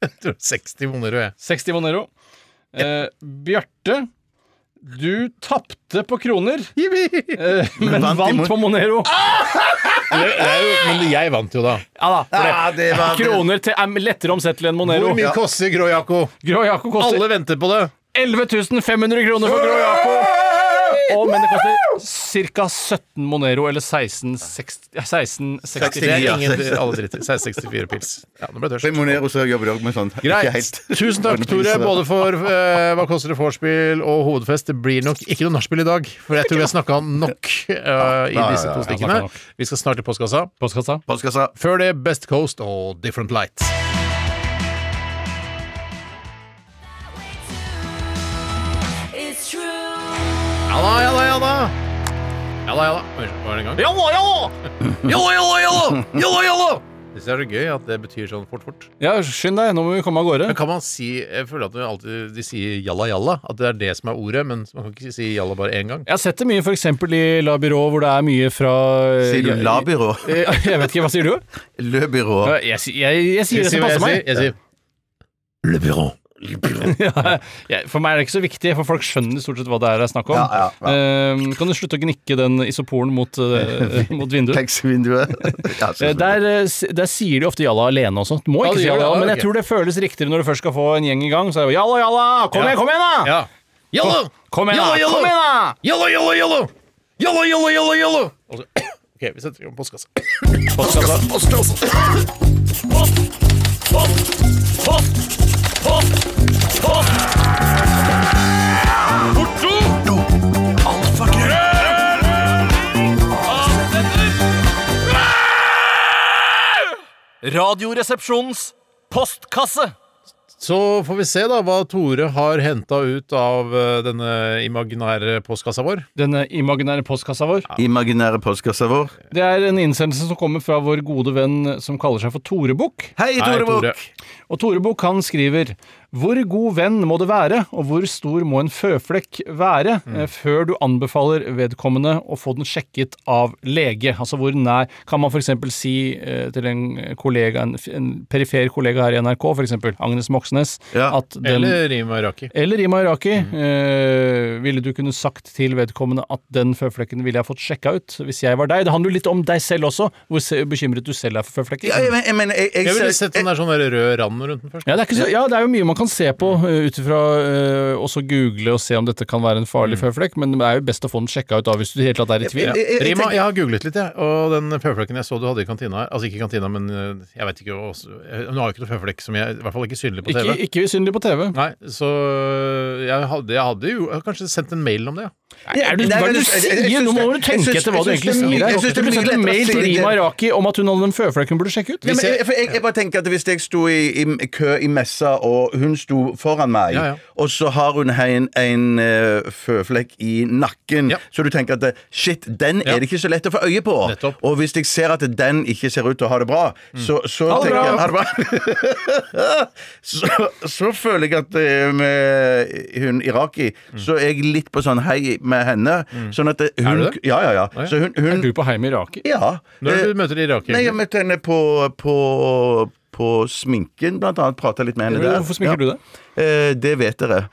Jeg tror 60 monero, jeg. 60 Monero. Eh, Bjarte, du tapte på kroner, eh, men vant i vant mon- på Monero. Ah! Men jeg vant jo, da. Ja da, for det. Ja, det var- Kroner til, er lettere omsettelig enn Monero. Hvor mye koster grå Jakob? Grå Jaco koster Alle venter på det. 11 500 kroner for grå Jaco. Å, men det koster ca. 17 Monero, eller 16, 60, ja, 16 Det er 69. ja. ingen, alle dritter. 1664 pils. Ja, nå ble jeg På tørst. Monero så jobber de også med sånn ikke Greit. helt- Tusen takk, Tore, både for eh, Hva koster det vorspiel og hovedfest. Det blir nok ikke noe nachspiel i dag, for jeg tror vi har snakka nok eh, i ja, disse ja, to ja. stikkene. Snakket nok. Vi skal snart til postkassa. Postkassa. Postkassa. Før det Best Coast og Different Light. It's true. Ja da, ja da, ja da. Ja da, ja da. Oi, Var det en gang? Ja da, ja da! Ja da, ja da, ja da! Ja da, ja da! Jeg synes det er så gøy at det betyr sånn fort, fort. Ja, skynd deg, nå må vi komme av gårde. Men kan man si Jeg føler at det alltid, de sier jalla, jalla. At det er det som er ordet, men man kan ikke si jalla bare én gang. Jeg har sett det mye f.eks. i La Byrå, hvor det er mye fra eh, Sier du Jeg- la-byrå? Eh, Jeg vet ikke, hva sier du? Lø-byrå. Jeg, jeg, jeg, jeg sier det som passer jeg, meg. sier- jeg sier Le bureau. Ja, jeg- For meg er det ikke så viktig, for folk skjønner stort sett hva det er det er snakk om. Ja, ja, ja. Eh, kan du slutte å gnikke den isoporen mot, eh, mot vinduet? Taxivinduet. Ja, Eh, selvfølgelig. Der, eh, s- der sier de ofte jalla alene også. Du må Ja, ikke de si gjør det, jalla, ja, men jeg ok. tror det føles riktigere når du først skal få en gjeng i gang. Så er det jo jalla, jalla! Kom Ja. igjen, kom igjen, da! ja. Jalla! Kom igjen, da! Jalla, jalla! Kom igjen, da! Jalla, jalla, jalla! Jalla, jalla, jalla, jalla! Og så, OK, vi setter i gang postkassa. Postkassa. Radioresepsjonens postkasse. Så får vi se da hva Tore har henta ut av eh, denne imaginære postkassa vår. Denne imaginære postkassa vår. Imaginære postkassa vår. Det er en innsendelse som kommer fra vår gode venn som kaller seg for Tore Bukk. Hei, Hei, Tore Tore. Bukk! Og Tore Bukk han skriver Hvor god venn må det være, og hvor stor må en føflekk være, Mm. eh, før du anbefaler vedkommende å få den sjekket av lege? Altså hvor nær Kan man f.eks. si eh, til en kollega, en, f- en perifer kollega her i NRK, f.eks. Agnes Moxnes, Ja, Mm. at den Eller Rima Iraki. eller Rima Iraki, eh, ville du kunne sagt til vedkommende at den føflekken ville jeg fått sjekka ut hvis jeg var deg? Det handler jo litt om deg selv også, hvor se- bekymret du selv er for føflekker. Ja, Ja, jeg, men- jeg, mener, jeg, jeg, Jeg ville ser- sett om det er sånn der rød rand rundt den først. det er ikke så, ja, det er jo mye man kan se på eh, ut ifra eh, også google og se om dette kan være en Mm. farlig føflekk, men det er jo best å få den sjekka ut da hvis du helt klart er i tvil. jeg- jeg- jeg Rima, tenker- jeg har googlet litt, jeg. Og den føflekken jeg så du hadde i kantina her Altså ikke i kantina, men eh, jeg vet ikke hva Nå har jo ikke noe føflekk som jeg I hvert fall ikke synlig på TV. Ikke, ikke synlig på TV. Nei, så eh, jeg hadde, jeg hadde jo jeg hadde kanskje sendt en mail om det, ja. Er du, Nei, hva men er det du jeg- jeg- jeg- jeg sier? Nå synes- må du jeg tenke synes- etter hva du jeg egentlig synes det er sier mye- her. jeg synes det er Du mye sendte en lettere å mail til si det. Rima Iraki om at hun hadde en føflekk hun burde sjekke ut. Ja, men jeg, for jeg, jeg bare tenker at Hvis jeg sto i, i kø i messa, og hun sto foran meg, Ja, ja. og så har hun en, en eh, føflekk i nakken, Ja. så du tenker at eh, shit, den Ja. er det ikke så lett å få øye på. Nettopp. Mm. Og hvis jeg ser at den ikke ser ut til å ha det bra, så, så Ha det tenker bra. jeg ha det bra. så, så føler jeg at eh, med hun Iraki, så er jeg litt på sånn hei med henne. Sånn at eh, hun Mm. Er du det? Ja, ja, ja. ja. Så hun, hun Er du på heim i Iraki? Ja. Når Eh, du møter Iraki Nei, jeg møtte henne på, på, på sminken, blant annet. Prata litt med henne der. Hvorfor sminker du deg? det? Eh, det vet dere.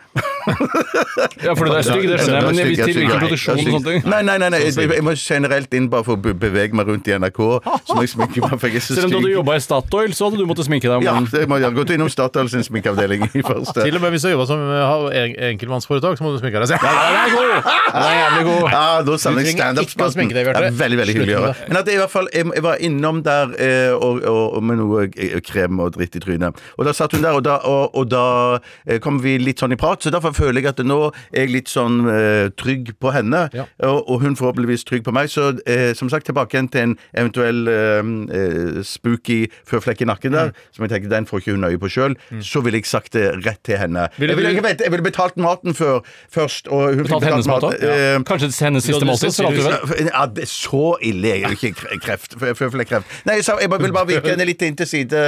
Ja, fordi det er stygg, det skjønner jeg, men hvis til hvilken produksjon og sånne ting. Sånn Nei, nei, nei, nei. Jeg, jeg må generelt inn bare for å be- bevege meg rundt i NRK. Så må jeg sminke meg, for jeg er så Selv om du hadde stygg. jobba i Statoil, så hadde du måttet sminke deg om Ja, morgenen. jeg må jeg har gått innom Statoil sin sminkeavdeling i første. Til og med hvis du har jobba som eh, en- enkeltmannsforetak, så må du sminke deg. selv. Den er god! Den er jævlig god. Ja, da savner Du jeg trenger standup. ikke å sminke deg, Bjarte. Ja, veldig, veldig hyggelig å Slutt gjøre. med Men at jeg, i hvert fall, jeg, jeg var innom der eh, og, og, og med noe eh, krem og dritt i trynet. Og da satt hun der, og da, og, og da eh, kom vi litt sånn i prat. Så derfor føler jeg at nå er jeg litt sånn eh, trygg på henne, Ja. og, og hun forhåpentligvis trygg på meg. Så eh, som sagt, tilbake igjen til en eventuell eh, eh, spooky føflekk i nakken der, Mm. som jeg tenker den får ikke hun øye på sjøl. Så ville jeg sagt det rett til henne. Ville jeg ville du- ikke vente, jeg ville betalt maten før, først, og hun fikk Betalt hennes mat maten. òg? Eh, Kanskje hennes siste måltid? for alt du vet. ja, det er så ille er jeg jo ikke kre- kreft. f- Føflekkreft. Nei, jeg, sa, jeg bare- vil bare vike henne litt inn til side,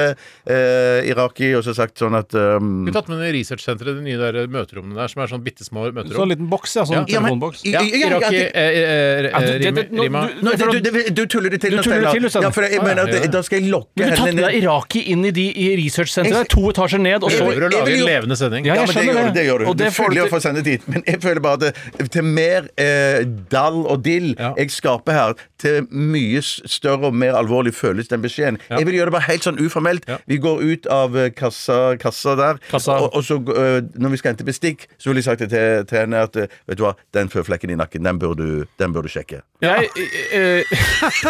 eh, Iraki, og så sagt sånn at um, Vi har tatt med det researchsenteret, de nye der eh, møterommene der, som er sånn bitte små møterom. Så en liten boks, ja. Sånn Ja, men- telefonboks. i- Ja, i- ja, Iraki ja, det- eh, eh, eh, det- det- nå- Rima du- Nei, du, du, du, du tuller det til, Du nå, tuller det Steinar. til, nå, Steinar. Ja, for jeg, Ah, ja, mener at ja, ja. da skal jeg lokke Men du henne tatt med deg Iraki inn i de i researchsenteret. Det er to etasjer ned, og så prøver å jeg lage vil en jo- levende sending. Ja, Ja, men jeg det skjønner gjør du. Det gjør du. Og det det får føler du jeg å få til. sendt dit. Men jeg føler bare at det, til mer eh, dall og dill Ja. jeg skaper her, til mye s- større og mer alvorlig føles den beskjeden. Jeg vil gjøre det bare helt sånn uformelt. Ja. Vi går ut av eh, kassa, kassa der, Kassa. Og, og så eh, når vi skal hente bestikk, så vil jeg sagt det til, til henne at eh, vet du hva, den føflekken i nakken, den bør du, den bør du sjekke. Jeg, eh,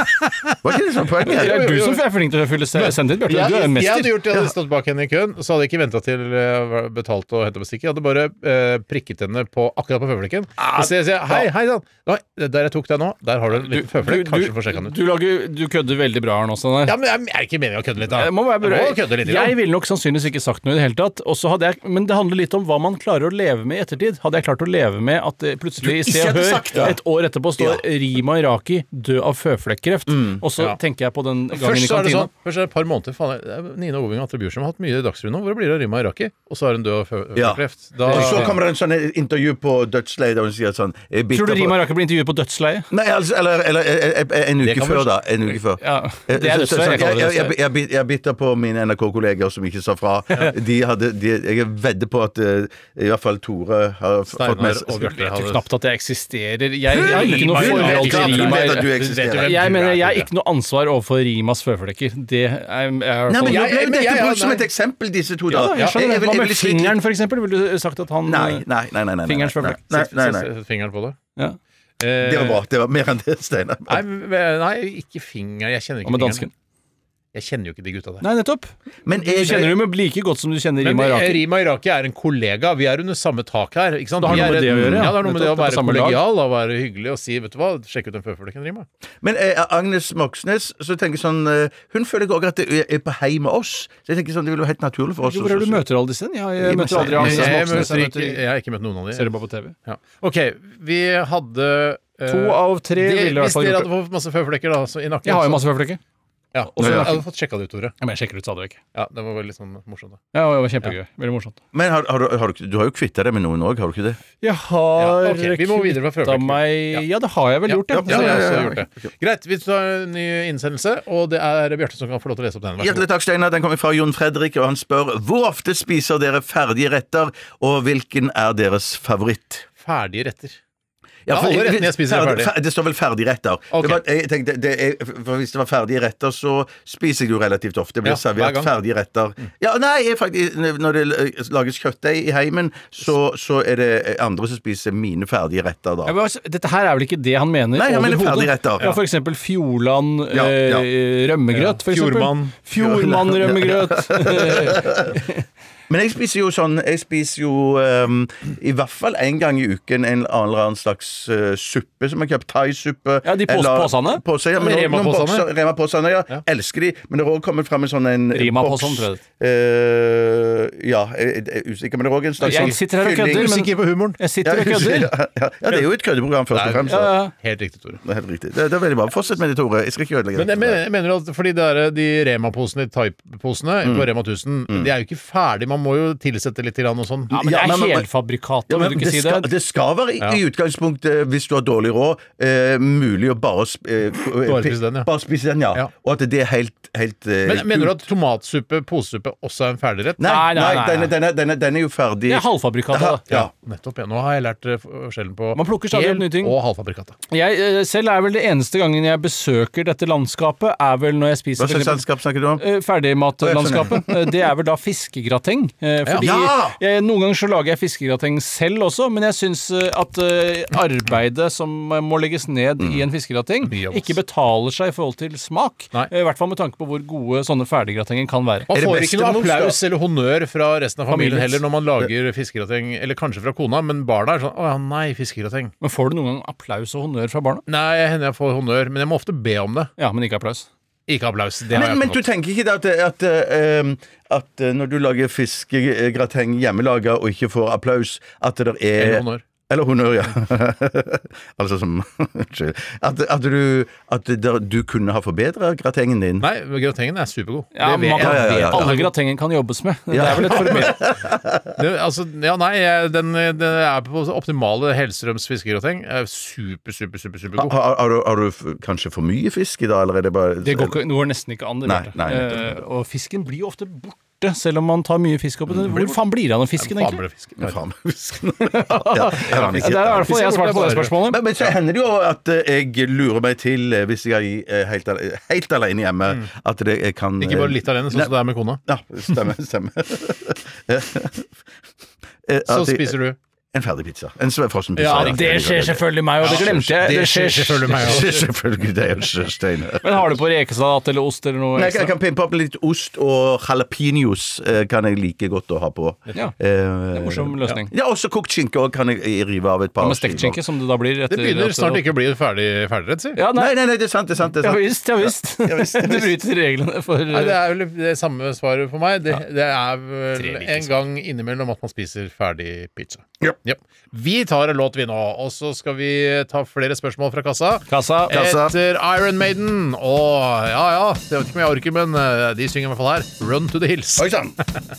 Var ikke det sånn poenget? det er du som er flink til å fylle se- sendetid, Bjarte. Jeg, Du er en jeg hadde mester. gjort det, jeg hadde stått bak henne i køen, så hadde jeg ikke venta til jeg var betalt og henta bestikket. Jeg hadde bare eh, prikket henne på akkurat på føflekken. Ah, Og så sier jeg hei, hei sann, Nei, det der jeg tok deg nå, der har du en liten føflekk. Kanskje du får sjekka den ut. du, lager, du kødder veldig bra her nå, Steinar. Ja, men jeg er det ikke meningen å kødde litt, da. Jeg, må være berørt. kødde litt. jeg Jeg, ville nok sannsynligvis ikke sagt noe i det hele tatt. og så hadde jeg, men det handler litt om hva man klarer å leve med i ettertid. Hadde jeg klart å leve med at det plutselig i Se og Hør et år etterpå står Rima Iraki død av føflekkreft, og så Mm. Ja. tenker jeg på den gangen først i så er det kantina. sånn, først er det et par måneder faen, det er Nina Oving og Atle Bjurstrøm har hatt mye Dagsrevyen nå. Hvor blir det av Rima Iraki? Og så er hun død av fø- Ja. føflekkreft. Og så kommer det en sånn intervju på Dødsleiet, og hun sier sånn eh, bitter Tror du på- Rima Iraki blir intervjuet på dødsleiet? Nei, altså, eller, eller eh, eh, en Det uke kan før, vel- da. En uke før. Ja, det er Eh, så- dødsvei, så- jeg kaller det jeg- jeg- dødsvei. jeg bit- Jeg bitter på mine NRK-kolleger som ikke sa fra. De hadde, de, jeg vedder på at eh, i hvert fall Tore har f- Steinar fått med og seg Bjarte Jeg tror hadde- knapt at jeg eksisterer. Jeg, jeg har ikke Rima noe forhold Iraki, til du Rima vet Vet at du du eksisterer. hvem Jeg du mener, er, jeg har Tore? ikke noe ansvar overfor Rimas føflekker. Det er, er, er Nei, Jeg- men Nå ble jo men dette jeg- ja, brukt som nei. et eksempel, disse to, ja, da. jeg skjønner. Jeg- jeg vil- Hva jeg med vil slike- fingeren, for eksempel? Ville du sagt at han Nei, nei, nei. nei, nei, nei, nei, Fingerens nei, føflekk. nei, nei, nei. Sett fingeren på det. Ja. Eh, Det var bra. Det var mer enn det, Steinar. Nei, men- nei, ikke finger. Jeg kjenner ikke Hva med fingeren. dansken? Jeg kjenner jo ikke de gutta der. Nei, nettopp. Men Du jeg, kjenner dem jo like godt som du kjenner Men Rima eh, Iraki. Rima Iraki er en kollega. Vi er under samme tak her. Ikke sant? Det Vi er har noe med en- det å gjøre, ja. Ja, det har noe med det å Nettopp, være det er på samme lag. kollegial og være hyggelig og si 'vet du hva, sjekk ut den føfleken, Rima'. men eh, Agnes Moxnes så tenker jeg sånn eh, Hun føler òg at det er på hei med oss. Så jeg tenker sånn, Det ville vært helt naturlig for oss. Hvor er også. du møter alle disse? Ja, jeg Rima møter aldri Ja, Jeg, Agnes jeg, Moxnes. møter Jeg ikke- møter Eh, jeg har ikke møtt noen av de. Ser du bare på TV. Ja. OK, vi hadde eh, To av tre det, ville i hvert Hvis fall dere gjort hadde fått masse føflekker da, så i nakken Jeg har jo så- masse føflekker. ja, også i så jeg nakken. hadde fått sjekka det ut, Tore. Ja, men jeg sjekker ut stadig vekk. Ja, det var veldig sånn morsomt. Da. Ja, det var kjempegøy. Veldig morsomt. Men har, har, du, har du, ikke- du har jo kvitta deg med noen òg, har du ikke det? Jeg Ja, har ok, vi må videre fra kvitta føflekker. meg Ja, det har jeg vel gjort, ja. ja. så jeg har også ja, ja, gjort det. Greit, vi tar en ny innsendelse, og det er Bjarte som kan få lov til å lese opp den. Vær så Hjertelig god. takk, Steinar. Den kommer fra Jon Fredrik, og han spør hvor ofte spiser dere ferdige retter, og hvilken er deres favoritt? Ferdige retter. Ja, alle rettene jeg spiser er ferdig- ferdig. fer- Det står vel ferdigretter. Ok. Det var- Jeg tenkte, det er, for hvis det var ferdige retter, så spiser jeg jo relativt ofte. Det Ja, blir hver servert gang. Mm. ferdige retter. Ja, nei, jeg faktisk, når det lages kjøttdeig i heimen, så, så er det andre som spiser mine ferdige retter da. Ja, men altså, ddette her er vel ikke det han mener? Nei, han mener overhodet. ferdigretter. Ja, for eksempel Fjordland Ja, ja. eh, rømmegrøt. For eksempel. Fjordmann. Fjordmann rømmegrøt. Men jeg spiser jo sånn Jeg spiser jo ehm, i hvert fall en gang i uken en eller annen slags eh, suppe som jeg kjøper. Thai-suppe. Ja, de pås- eller- påsene? Påser, ja, men noen- noen Rema-påsene? bokser- Rema-påsene, ja. Elsker de. Men det har også kommet fram en sånn en Rima-påsen, boks, tror jeg det eh, ja, jeg, jeg er usikker, men det er òg en slags sånn Jeg sitter her og kødder, men- Usikker på humoren. Jeg Ja, sitter og kødder. ja, ja, ja, det er jo et køddeprogram, først og fremst. Ja, så ja. Helt riktig, Tore. Det er helt riktig. Det, det er veldig bra. Fortsett med det, Tore. Jeg skal ikke ødelegge Men det. jeg mener, jeg mener at fordi det er eh, de Rema-posene, de Type-posene på Rema 1000, de er jo ikke ferdig. Man må jo tilsette litt grann og sånn. ja, men det Ja, men- er men- helfabrikatet, Ja, vil men du ikke si skal, det? det skal være i, i utgangspunktet, hvis du har dårlig råd, eh, mulig å bare, sp- eh, k- eh, Bare pi- spise den, ja. bare spise den, ja. Ja. Og at det er helt, helt eh, Men mener du kult. at tomatsuppe, posesuppe, også er en ferdigrett? Nei, nei, Nei, nei, nei, den, er- nei. den, er, den, er, den er jo ferdig. Det er halvfabrikatet. da. Ja. Nettopp. ja. Nå har jeg lært eh, forskjellen på Man plukker stadig opp nye ting. og halvfabrikata. Jeg eh, selv er vel det eneste gangen jeg besøker dette landskapet, er vel når jeg Hva spiser for slags eksempel, selskap snakker du om? eh, Ferdigmatlandskapet. Eh, Det er vel da fiskegrateng. eh, Fordi Ja! jeg, noen ganger så lager jeg fiskegrateng selv også, men jeg syns at eh, arbeidet som eh, må legges ned Mm. i en fiskegrateng, Mye av oss. ikke betaler seg i forhold til smak. Nei. Eh, I hvert fall med tanke på hvor gode sånne ferdiggratenger kan være. Man Er det får ikke noe bestemors, da? applaus eller honnør fra resten av familien Familiens. heller når man lager fiskegrateng, eller kanskje fra kona, men barna er sånn 'Å ja, nei, fiskegrateng'. Men får du noen gang applaus og honnør fra barna? Nei, jeg hender jeg får honnør, men jeg må ofte be om det. Ja, men ikke applaus. Ikke applaus. Det har Men, men jeg du ikke fått. tenker ikke det at, at, eh, em, at eh, når du lager fiskegrateng hjemmelaga og ikke får applaus, at det der er Eller honnør. Eller honnør, ja. altså som Unnskyld. At, at, du, at det der, du kunne ha forbedra gratengen din. Nei, men gratengen er supergod. Ja, det vet man, jeg. ja, ja, ja. Alle gratenger kan jobbes med. Det er vel et forbedring. Det, altså, ja, nei, jeg- den, den er på optimale Hellstrøms fiskegrateng. Er Super, super, super, Har, supergod. har, har, du, har du f- kanskje for mye fisk i dag, eller er det bare Det går, ikke, det går nesten ikke an. Det, Nei, Bjarte. nei, nettopp. Eh, og fisken blir jo ofte borte, selv om man tar mye fisk opp. i den. Hvor faen blir det av den fisken, Faen, egentlig? ble fisk. Mm. Ja, faen, fisken. ja, jeg aner Ja, ikke. det er i hvert fall jeg Fisken svarte på det borte er spørsmålet. Men, men så hender det jo at eh, jeg lurer meg til, eh, hvis jeg er eh, helt, ale- helt alene hjemme, Mm. at det jeg kan Ikke bare eh, litt alene, sånn som det er med kona. Ja, stemmer. stemmer. Eh, Så at jeg- spiser du. En ferdig pizza. En sve- frossen pizza. Ja, det skjer selvfølgelig meg, og det glemte jeg. Det skjer selvfølgelig meg. Det skjer selvfølgelig det, Øystein Steinar. Men har du på rekesalat eller ost eller noe Men jeg, jeg ekstra? kan pimpe opp litt ost og jalapeños eh, kan jeg like godt å ha på. Ja, Eh, det er en morsom løsning. Ja, også kokt skinke også kan jeg eh, rive av et Hva par. med stekt skinke, som det da blir? Det begynner snart ikke å bli en ferdig ferdigrett, si. Ja, nei. Nei, nei, nei, det er sant, det er sant. Det er Ja sant. visst, ja visst. Du bryter reglene for Nei, det eh, er vel det samme svaret for meg. Det, det er vel Tre like en svar. gang innimellom at man spiser ferdig pizza. Ja. Vi tar en låt, vi nå, og så skal vi ta flere spørsmål fra kassa. kassa. Kassa. Etter Iron Maiden og ja, ja, jeg vet ikke om jeg orker, men eh, de synger i hvert fall her. Run to the hills. Oi sånn. sann!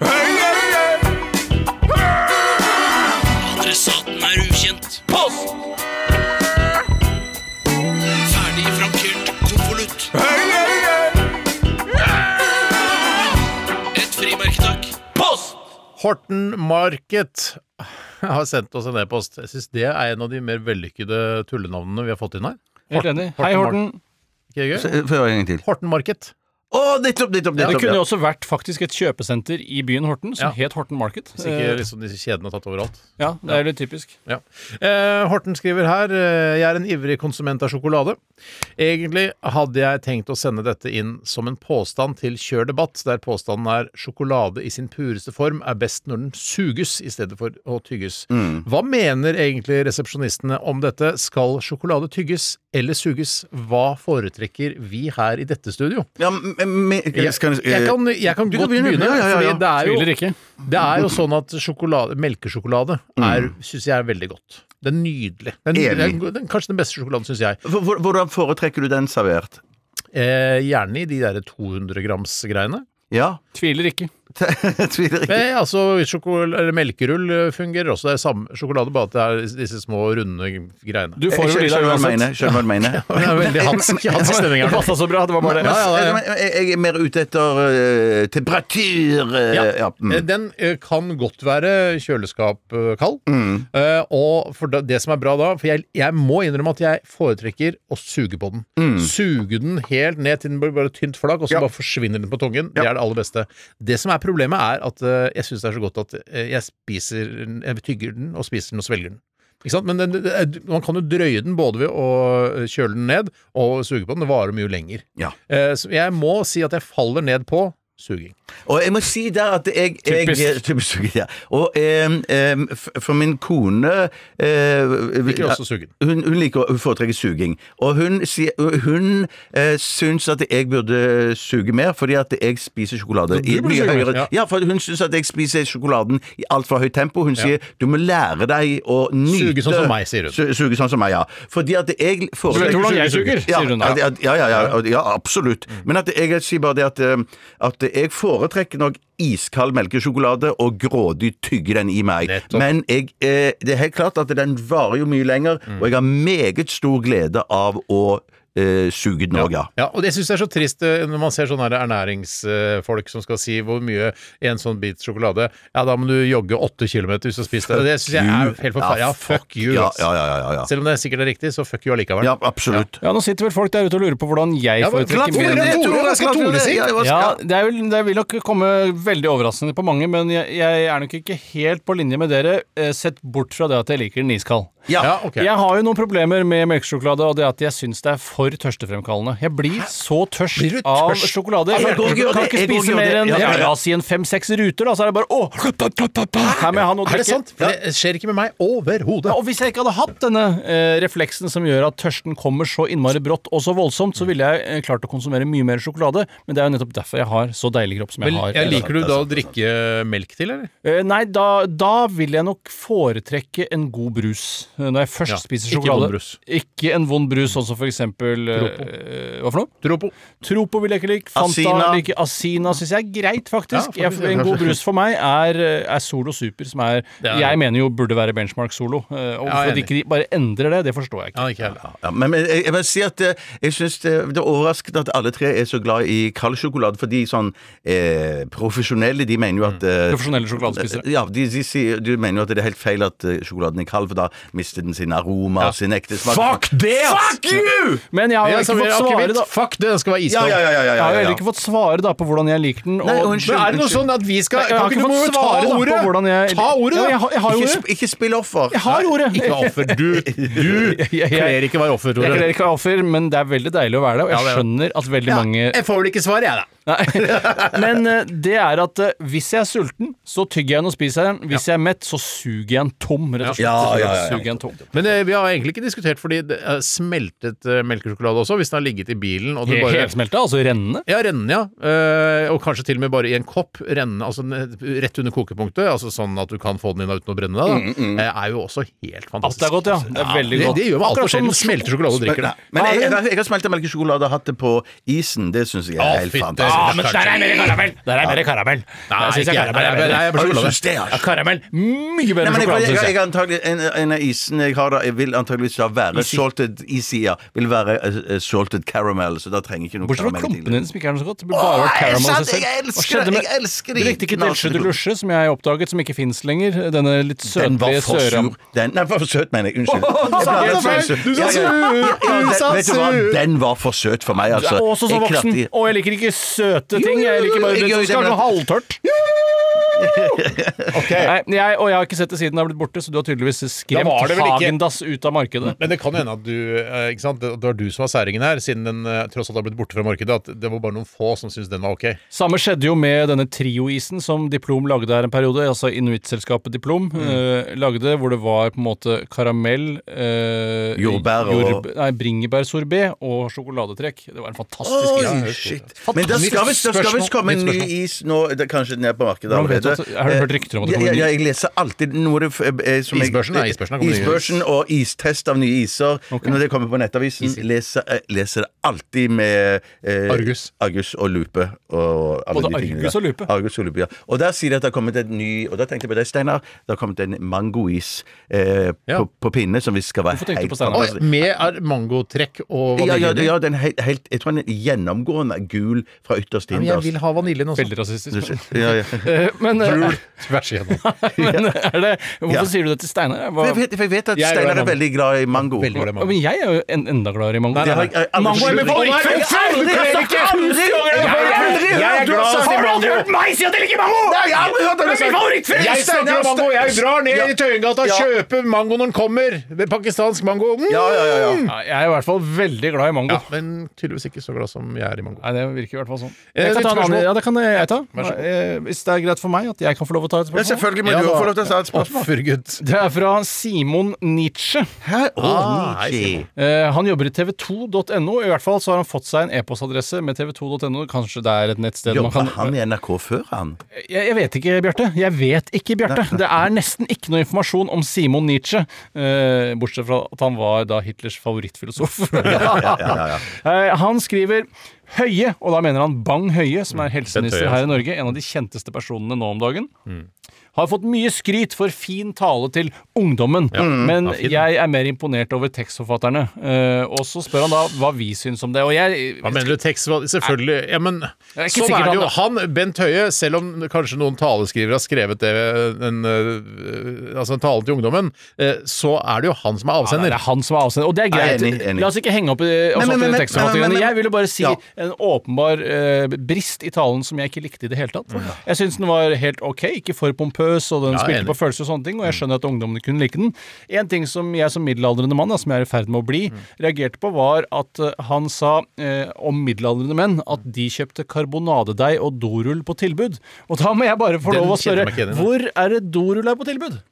eh, Horten Market har sendt oss en e-post. Jeg syns det er en av de mer vellykkede tullenavnene vi har fått inn her. Helt enig. Hei, Horten. Ikke det gøy? Før en gang til. Horten Market. Å, nettopp, nettopp, Det nettopp. kunne ja. jo også vært faktisk et kjøpesenter i byen Horten som Ja. het Horten Market. Hvis ikke Eh, liksom disse kjedene har tatt overalt. Ja, det er litt typisk. Ja. Eh, Horten skriver her eh, Jeg er en ivrig konsument av sjokolade. Egentlig hadde jeg tenkt å sende dette inn som en påstand til Kjør debatt, der påstanden er 'sjokolade i sin pureste form er best når den suges i stedet for å tygges'. Mm. Hva mener egentlig resepsjonistene om dette? Skal sjokolade tygges eller suges? Hva foretrekker vi her i dette studio? Ja, men- men- Jeg, skal- eh, jeg kan, jeg kan Du godt kan begynne. begynne, Ja, ja, ja, ja. fordi det er jo Tviler ikke. det er jo sånn at sjokolade, melkesjokolade er, syns jeg er veldig godt. Det er nydelig. Det er nydelig. Enig. Det er den- kanskje den beste sjokoladen, syns jeg. Hvor- hvor- Hvordan foretrekker du den servert? Eh, gjerne i de der 200 grams-greiene. Ja, Tviler ikke. jeg tviler ikke. Eh, altså, sjokol- eller melkerull eh, fungerer også. Det er samme sjokolade, bare at det er disse små, runde greiene. Jeg Eh, Du får jo skjønner lilla skjønner hva du uansett. mener. Skjønner hva du mener. Eh, Det er veldig hansk, hansk stemning Det her. nå. passa så bra. Det var bare det. Ja, ja, ja. Men eh, Jeg er mer ute etter eh, temperatur eh, ja, mm. Eh, Den eh, kan godt være kjøleskapkald. Mm. Eh, og for da, det som er bra da For jeg, jeg må innrømme at jeg foretrekker å suge på den. Suge den helt ned til den blir bare tynt flagg, og så Mm. Ja. bare forsvinner den på tungen. Det er det aller beste. Det som er problemet, er at eh, jeg syns det er så godt at eh, jeg spiser den, jeg tygger den, og spiser den, og svelger den. Ikke sant? Men den, det er- man kan jo drøye den både ved å eh, kjøle den ned og suge på den. Det varer mye lenger. Ja. Eh, så jeg må si at jeg faller ned på suging. Og jeg må si der at jeg, jeg Typisk. Typisk, ja. Og em, em, f- for min kone eh, Liker også sugen. Hun, hun liker å foretrekke suging. Og hun, sier- hun eh, syns at jeg burde suge mer, fordi at jeg spiser sjokolade i burde mye suge mer, høyere ja. Ja, for hun syns at jeg spiser sjokoladen i altfor høyt tempo. Hun sier du må lære deg å nyte Suge sånn som meg, sier hun. Su, suge sånn som meg, ja. Fordi at jeg foretrekker hvordan jeg suger, ja, sier hun da. ja, det- ja, ja, ja, ja, ja, absolutt. Men at jeg sier bare det at, eh, at jeg foretrekker nok iskald melkesjokolade og grådig tygge den i meg. Nettopp. Men jeg, eh, det er helt klart at den varer jo mye lenger, Mm. og jeg har meget stor glede av å eh, suge den òg, ja. Ja, og det synes jeg er så trist eh, når man ser sånne her ernæringsfolk som skal si hvor mye en sånn bit sjokolade Ja, da må du jogge åtte kilometer hvis du har spist det. Det synes jeg er helt forferdelig. Ja, fuck you. Ja, ass. ja, ja, ja, ja. Selv om det er sikkert er riktig, så fuck you allikevel. ja absolutt. Ja, nå sitter vel folk der ute og lurer på hvordan jeg Ja, men foretrekker Tore, min det er Tore, det skal Tore si. Ja, ja, Ja, det, er vel, det vil nok komme veldig overraskende på mange, men jeg, jeg er nok ikke helt på linje med dere, eh, sett bort fra det at jeg liker den iskald. Ja, ok. Jeg har jo noen problemer med melkesjokolade, og det at jeg syns det er for tørstefremkallende. Jeg blir så tørst, Blir du av tørst? Altså, sjokolade. Ja, Jeg jeg går ikke- kan ikke jeg går ikke- spise mer enn ja, ja, ja, ja. la oss si en fem-seks ruter, da, så er det bare åh, her må jeg ha noe å Er det drikke. sant? For det skjer ikke med meg overhodet. Ja, og hvis jeg ikke hadde hatt denne eh, refleksen som gjør at tørsten kommer så innmari brått og så voldsomt, Mm. så ville jeg eh, klart å konsumere mye mer sjokolade, men det er jo nettopp derfor jeg har så deilig kropp som jeg Men har. jeg liker du da å drikke melk til, eller? Eh, nei, da, da vil jeg nok foretrekke en god brus eh, når jeg først Ja, spiser ikke sjokolade. vond brus. Ikke en vond brus, også for eksempel eh, Hva for noe? Tropo. Tropo vil jeg ikke like. Fanta Asina. liker jeg. Asina syns jeg er greit, faktisk. Ja, faktisk, jeg, en god brus for meg er, eh, er Solo Super, som er, Det er- Jeg mener jo burde være benchmark solo. eh, Og Ja, jeg er Hvorfor de ikke de bare endrer det, det forstår jeg ikke. Ja, ikke heller. Ja, men, men jeg, jeg vil si at eh, jeg synes det, det er overraskende at alle tre er så glad i kald sjokolade, for de sånn eh, profesjonelle, de mener jo at eh, Profesjonelle sjokoladespisere. Ja, de, de, sier, du mener jo at det er helt feil at eh, sjokoladen er kald, for da mister den sin aroma og sin ekte smak. det! eh, Fuck you! Men jeg har Ja, altså, som jo ikke fått svare, akevitt. da. Fuck det, den skal være Ja, iskald. ja, ja, ja, ja, Jeg har jo ja, heller ja. ikke fått svare da på hvordan jeg liker den. Og Nei, unnskyld. Men er det noe sånn at vi skal Jeg har ikke Du må fått jo ta svare, da, på ordet. hvordan jeg- Ta ordet, Ja, da! jeg har- jeg har Ikke, ordet. sp- ikke spill offer. Jeg har ordet! Ikke vær offer. Du, du jeg- kler ikke å være offer, Jeg Tore. klarer ikke å være offer, men det er veldig deilig å være det, og jeg Ja, det er det. skjønner at veldig mange Jeg får vel ikke svar, jeg, da. Nei. Men eh, det er at eh, hvis jeg er sulten, så tygger jeg den og spiser jeg den. Hvis jeg er mett, så suger jeg den tom, rett og slett. Ja, ja, ja, ja. Suger jeg den tom. Men eh, vi har egentlig ikke diskutert, fordi det er smeltet eh, melkesjokolade også, hvis den har ligget i bilen og du Helt- bare Helsmelta, altså rennende. ja, rennende, ja. Eh, og kanskje til og med bare i en kopp. Rennende, altså n- rett under kokepunktet. Altså sånn at du kan få den inn uten å brenne deg, da. Eh, er jo også helt Alt fantastisk. er godt, ja. Det er veldig det, godt. det gjør man Akkurat altfor sjelden. som- Smelter sjokolade og drikker Men, det. men jeg, jeg, jeg har smelta melkesjokolade og hatt det på isen. Det syns jeg Å, er helt fytte. fantastisk. men der er mer karamell! Der er mer karamell. Nei, ikke jeg. Nei, jeg er bare Har du sjokolade. syns det, altså? Karamell. Mye Nei, men bedre jeg, sjokolade, jeg, syns jeg jeg. har antagelig en, en av is, isen jeg har da, jeg vil antageligvis da være Isi. salted Easy, ja. Vil være eh, eh, salted caramel, så da trenger jeg ikke noe Bortsett fra karamell til klumpene det. dine som ikke er noe så godt. Det burde Åh, bare vært er det caramel i sant? seg selv. Jeg Hva elsker skjedde det, med- jeg elsker de Du likte ikke knasende Delche de klumpene. Luche, som jeg oppdaget, som ikke fins lenger. Denne litt Den var søtlige for søram... sur. Den, nei, for søt, mener jeg. Unnskyld. Åh, du sa Den var feil. for søt. Du sa Ja, ja. sur. Ja, ja, Du den- sa Vet du hva, sur. den var for søt for meg, Du altså. er også så Jeg klarte- voksen. Og jeg liker ikke søte ting. Jeg liker bare Jo, jo, jo, det som skal det- være halvtørt. Ok. Nei, jeg, og jeg har ikke sett det siden det har blitt borte, så du har tydeligvis Da var det skremt vel ikke- Hagendass ut av markedet. Men det kan jo hende at du eh, ikke sant? Det det var du som var særingen her, siden den eh, tross alt har blitt borte fra markedet. At det var bare noen få som syntes den var ok. Samme skjedde jo med denne trioisen som Diplom lagde her en periode, altså inuittselskapet Diplom eh, lagde, hvor det var på en måte karamell eh, Jordbær og- Nei, bringebærsorbet og sjokoladetrekk. Det var en fantastisk Oi, greie. shit. Men det skal visst- det skal visst komme en ny is nå det, er Kanskje den er på markedet Hvordan vet du allerede. Eh, at- har du hørt rykter om at det kommer ja, en ja, ny? jeg leser alltid noe det, eh, som jeg- Isbørsen, ja, isbørsen har kommet nylig. Isbørsen og istest av nye iser. Ok. Når det kommer på Nettavisen, leser, eh, leser det alltid med eh, Argus. Argus og Lupe. Og alle Både de tingene Argus der. og Lupe? Argus og Lupe, ja. Og der sier de at det har kommet en ny Og da tenkte jeg på deg, Steinar. Det har kommet en mangois eh, Ja. på, på pinne som visst skal være Hvorfor tenkte du helt på Steinar? Og fantastisk. med er mangotrekk og Altså, Ja, ja, vanilje. ja, den er helt, helt, jeg tror den er gjennomgående gul fra ytterst til Men jeg innerst. vil ha vaniljen også. Veldig rasistisk. men- Ja, ja. Eh, Men, eh, Tvers igjennom. men er det, hvorfor Ja. sier du det til Steinar? For Hva- jeg, vet, for jeg vet at Jeg er glad i Steinar er mango. veldig glad i mango. Veldig glad i Ja, Men mango. jeg er jo en, enda gladere i mango. Nei, Det har nei, jeg aldri- Mango er med på Aldri- Nei, aldri! Jeg har aldri- Aldri! Jeg har aldri Jeg er hørt glad noen i sagt- mango. meg si at jeg liker mango! Nei, jeg har aldri hørt noen Det er min sagt- favorittfrukt! Jeg snakker om mango! Jeg drar ned Ja. i Tøyengata, Ja. kjøper mango når den kommer! Ved pakistansk mango. Mm. Ja, ja, ja, ja. Ja, jeg er i hvert fall veldig glad i mango. Ja, men tydeligvis ikke så glad som jeg er i mango. Nei, Det virker i hvert fall sånn. Eh, Jeg ditt kan ta en annen, spørsmål? ja, det kan jeg ta. Vær så god. Eh, Hvis det er greit for meg at jeg kan få lov å ta et Ja, spørsmål? selvfølgelig må Ja, du da- jo få lov til å stille et spørsmål. Offergutt. Det er fra Simon Nietzsche. Hæ? Å, Ah, Nietzsche. jeg Eh, han jobber i tv2.no. I hvert fall så har han fått seg en e-postadresse med tv2.no. Kanskje det er et nettsted man Jobba kan han i NRK før, han? Jeg, jeg vet ikke, Bjarte. Jeg vet ikke, Bjarte. Det er nesten ikke noe informasjon om Simon Nietzsche. eh, bortsett fra at han var da Hitlers favorittfilosof. Eh, han skriver Høie, og da mener han Bang Høie, som er helseminister Mm. Høie, altså. Mm. her i Norge. En av de kjenteste personene nå om dagen. Har fått mye skryt for fin tale til ungdommen, men fin. jeg er mer imponert over tekstforfatterne. Eh, og så spør han da hva vi syns om det. Og jeg Hva mener du, tekst? Hva- Selvfølgelig. Ja, men er ikke sånn er sikkert det jo. han- Han, Bent Høie, selv om kanskje noen taleskrivere har skrevet det, en, øh, altså en tale til ungdommen, eh, så er det jo han som er Ja, avsender. det er han som er avsender. Og det er greit. Nei, enig, enig. La oss ikke henge opp i Men, oss opp men, i men, men, tekstforhandlingene. men, men, Jeg ville bare si ja. en åpenbar eh, brist i talen som jeg ikke likte i det hele tatt. Jeg syns den var helt ok, ikke for pompøs, og den Ja, spilte enig. på følelser og sånne ting, og jeg skjønner at ungdommene kunne like den. En ting som jeg som middelaldrende mann, da, som jeg er i ferd med å bli, reagerte på, var at eh, han sa eh, om middelaldrende menn at de kjøpte karbonadedeig og dorull på tilbud. Og da må jeg bare få Den lov å kjenner jeg spørre, meg ikke igjen i. hvor er det dorull er på tilbud?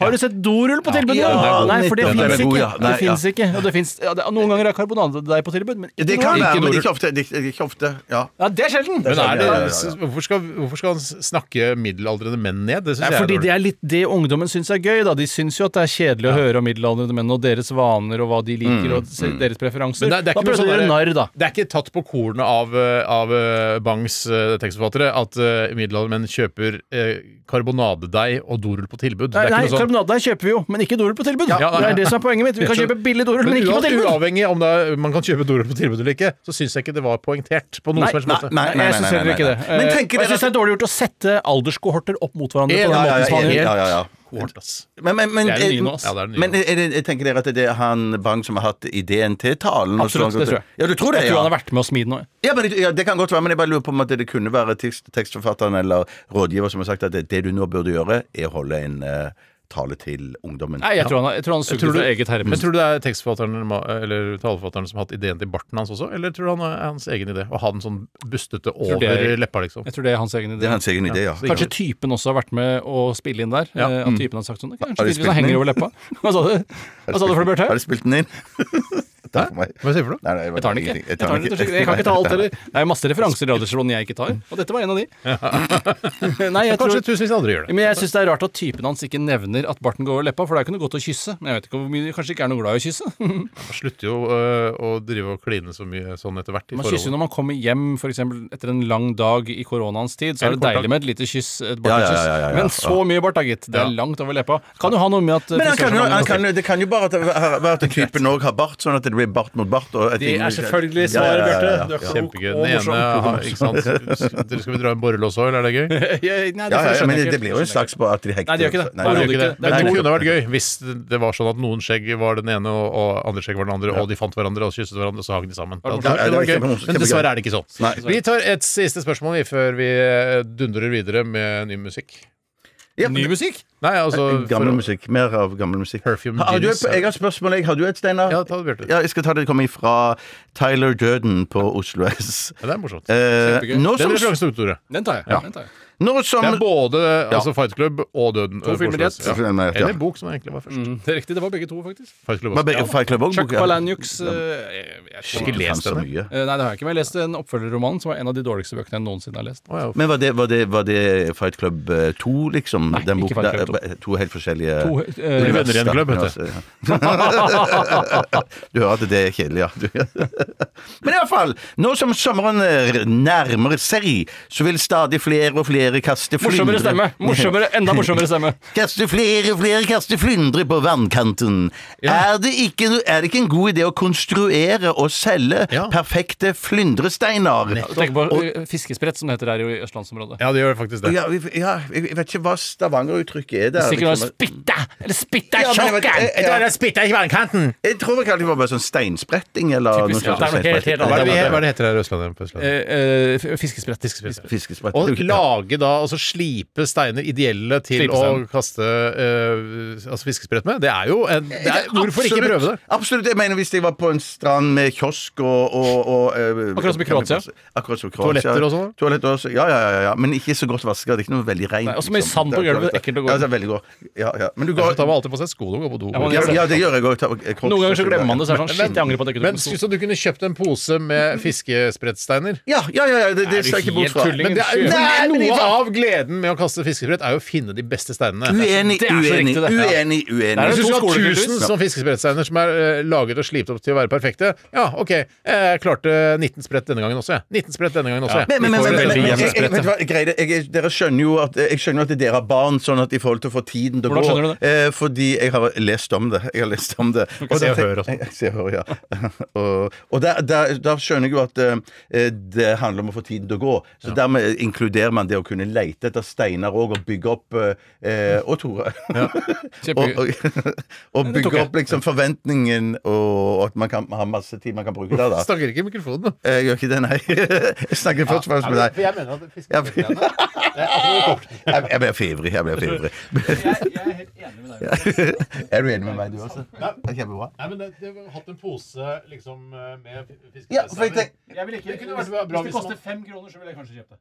Har du sett dorull på tilbud? Ja, nå? den er Nei, for det god. Den er fins god, ikke. ja. Det Nei, finnes ikke. Og det finnes, ja, det, noen ganger er karbonadedeig på tilbud, men ikke Det noe kan annet. være, men Ikke ikke dorull. ofte. Det det er ikke ofte. Ja. Ja, det er sjelden. Men er det, Ja, ja, ja, ja. s- Hvorfor, skal, hvorfor skal han snakke middelaldrende menn ned? Det syns Nei, jeg er fordi dårlig. det er litt det ungdommen syns er gøy. Da. De syns jo at det er kjedelig å høre om middelaldrende menn og deres vaner og hva de liker og se- deres preferanser. Men det, det er da ikke noe prøver de å sånn gjøre narr, der- da. Det er ikke tatt på kornet av, eh, av eh, Bangs eh, tekstforfattere at eh, middelaldermenn kjøper eh, karbonadedeig og dorull på tilbud. det Nei, er nei ikke noe sånn karbonadedeig kjøper vi jo, men ikke dorull på tilbud. Ja, nei, det nei. er det som er poenget mitt. Vi kan kjøpe billig dorull, men ikke på uav- tilbud. Uavhengig om det er, man kan kjøpe dorull på tilbud eller ikke, så syns jeg ikke det var poengtert på noen Nei, som helst måte. nei, nei, nei, jeg syns nei, heller ikke nei, det. nei. Men Eh, tenker og jeg dere syns det er dårlig gjort å sette alderskohorter opp mot hverandre Enig, Ja, på den ja, måten ja, som han enig. gjør. ja, ja, ja. Hårt, ass. Men, men, men, eh, Det er jo ny nå, ass. Ja, det er ny nå. men er det, jeg tenker dere at det er han Bang som har hatt ideen til talen? og Absolutt, sånn- det tror jeg. Ja, du tror det, Jeg tror ja. han har vært med å smi den nå. Ja, men, det- ja, Det kan godt være, men jeg bare lurer på om at det kunne være tekst, tekstforfatteren eller rådgiver som har sagt at det, det du nå burde gjøre, er å holde en eh, tale til ungdommen. Nei, jeg tror han, har- jeg tror han sugde Tror du- fra eget herre. Men tror du det er tekstforfatteren eller ma- eller taleforfatteren som har hatt ideen til barten hans også, eller tror du han er hans egen idé? Å ha den sånn bustete tror det er- over leppa, liksom. Jeg tror det er hans egen idé. Det er hans egen idé, ja. Kanskje typen også har vært med å spille inn der. eh, At typen har sagt Har sånn de Kanskje typen spilt den henger inn? over leppa. Hva sa altså, du? Hva sa du for Har noe, Bjarte? du spilt den inn? dette for meg. Hva sier du for noe? Nei, nei, Jeg tar den ikke. ingenting. Jeg, tar den ikke. jeg kan ikke ta alt heller. Det er jo masse referanser i Radiosalongen jeg ikke tar, og dette var en av de. Nei, Kanskje jeg tror tusenvis andre gjør det. men jeg syns det er rart at typen hans ikke nevner at barten går over leppa, for det er ikke noe godt å kysse. Men jeg vet ikke hvor mye Kanskje ikke er noe glad i å kysse. Man slutter jo øh, å drive og kline så mye sånn etter hvert. i Man kysser jo forholdet. når man kommer hjem for eksempel, etter en lang dag i koronaens tid. Så er Eller det kort dag. deilig med et lite kyss. Ja, ja, Et ja, bartekyss. ja, ja, ja. Men så mye bart, da, gitt. Det Ja. er langt over leppa. Kan jo ha noe med at eh, Men han kan jo, frisørsalongen han har kan, stengt. jo- det kan jo bare at- være at typen òg har bart, sånn at det blir bart mot bart. Og at Det ingen- er selvfølgelig Ja, ja, svaret, ja, ja, ja. Bjarte. Du er klok Kjempegøy. og Den ene morsom. har ikke sant? Dere skal vi dra en borrelås òg, eller er det gøy? Ja, Ja, ja, Nei, ja, men skjønner jeg det ikke. blir jo en slags på at de hekter Nei, det gjør ikke det. Nei, Nei, Nei, det det gjør ikke det. Men Nei, det det er kunne vært gøy hvis det var sånn at noen skjegg var den ene, og, og andre skjegg var den andre, og de fant hverandre og kysset hverandre, og så hang de sammen. Det hadde Ja, ja, det var vært gøy. kjempemorsomt. Men dessverre er det ikke sånn. Nei. Vi tar et siste spørsmål vi, før vi eh, dundrer videre med ny musikk. Ja, Ny musikk? Nei, altså Gammel for- musikk. Mer av gammel musikk. Perfume Har du et, Genius. jeg har et spørsmål. Jeg. Har du et, Steinar? Ja, ta det, Bjarte. Ja, jeg skal ta det. Det kommer fra Tyler Durden på Oslo S. Ja, det er morsomt. Eh, Det nå er som, en referanse til Tore. Den tar jeg. Den tar jeg. nå som Det er både altså, Fight Club og Døden. To filmer Mm. i ett. Ja. Filmer i ett, ja. Eller bok, som egentlig var først. Det er riktig, det var begge to, faktisk. Fight Club Var også. begge- Fight Club også, Chuck boka? Palahniuks eh, jeg- jeg- Ikke Ikke lest lest så den, mye. Eh, Nei, det har jeg ikke, men jeg leste en oppfølgerroman som var en av de dårligste bøkene jeg noensinne har lest. Å, ja. Men var det, var, det, var det Fight Club eh, 2, liksom? Nei, ikke Fight Club 2. to. helt forskjellige To, eh, univers, Venner i en da. klubb, heter Ja, altså, ja. du hører at det er kjedelig, ja. Du. Men iallfall, nå som sommeren eh, nærmer seg, så vil stadig flere og flere kaste Morsommere stemme! flyndre Morsommere, enda morsommere stemme! Kaste flere og flere kaster flyndre på vannkanten. Er, det ikke, no- er det ikke en god idé å konstruere og selge Ja. perfekte flyndresteiner? Tenk på eh, fiskesprett, som det heter her i østlandsområdet. ja, det gjør faktisk det. Ja, vi- ja, jeg jeg vet ikke hva Stavanger-uttrykket er. der, Stikker du og liksom. spytter! Eller spytter Ja, men jeg vet- sjokken! jeg- jeg- Da er det spytter i vannkanten! Jeg tror vel kanskje det var bare sånn steinspretting eller Typisk, noe ja. sånt. Det er nok helt- helt Hva er det, vi, Ja, det er hva er det heter her i Østlandet? På Eh, Østlandet? fiskesprett. fiskesprett. Fiskesprett. Og lage da, altså slipe steiner ideelle til Slipe stein. å kaste eh, altså fiskesprett med, det er jo en det er, Hvorfor ikke Absolutt. prøve det? Absolutt. Jeg mener hvis jeg var på en strand med kiosk og, og, og eh, Akkurat som i Kroatia. Akkurat som i Kroatia. Toaletter og sånn? Toaletter også. Ja, ja, ja, ja. Men ikke så godt vaska. Det er ikke noe veldig rent. liksom. Nei, og så mye sand på gulvet, Det er ekkelt å gå i. Ja, det er veldig godt. Ja, ja. Men du Så går tar man alltid på seg skoene og går på do. Ja, man- ja, ja, det gjør jeg òg. Noen ganger så glemmer man det, så er det sånn shit, jeg angrer på at jeg ikke Men tok med skulle- sko. Så du kunne kjøpt en pose med fiskesprettsteiner? Ja, ja, ja. ja det, det ser jeg ikke bort fra. tulling? Men det er jo Nei, men i noe hva- av gleden med å kaste fiskesprett er jo å finne de beste steinene. Uenig, Det er så uenig, riktig, det. Ja. uenig, uenig. er Hvis du to skal ha skoler, 1000 tydeligvis. sånne fiskesprettsteiner som er eh, laget og slipt opp til å være perfekte Ja, OK, jeg klarte 19 sprett denne gangen også, jeg. 19 sprett denne gangen også, jeg. Men, men, men, Vi får men, men, veldig men, jevn jeg- jeg- sprett, vet du hva, greie det, jeg, dere skjønner jo at, jeg skjønner jo at dere har barn, sånn at i forhold til å få tiden til å Hvordan gå skjønner du eh, Fordi jeg har lest om det. Jeg har lest om det. Og se da og hør og tenk- sånn. jeg- Se og hør, ja. og og der, der, der skjønner jeg jo at eh, det handler om å få tiden til å gå. Så dermed inkluderer man det å kunne leite etter steiner òg, og bygge opp eh, Og Tore. og, og, og tok bygge jeg. opp liksom forventningen, og at man kan ha masse tid man kan bruke der, da. Eh, Snakker ikke i mikrofonen, da. Jeg gjør ikke det, nei. Jeg snakker først og fremst med deg. Jeg mener at Ja, men- jeg, jeg blir for ivrig. Jeg blir for ivrig. er du enig med meg, du også? Det er Kjempebra. Nei, men det, det har hatt en pose liksom med fiskepølse. Ja, for jeg tenk- Det kunne vært bra hvis man- fem kroner, så ville jeg kanskje kjøpt det.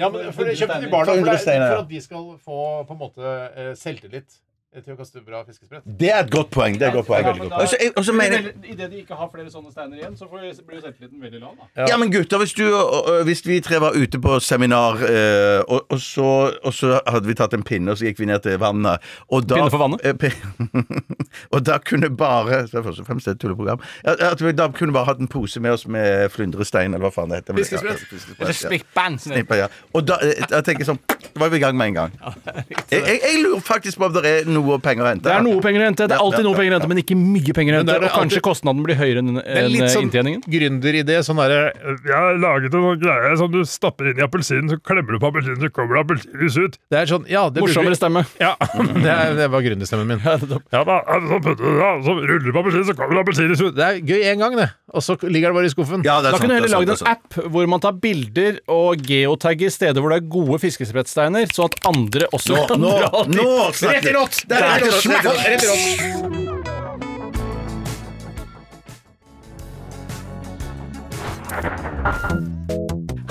Ja, men for For kjøp den i hundre barna for, det er- steiner, ja. for at de skal få på en måte eh, selvtillit til å kaste bra fiskesprett. Det er et godt poeng. det er et godt poeng. Og så- Og så mener jeg Idet de ikke har flere sånne steiner igjen, så blir jo selvtilliten veldig lav. da. ja, men gutter, hvis, du, og- og hvis vi tre var ute på seminar, eh, og, og, så, og så hadde vi tatt en pinne, og så gikk vi ned til vannet og da, Pinne for vannet? Eh, pin- og da kunne bare så det er Først og fremst et tulleprogram. Ja, At vi da kunne bare hatt en pose med oss med flyndrestein, eller hva faen det heter. Fiskesprett. Ja, fiskesprett, Eller ja. snipperen. Snipper, ja. Og da, eh, da tenker jeg sånn Da var vi i gang med en gang. Jeg, jeg, jeg lurer faktisk på om det er noe penger å hente. Det er noe penger å hente. Det er alltid noe penger å hente, men ikke mye penger å Men det er hente. Og kanskje alltid- kostnaden blir høyere enn Det er enn litt sånn eh, inntjeningen. gründeridé. Sånn derre eh, Jeg har laget en sånn greie som du stapper inn i appelsinen, så klemmer du på appelsinen, så kommer det appelsinjuice ut. Det er sånn Ja, det burde vi- Morsommere stemme. Ja, det, er, det var gründerstemmen min. Ja, da er det sånn putter du det, og så ruller du på appelsinen, så kommer det appelsinjuice ut. Det er gøy én gang, det. Og så ligger det bare i skuffen. Ja, det er Da sant, kunne du det er heller sant, lagd det er en sant. app hvor man tar bilder og geotagger steder hvor det er gode fiskesprettsteiner, så at andre også Nå, kan nå, dra dit. nå snakker Rett i rått! Det er rett i rått, rett i rått. Rett i rått.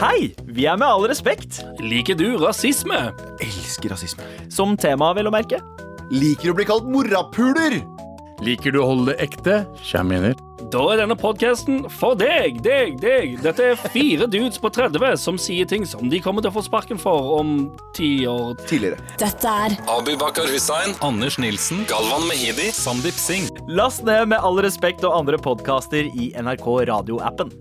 Hei! Vi er med all respekt. Liker du rasisme? Som tema, vel å merke. Liker du å bli kalt morapuler? Liker du å holde det ekte? Da er denne podkasten for deg, deg, deg. Dette er fire dudes på 30 som sier ting som de kommer til å få sparken for om ti år tidligere. Dette er Abibakar Hussein, Anders Nilsen, Galvan Mehidi, Sandeep Singh. Last ned Med all respekt og andre podkaster i NRK radioappen.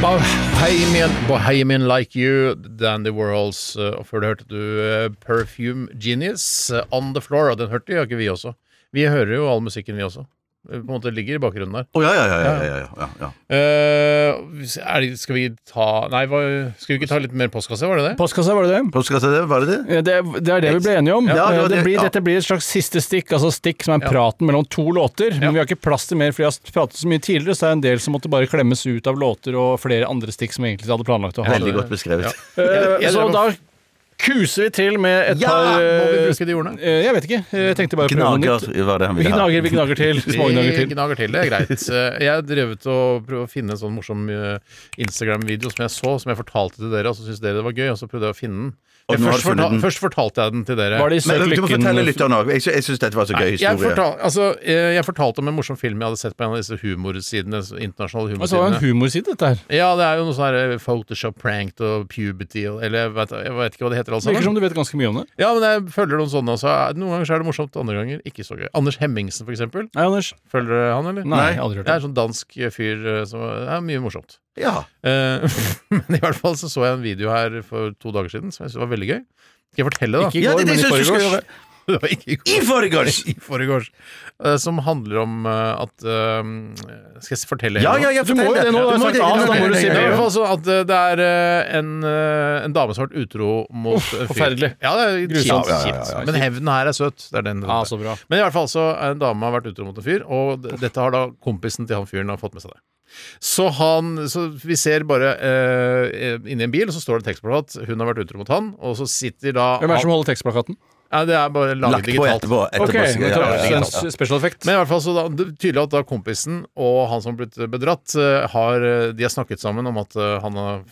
Bohemian, Bohemian Like You, Dandy Worlds. eh, Og før det hørte du eh, Perfume Genius, eh, On The Floor. Og den hørte jo ikke vi også. Vi hører jo all musikken, vi også. Eh, På en måte ligger i bakgrunnen der. Å, ja, ja, ja, ja, ja, ja, ja. Eh, er det, skal vi ta Nei, hva, skal vi ikke ta litt mer postkasse, var det det? Postkasse, var det det? Eh, var det det? Det, er det vi ble enige om. Ja, det var Eh, det det. blir, Ja. Dette blir et slags siste stikk, altså stikk som er praten mellom to låter. Men vi har ikke plass til mer, for vi har pratet så mye tidligere, så det er en del som måtte bare klemmes ut av låter og flere andre stikk som vi egentlig hadde planlagt å ha. Veldig godt beskrevet. Ja. Eh, Så da kuser vi til med et Ja! par eh, Må vi bruke de ordene? eh, Jeg vet ikke. Jeg tenkte bare å prøve noe nytt. Gnager var det han Vi ville ha. gnager, vi gnager til. Smågnager Vi til. gnager til, det er greit. Eh, Jeg har drevet og prøvd å finne en sånn morsom eh, Instagram-video som jeg så, som jeg fortalte til dere, og så syntes dere det var gøy, og så prøvde jeg å finne den. Og Men nå har først, du funnet fortal, den. først fortalte jeg den til dere. Men du må fortelle lytteren òg. Jeg, sy- jeg syns dette var så Nei, gøy jeg, historie. fortal, altså, eh, jeg fortalte om en morsom film jeg hadde sett på en av disse humorsidene. Internasjonale Altså, det var humorsidene. en humorside, dette her. Ja, det er jo noe sånn her Photoshop pranked og puberty og Eller jeg vet, jeg vet ikke hva det heter. alt sammen. Virker som du vet ganske mye om det. Ja, men jeg følger noen sånne også. Noen ganger så er det morsomt, andre ganger ikke så gøy. Anders Hemmingsen, for eksempel. Nei, Anders. Følger dere han, eller? Nei, aldri hørt om. Det er en sånn dansk fyr eh, som er mye morsomt. Ja. Eh, men i hvert fall så så jeg en video her for to dager siden som jeg syntes var veldig gøy. Skal jeg fortelle, da? Ikke i Ja, går, det- det men i synes du skal foregårs. gjøre. Det var ikke I forgårs! I forgårs. Eh, Som handler om eh, at eh, Skal jeg fortelle? Ja, hele ja, ja, Du må jo det fortell det. nå. Du da må har jeg det, sagt A, du så må da må du det, si ja, det. ja. I hvert fall så at eh, det er eh, en, eh, en dame som har vært utro mot Uff, en fyr. forferdelig. Ja, det er Grusomt. kjipt. Ja, ja, ja, ja. Men hevnen her er søt. Det er den. Ja, så bra. Men i hvert fall så er en dame har vært utro mot en fyr, og d- dette har da kompisen til han fyren har fått med seg det. Så han, så vi ser bare eh, inni en bil, og så står det en tekstplakat. Hun har vært utro mot han, og så sitter da Hvem er det som holder tekstplakaten? Nei, det er bare laget Lagt på digitalt. etterpå, etterpå, Ok, sikkert. men Ja, ja, ja, ja. så- En special effect. Men i hvert fall så da, det er tydelig at da kompisen og han som har blitt bedratt, eh, har, eh, de har snakket sammen om at eh, han har,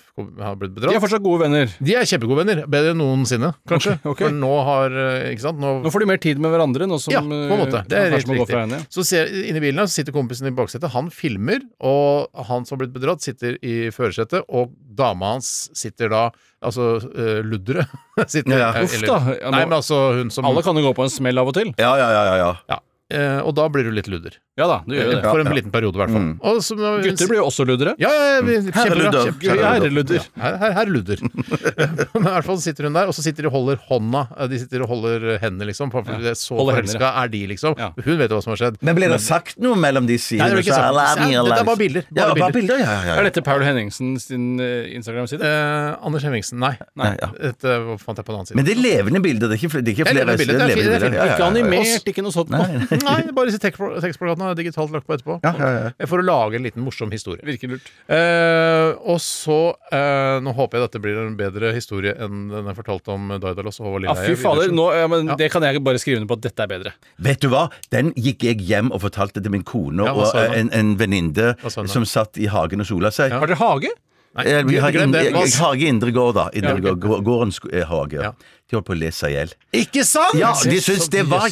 har blitt bedratt. De er fortsatt gode venner. De er kjempegode venner. Bedre enn noensinne, kanskje. Ok, ok. For nå har eh, Ikke sant? Nå, Nå får de mer tid med hverandre, nå som ja, på en måte. Det eh, er kanskje helt må gå fra riktig. hverandre. Så ser, inni bilen her så sitter kompisen i baksetet. Han filmer, og han som har blitt bedratt, sitter i førersetet, og dama hans sitter da Altså uh, ludderet. sitter Ja. eh, Uff eller- da. Ja, nå- Nei, men altså hun som Alle kan jo gå på en smell av og til. Ja, ja, ja, ja, ja. Eh, Og da blir du litt ludder. Ja da, du gjør jo det. For en liten periode, i hvert fall. Mm. Og så- Gutter blir jo også luddere. Ja, ja, ja, vi- kjempebra, Herreludder. kjempebra. Herreludder. Ja, Her, her, her ludder. Men I hvert fall sitter hun der, og så sitter de og holder hånda. De sitter og holder hendene, liksom. For det er så Holder forelska er de, liksom. Ja. Hun vet jo hva som har skjedd. Men ble det sagt noe mellom de sidene? Nei, det ble ikke Så, sagt. alarm, Dette er alarm. bare bilder. Ja, Bare bare bilder. bilder, ja, ja, ja. Er dette Paul Henningsen sin eh, Instagram-side? Eh, Anders Hemmingsen, nei. Nei, ja. Dette fant jeg på en annen side. Men det er levende bilder, det er ikke, fl- det er ikke Det er flere levende bilder, det er fint, det er fint. Ja, ja, ja, ja. Ikke animert, ikke noe sånt. Nei, nei. Nei, det er bare disse tekstpla- tekstplakatene er digitalt lagt på etterpå. Ja, ja, ja. For å lage en liten morsom historie. Virker lurt. Eh, og så eh, Nå håper jeg dette blir en bedre historie enn den jeg fortalte om Daidalos og Håvard Ja, Lilleheie. fy fader. Widersen. Nå, ja, men Det kan jeg bare skrive under på at dette er bedre. Vet du hva? Den gikk jeg hjem og fortalte til min kone Ja, hva og sa hun da? en, en venninne Hva sa hun da? som satt i hagen og sola seg. Har dere hage? Nei, Eh, Vi har glem in, det. jeg, Hva- jeg, hage i Indre Gård, da. Indre Ja, ok. gård, gårdens eh, hage. Ja. De holdt på å le seg i hjel. Ikke sant?! Ja, de syns det var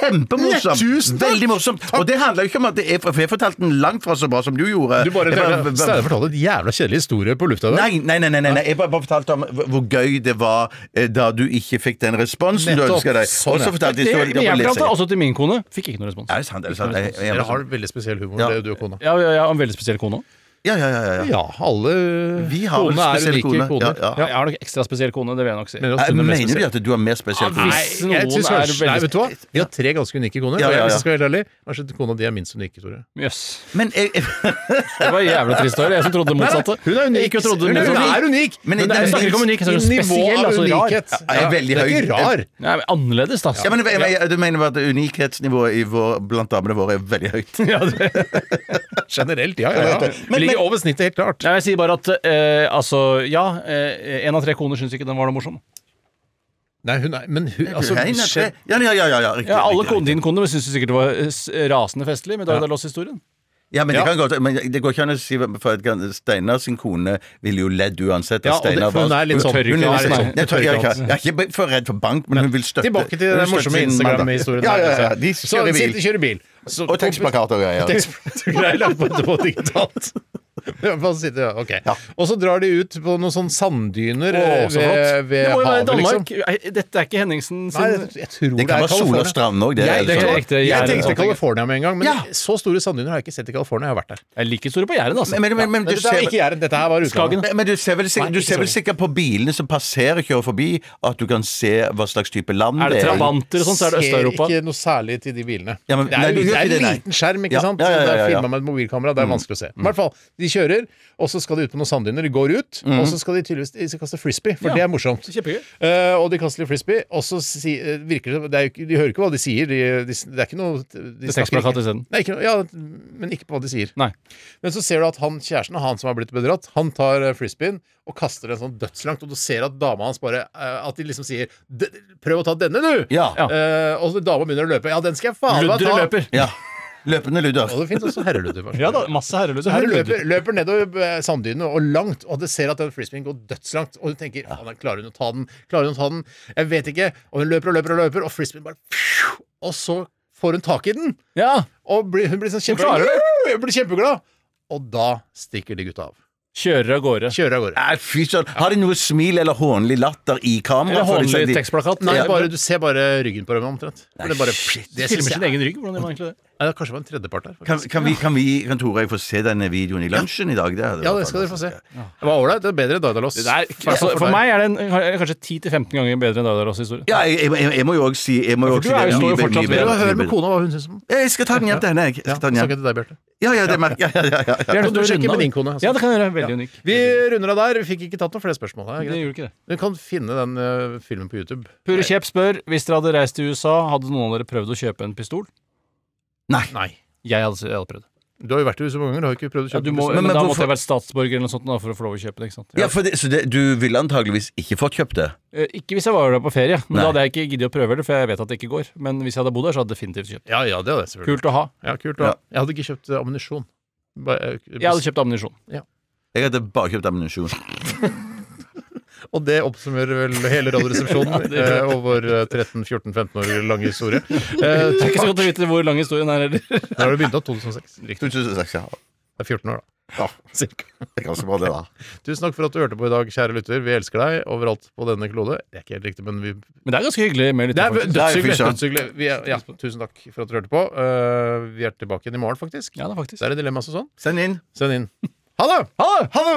Nei, tusen kjempemorsomt! takk. Veldig morsomt. Og det handler jo ikke om at det er For jeg fortalte den langt fra så bra som du gjorde. Du bare Jeg bare- Steinar fortalte en jævla kjedelig historie på lufta. der. Nei, nei, nei, nei, nei, nei. jeg bare, bare fortalte om hvor hvor gøy det var eh, da du ikke fikk den responsen du Nettopp. ønska deg. Sånn, Og så ja. fortalte Det, jeg men historien jeg om å pratet lese. også til min kone. Fikk ikke noe respons. Er det sant? Er sånn, det sant? Jeg, jeg, Dere har veldig spesiell humor, Ja. det er jo du og kona. Ja, ja, ja, en veldig spesiell kone. ja, ja, ja, ja, ja. Ja, alle Vi har vel konene er spesiell unike kone. koner. Ja, ja. Jeg har nok ekstra spesiell kone, det vil jeg nok si. Men Eh, også hun er mest Mener du spesiell. at du er mer spesiell? Ah, for- nei. Hvis noen synes er kanskje- veldig Nei, vet du hva? Vi har tre ganske unike koner. Ja, og ja, jeg- Hvis ja. jeg skal være helt ærlig, kanskje kona di er minst unik, tror jeg. Jøss. Men jeg, jeg, Det var jævla trist å høre. Jeg som trodde det motsatte. Hun er unik. Jeg gikk og trodde det hun, motsatte. er unik! Men det det er er- snakker ikke om unik, jeg snakker om nivå spesiell, av altså rar. unikhet. Ja, jeg er veldig det er høy. ikke rar. Nei, men annerledes, da. ja, men, jeg, jeg, du mener at unikhetsnivået i vår, blant damene våre er veldig høyt? Ja, det- Generelt, ja. ja, ja. Vi men- ligger over snittet, helt klart. Nei, jeg sier bare at eh, altså, ja, eh, en av tre koner syns ikke den var noe morsom. Nei, hun er Men hun altså, Nei, nei, skjønn- ja, ja, ja, ja, ja, riktig, Ja, alle riktig, konene dine koner syns sikkert det var eh, s- rasende festlig med Dag Dalos-historien. Ja, men det, Ja. Kan godt, men det går ikke an å si For at kan- Steinar sin kone ville jo ledd uansett. Ja, og og det- Steinar for hun var- er litt sånn- Hun er litt Nei, nei, sånn- Jeg tør- jeg er ikke- tørrkant. jeg er ikke for redd for bank, men hun vil støtte Tilbake til hun den vil støtte morsomme sin mann, da. Instagram-historien. Ja, ja, ja, der, de altså. Så kjører bil. sitter- kjører bil. Så- Og tekstplakater og greier. Tekstplakater er lagt på etterpå digitalt. Ja, bare sitter, ja, ok. Og så drar de ut på noen sånne sanddyner eh, Å, så ved, flott. ved Det må jo være havet, liksom. Danmark. Er- Dette er ikke Henningsen sin Nei, jeg- jeg tror Det kan være sol og California. strand også, det er Jeg, helt jeg, sant. jeg, Jeg tenkte tenkte California med en gang, men så store sanddyner har jeg ikke sett i California. Jeg har vært der. Jeg er like store på Jæren, Men, altså. men, men, men, du dette er ser- ikke Jæren, dette her var utlandet. Men, men du ser vel, sik- Nei, du ikke ser vel Skagen. sikkert på bilene som passerer og kjører forbi, at du kan se hva slags type land Er det det er. trabanter og sånn, så er det Øst-Europa. Ser ikke noe særlig til de bilene. Ja, men- det er, nei, du det gjør er ikke det, en nei. liten skjerm, ikke Ja, sant? ja, ja, ja, Mm. ja. Det er filma med et mobilkamera, det er vanskelig å se. Men i hvert fall, de kjører, og så skal de ut på noen sanddyner. De går ut, Mm. og så skal de tydeligvis de skal kaste frisbee, for Ja. det er morsomt. Kjempegøy. Eh, og de kaster litt frisbee, og så si, eh, virker det som det er, jo ikke- De hører ikke hva de sier. De, de, det er ikke noe de Det er snakker tekstplakat ikke- isteden. Nei, ikke noe, ja, men ikke på hva de sier. Men så ser du at han, kjæresten han som har blitt bedratt, han tar eh, frisbeen og kaster den sånn dødslangt, og du ser at dama hans bare eh, At de liksom sier "D- 'prøv å ta denne, du'! Ja. Ja. Eh, og så dama begynner å løpe. Ja, den skal jeg faen meg ta! Ja. Løpende ludder. Og det fins også herreluder. faktisk. Ja da, masse herreløse. Så her løper, løper nedover eh, sanddynene og langt, og du ser at den frisbeen går dødslangt. Og du tenker "Faen, klarer hun å ta den? Klarer hun å ta den? Jeg vet ikke. Og hun løper og løper og løper, og frisbeen bare pju, Og så får hun tak i den. Og blir, hun blir sånn klarer kjempeglad. Hun blir kjempeglad. Og da stikker de gutta av. Kjører av gårde. Kjører av gårde. Nei, fy søren. Har de noe smil eller hånlig latter i kamera? Eller For de- hånlig de- tekstplakat? Nei, Ja. bare, du ser bare ryggen på dem omtrent. For det bare, det Filmer synes sin jeg- egen rygg. Hvordan gjør man egentlig det? Nei, det er kanskje det var en tredjepart der. Kan, kan, vi, kan vi, kan Tore og jeg få se denne videoen i lunsjen i dag? Det hadde Ja, vært det skal dere få fantastisk. se. Det var ålreit. Det er bedre enn Daidalos. Det er, altså, for meg er det en, kanskje 10-15 ganger bedre enn Daidalos historie. Ja, jeg, jeg, jeg- jeg må jo òg si jeg må jo for også du er jo- si det. står jo Mye- fortsatt mye ved- bedre, Hør mye med bedre. kona hva hun syns om den. Jeg skal ta den hjem til henne, jeg. jeg. Skal ta den Ja, hjem. snakker til deg, Bjarte. Ja, ja, det merker jeg. Ja, ja, ja, ja. Ja, du sjekker med din kone. altså. Ja, det kan jeg gjøre. Veldig unik. Vi runder av der. Vi fikk ikke tatt noen flere spørsmål. Det er greit. Det gjorde ikke det. Du kan finne den eh, filmen på YouTube. Pure Kjepp spør hvis dere hadde reist til USA, hadde noen av dere prøvd å kjøpe en pistol? Nei. Nei. Jeg hadde, jeg hadde prøvd. Du har jo vært i USA mange ganger. Du har ikke prøvd å Ja, kjøpe du må, bussen. men, men da hvorfor- måtte jeg vært statsborger eller noe sånt da, for å få lov å kjøpe det. ikke sant? ja for det, så det, du ville antageligvis ikke fått kjøpt det? Eh, Ikke hvis jeg var der på ferie, men Nei. da hadde jeg ikke giddet å prøve det, for jeg vet at det ikke går. Men hvis jeg hadde bodd der, så hadde jeg definitivt kjøpt. Ja, ja, det er det, selvfølgelig. Kult å ha. Ja, kult, da. Jeg hadde ikke kjøpt eh, ammunisjon. Bare, eh, Jeg hadde kjøpt ammunisjon. Jeg hadde bare kjøpt ammunisjon. Og det oppsummerer vel hele Radioresepsjonen det gjør det. eh, og vår eh, 13-14-15 år lange historie. Eh, Det er ikke så takk. godt å vite hvor lang historien er heller. Da har du begynt av 2006. 2006, ja. Det er 14 år, da. ja. Cirka. Det er ganske bra, det, da. Tusen takk for at du hørte på i dag, kjære lytter. Vi elsker deg overalt på denne klode. Det er ikke helt riktig, men vi Men det er ganske hyggelig med Det lyttere, er faktisk. dødshyggelig. Nei, fy søren. dødshyggelig. Vi er- Ja, tusen takk for at du hørte på. Eh, vi er tilbake igjen i morgen, faktisk. Ja, det er faktisk. Så er det dilemmas og sånn. Send inn. Send inn. Ha det! Ha det!